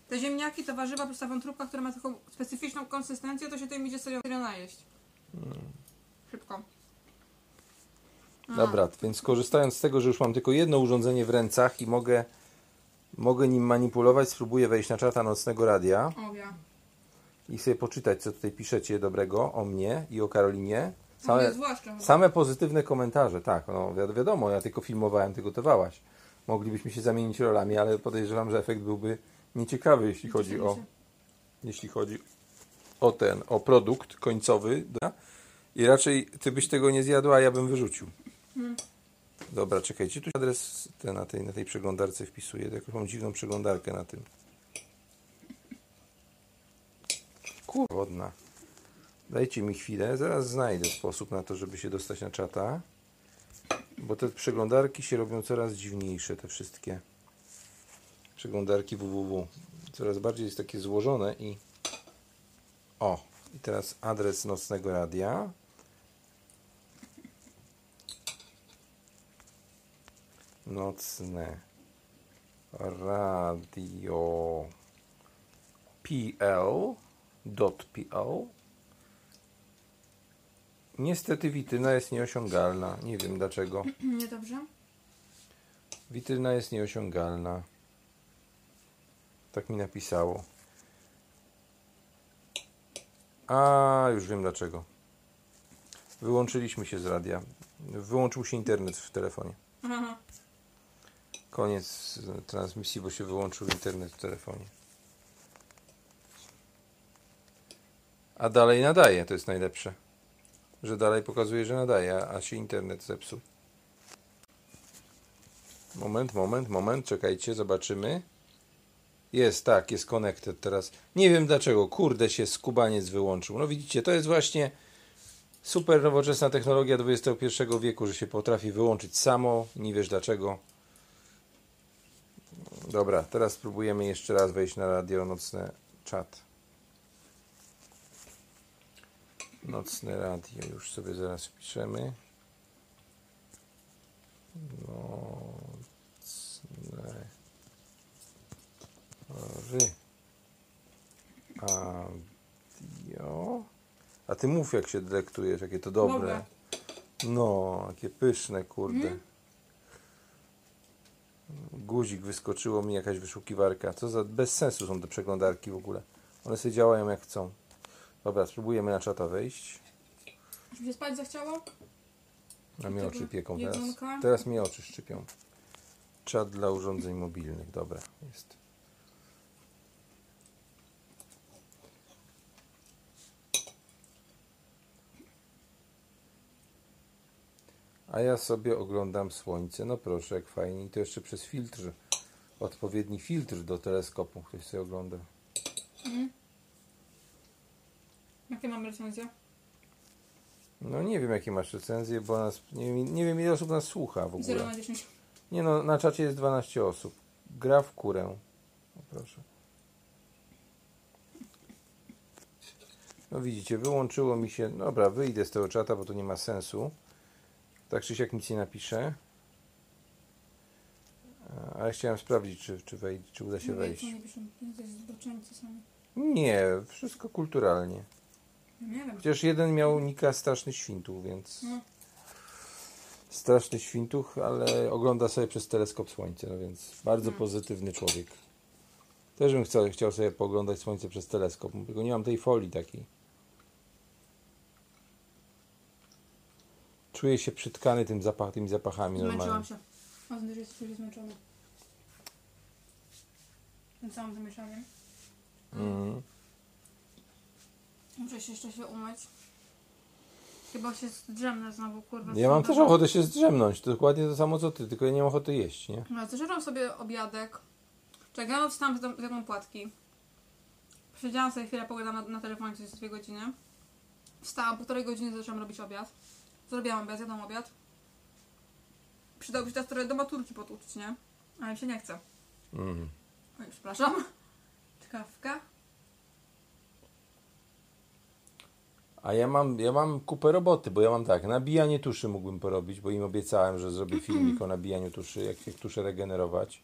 te ziemniaki, te warzywa, plus ta wątróbka, która ma taką specyficzną konsystencję, to się tym idzie serio, serio najeść. Hmm. Szybko. Dobra, więc korzystając z tego, że już mam tylko jedno urządzenie w rękach i mogę, mogę nim manipulować, spróbuję wejść na czata nocnego radia O ja. i sobie poczytać, co tutaj piszecie dobrego o mnie i o Karolinie. Ale... Same, Jest zwłaszcza. same pozytywne komentarze, tak, no wi- wiadomo, ja tylko filmowałem, ty gotowałaś. Moglibyśmy się zamienić rolami, ale podejrzewam, że efekt byłby nieciekawy, jeśli chodzi o, jeśli chodzi o ten, o produkt końcowy. dobra? I raczej ty byś tego nie zjadła, a ja bym wyrzucił. Dobra, czekajcie, tu adres ten, na, tej, na tej przeglądarce wpisuję. Jakąś mam dziwną przeglądarkę na tym. Kurwa, wodna. Dajcie mi chwilę, zaraz znajdę sposób na to, żeby się dostać na czata. Bo te przeglądarki się robią coraz dziwniejsze, te wszystkie. Przeglądarki www. Coraz bardziej jest takie złożone i... O, i teraz adres nocnego radia. Nocne radio pl dot pl Niestety wityna jest nieosiągalna. Nie wiem dlaczego. Nie dobrze? Witryna jest nieosiągalna. Tak mi napisało. A, już wiem dlaczego. Wyłączyliśmy się z radia. Wyłączył się internet w telefonie. Aha. Koniec e, transmisji, bo się wyłączył internet w telefonie. A dalej nadaje, to jest najlepsze. Że dalej pokazuje, że nadaje, a- a się internet zepsuł. Moment, moment, moment, czekajcie, zobaczymy. Jest, tak, jest connected teraz. Nie wiem dlaczego, kurde się skubaniec wyłączył. No widzicie, to jest właśnie super nowoczesna technologia XXI wieku, że się potrafi wyłączyć samo, nie wiesz dlaczego. Dobra, teraz spróbujemy jeszcze raz wejść na radio nocne czat. Nocne radio, już sobie zaraz piszemy. Nocne ry. Radio. A ty mów jak się delektujesz, jakie to dobre. Dobre. No, jakie pyszne, kurde. Guzik wyskoczyło mi jakaś wyszukiwarka. Co za bez sensu są te przeglądarki w ogóle. One sobie działają jak chcą. Dobra, spróbujemy na czata wejść. Czy mi się spać zachciało? A mnie Tego oczy pieką teraz. jedynka. Teraz mnie oczy szczypią. Czat dla urządzeń mobilnych. Dobra, jest. A ja sobie oglądam słońce. No proszę, jak fajnie. I to jeszcze przez filtr. Odpowiedni filtr do teleskopu. Ktoś sobie ogląda. Jakie mam recenzje? No nie wiem, jakie masz recenzje, bo nas, nie, wiem, nie wiem, ile osób nas słucha w ogóle. 0 na 10. Nie no, na czacie jest 12 osób. Gra w kurę. O, proszę. No widzicie, wyłączyło mi się. Dobra, wyjdę z tego czata, bo to nie ma sensu. Tak czy siak nic nie napiszę. A ja chciałem sprawdzić, czy, czy, wej- czy uda się wejść. Nie piszą. To jest zboczenie czasami. Nie, wszystko kulturalnie. Nie wiem. Chociaż jeden miał nika straszny świntuch, więc. No. Straszny świntuch, ale ogląda sobie przez teleskop słońce, no więc bardzo pozytywny człowiek. Też bym chciał, chciał sobie pooglądać słońce przez teleskop, tylko nie mam tej folii takiej. Czuję się przytkany tym zapach, tymi zapachami Zmęczyłam normalnie. się. O, że jest się zmęczona. Tym samym zamieszaniem. Mhm. Muszę się jeszcze się umyć. Chyba się zdrzemnę znowu, kurwa. Ja mam Znowu. też ochotę się zdrzemnąć, to dokładnie to samo co ty, tylko ja nie mam ochoty jeść, nie? No, zażeram sobie obiadek. Czekam, ja wstałam z dom- z jedną płatki. Siedziałam sobie chwilę, pogadałam na, na telefonie przez dwie godziny. Wstałam, półtorej godziny zaczęłam robić obiad. Zrobiłam obiad, jadłam obiad. Przydałoby się teraz trochę do maturki potłuczyć, nie? Ale mi się nie chce. Mhm. Oj, przepraszam. Kawka. A ja mam, ja mam kupę roboty, bo ja mam tak, nabijanie tuszy mógłbym porobić, bo im obiecałem, że zrobię filmik o nabijaniu tuszy, jak, jak tuszę regenerować.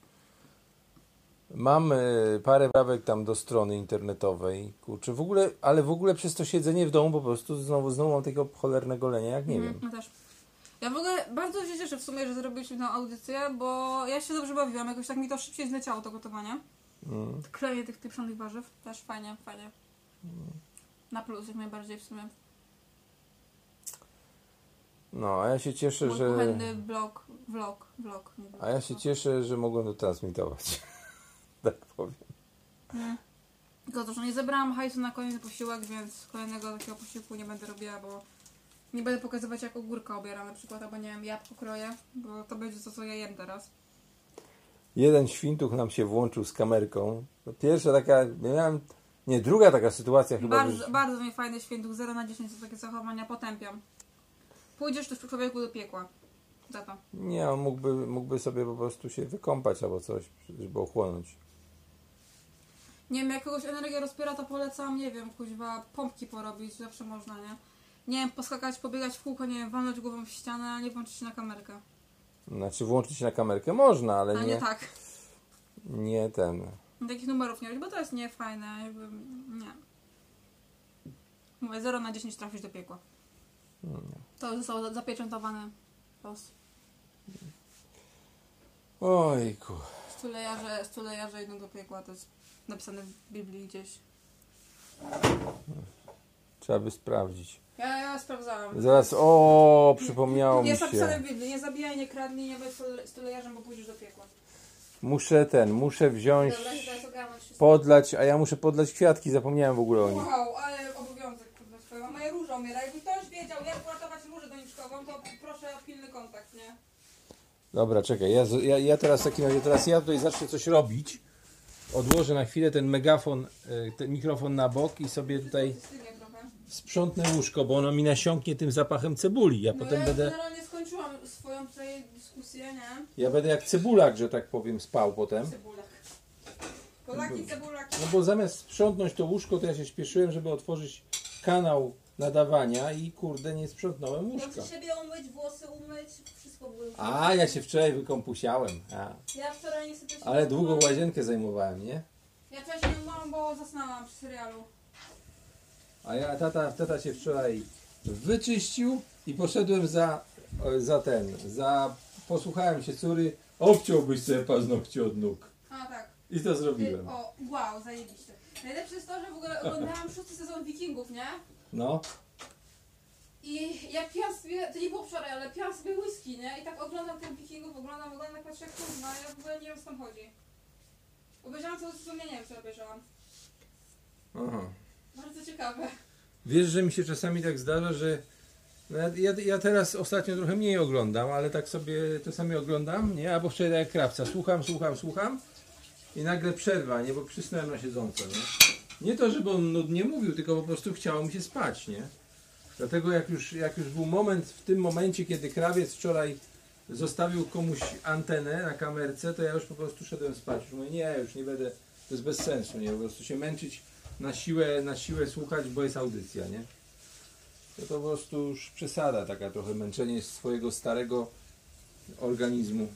Mam y, parę prawek tam do strony internetowej, kurczę, w ogóle, ale w ogóle przez to siedzenie w domu po prostu znowu, znowu mam takiego cholernego lenia, jak nie wiem. Ja No też. Ja w ogóle bardzo się cieszę w sumie, że zrobiliśmy tę audycję, bo ja się dobrze bawiłam. Jakoś tak mi to szybciej zleciało to gotowanie. Mm. Klejenie tych pieprzonych warzyw. Też fajnie, fajnie. Na plus jak najbardziej w sumie. No, a ja się cieszę, Mój że... kuchenny blog, vlog, vlog. Nie blog A ja się no. cieszę, że mogłem to transmitować. tak powiem. Tylko to, że nie zebrałam hajsu na kolejny posiłek, więc kolejnego takiego posiłku nie będę robiła, bo nie będę pokazywać jak ogórka obieram na przykład, albo nie wiem, jabłko kroję, bo to będzie to, co ja jem teraz. Jeden świntuch nam się włączył z kamerką. To Pierwsza taka, ja miałem, nie, druga taka sytuacja chyba. Bardzo, że- bardzo mi fajny świętuch, 0 na 10 za takie zachowania potępiam. Pójdziesz tu w człowieku do piekła. Za to. Nie, on mógłby, mógłby sobie po prostu się wykąpać albo coś, żeby ochłonąć. Nie wiem, jak kogoś energia rozpiera, to polecam, nie wiem, kuźwa, pompki porobić, zawsze można, nie? Nie wiem, poskakać, pobiegać w kółko, nie wiem, walnąć głową w ścianę, a nie włączyć się na kamerkę. Znaczy włączyć na kamerkę można, ale Ale nie, nie nie, tak. ten. Takich numerów nie robić, bo to jest niefajne, jakby, nie. Mówię, 0 na 10 trafisz do piekła. No To już zostało za- zapieczętowane los. Ojku. Stulejarze, stulejarze idą do piekła, to jest napisane w Biblii gdzieś. Trzeba by sprawdzić. Ja, ja sprawdzałam. Zaraz, o, przypomniało mi Jest napisane się. w Biblii, nie tak zabijaj, nie kradnij, nie bądź stole- stulejarzem, bo pójdziesz do piekła. Muszę ten, muszę wziąć, Dobra, się teraz ogarnąć wszystko. podlać, a ja muszę podlać kwiatki, zapomniałem w ogóle o nich. Wow, ale obowiązek, kurde, swoją. Moja róża umiera. Jakby ktoś wiedział, jak uratować różę doniczkową, to proszę o pilny kontakt, nie? Dobra, czekaj, ja, z- ja, ja teraz w takim razie, teraz ja tutaj zacznę coś robić. Odłożę na chwilę ten megafon, y, ten mikrofon na bok i sobie tutaj Wstydnie trochę. sprzątnę łóżko, bo ono mi nasiąknie tym zapachem cebuli. Ja No potem ja będę, generalnie skończyłam swoją tutaj dyskusję, nie? ja będę jak cebulak, że tak powiem, spał potem. Cebulak. Polaki, cebulaki. No bo zamiast sprzątnąć to łóżko, to ja się śpieszyłem, żeby otworzyć kanał nadawania i kurde, nie sprzątnąłem łóżka. Muszę siebie umyć, włosy umyć, wszystko było. A, ja się wczoraj wykąpusiałem, a, Ja wczoraj niestety się ale długo umyłam. łazienkę zajmowałem, nie? Ja wczoraj się nie umyłam, bo zasnęłam przy serialu. A ja, tata, tata się wczoraj wyczyścił i poszedłem za, e, za ten, za, posłuchałem się córy, obciąłbyś sobie paznokcie od nóg. A tak. I to Ty, zrobiłem. o, wow, zajebiście. Najlepsze jest to, że w ogóle oglądałam szósty sezon Wikingów, nie? No, I ja piłam sobie, to nie było wczoraj, ale piłam sobie whisky, nie? I tak oglądam tych Wikingów, oglądam, oglądam, patrzę, kurwa, ja w ogóle nie wiem, co tam chodzi. Obejrzałam cały sezon, ja nie wiem, co obejrzałam. Bardzo ciekawe. Wiesz, że mi się czasami tak zdarza, że no ja, ja, ja teraz ostatnio trochę mniej oglądam, ale tak sobie czasami oglądam, nie? Albo wczoraj tak jak krawca, słucham, słucham, słucham i nagle przerwa, nie? Bo przysnąłem na siedząco, nie? Nie to, żeby on nudnie mówił, tylko po prostu chciało mi się spać, nie? Dlatego jak już, jak już był moment, w tym momencie, kiedy krawiec wczoraj zostawił komuś antenę na kamerce, to ja już po prostu szedłem spać. Już mówię, nie, już nie będę, to jest bez sensu, nie? Po prostu się męczyć na siłę, na siłę słuchać, bo jest audycja, nie? To, to po prostu już przesada taka trochę męczenie swojego starego organizmu.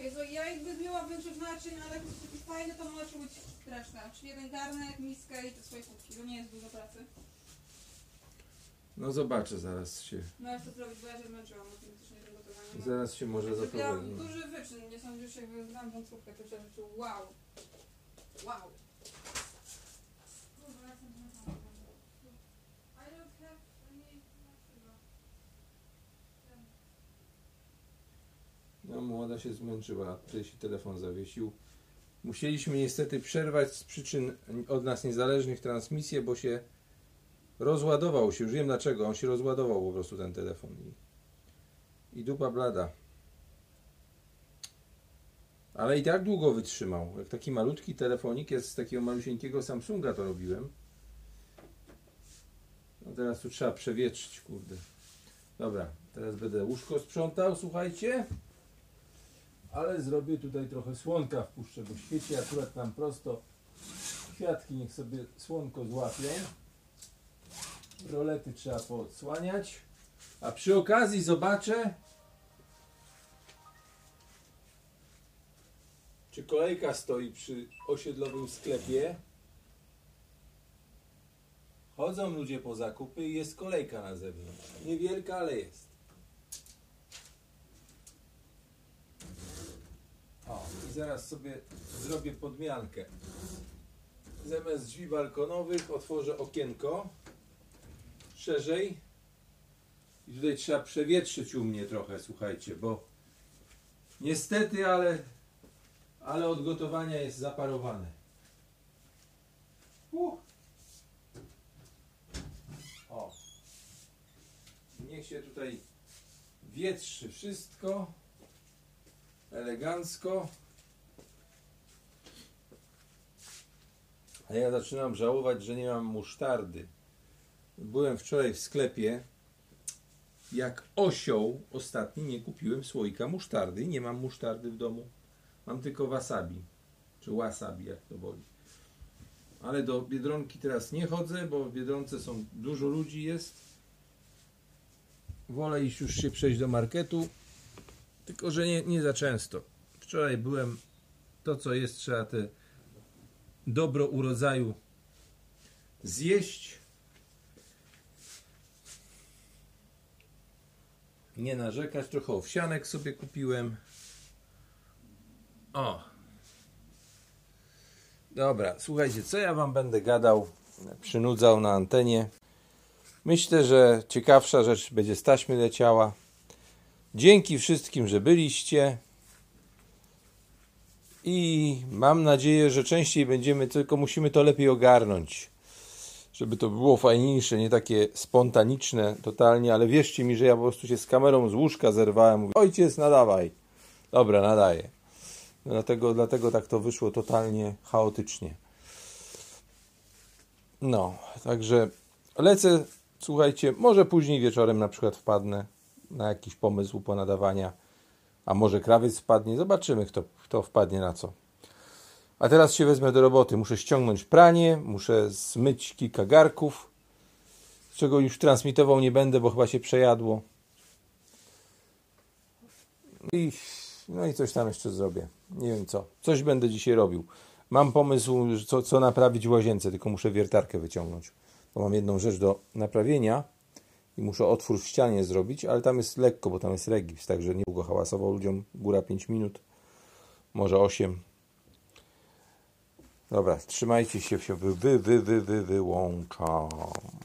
Jezu, ja jakby zmieniłam większość naczyń, no ale jak jest taki fajny, to może być reszta. Czyli jeden garnek, miskę i te swoje kubki, to nie jest dużo pracy. No zobaczę zaraz się, Miałeś to zrobić, bo ja się zmęczyłam autentycznie tym gotowaniem. zaraz się może Zrobiłam zapowiem. Znaczy, duży wyczyn, nie sądzisz, jak wyglądam wątróbkę, to przecież wow. Wow. Kurwa, jak jestem zmęczona. I don't have any- No młoda się zmęczyła, tutaj się telefon zawiesił. Musieliśmy niestety przerwać z przyczyn od nas niezależnych transmisję, bo się rozładował się, już wiem dlaczego, on się rozładował po prostu ten telefon i, i dupa blada. Ale i tak długo wytrzymał. Jak taki malutki telefonik, jest z takiego malusieńkiego Samsunga to robiłem. No teraz tu trzeba przewietrzyć, kurde. Dobra, teraz będę łóżko sprzątał, słuchajcie. Ale zrobię tutaj trochę słonka wpuszczę, bo świeci akurat nam prosto. Kwiatki niech sobie słonko złapią. Rolety trzeba poodsłaniać. A przy okazji zobaczę, czy kolejka stoi przy osiedlowym sklepie. Chodzą ludzie po zakupy i jest kolejka na zewnątrz. Niewielka, ale jest. O, i zaraz sobie zrobię podmiankę. Zamiast drzwi balkonowych otworzę okienko szerzej. I tutaj trzeba przewietrzyć u mnie trochę, słuchajcie, bo niestety, ale, ale od gotowania jest zaparowane. Uh. O. Niech się tutaj wietrzy wszystko elegancko. A ja zaczynam żałować, że nie mam musztardy. Byłem wczoraj w sklepie. Jak osioł ostatni nie kupiłem słoika musztardy. Nie mam musztardy w domu. Mam tylko wasabi. Czy wasabi, jak to woli. Ale do Biedronki teraz nie chodzę, bo w Biedronce są dużo ludzi jest. Wolę iść już się przejść do marketu. Tylko, że nie, nie za często. Wczoraj byłem, to co jest, trzeba te dobro urodzaju zjeść. Nie narzekać, trochę owsianek sobie kupiłem. O. Dobra, słuchajcie, co ja wam będę gadał, przynudzał na antenie. Myślę, że ciekawsza rzecz będzie z taśmy leciała. Dzięki wszystkim, że byliście. I mam nadzieję, że częściej będziemy, tylko musimy to lepiej ogarnąć. Żeby to było fajniejsze, nie takie spontaniczne totalnie, ale wierzcie mi, że ja po prostu się z kamerą z łóżka zerwałem. Mówię, Ojciec, nadawaj. Dobra, nadaję. Dlatego, dlatego tak to wyszło totalnie chaotycznie. No, także lecę, słuchajcie, może później wieczorem na przykład wpadnę na jakiś pomysł ponadawania, a może krawiec wpadnie, zobaczymy kto, kto wpadnie na co. A teraz się wezmę do roboty, muszę ściągnąć pranie, muszę zmyć kilka garków, czego już transmitował nie będę, bo chyba się przejadło. I, no i coś tam jeszcze zrobię. Nie wiem co. Coś będę dzisiaj robił. Mam pomysł, że co, co naprawić w łazience, tylko muszę wiertarkę wyciągnąć. Bo mam jedną rzecz do naprawienia i muszę otwór w ścianie zrobić, ale tam jest lekko, bo tam jest regips, także nie długo hałasował ludziom. Góra 5 minut, może 8. Dobra, trzymajcie się, się wy, wy, wy, wy, wy, wyłączam.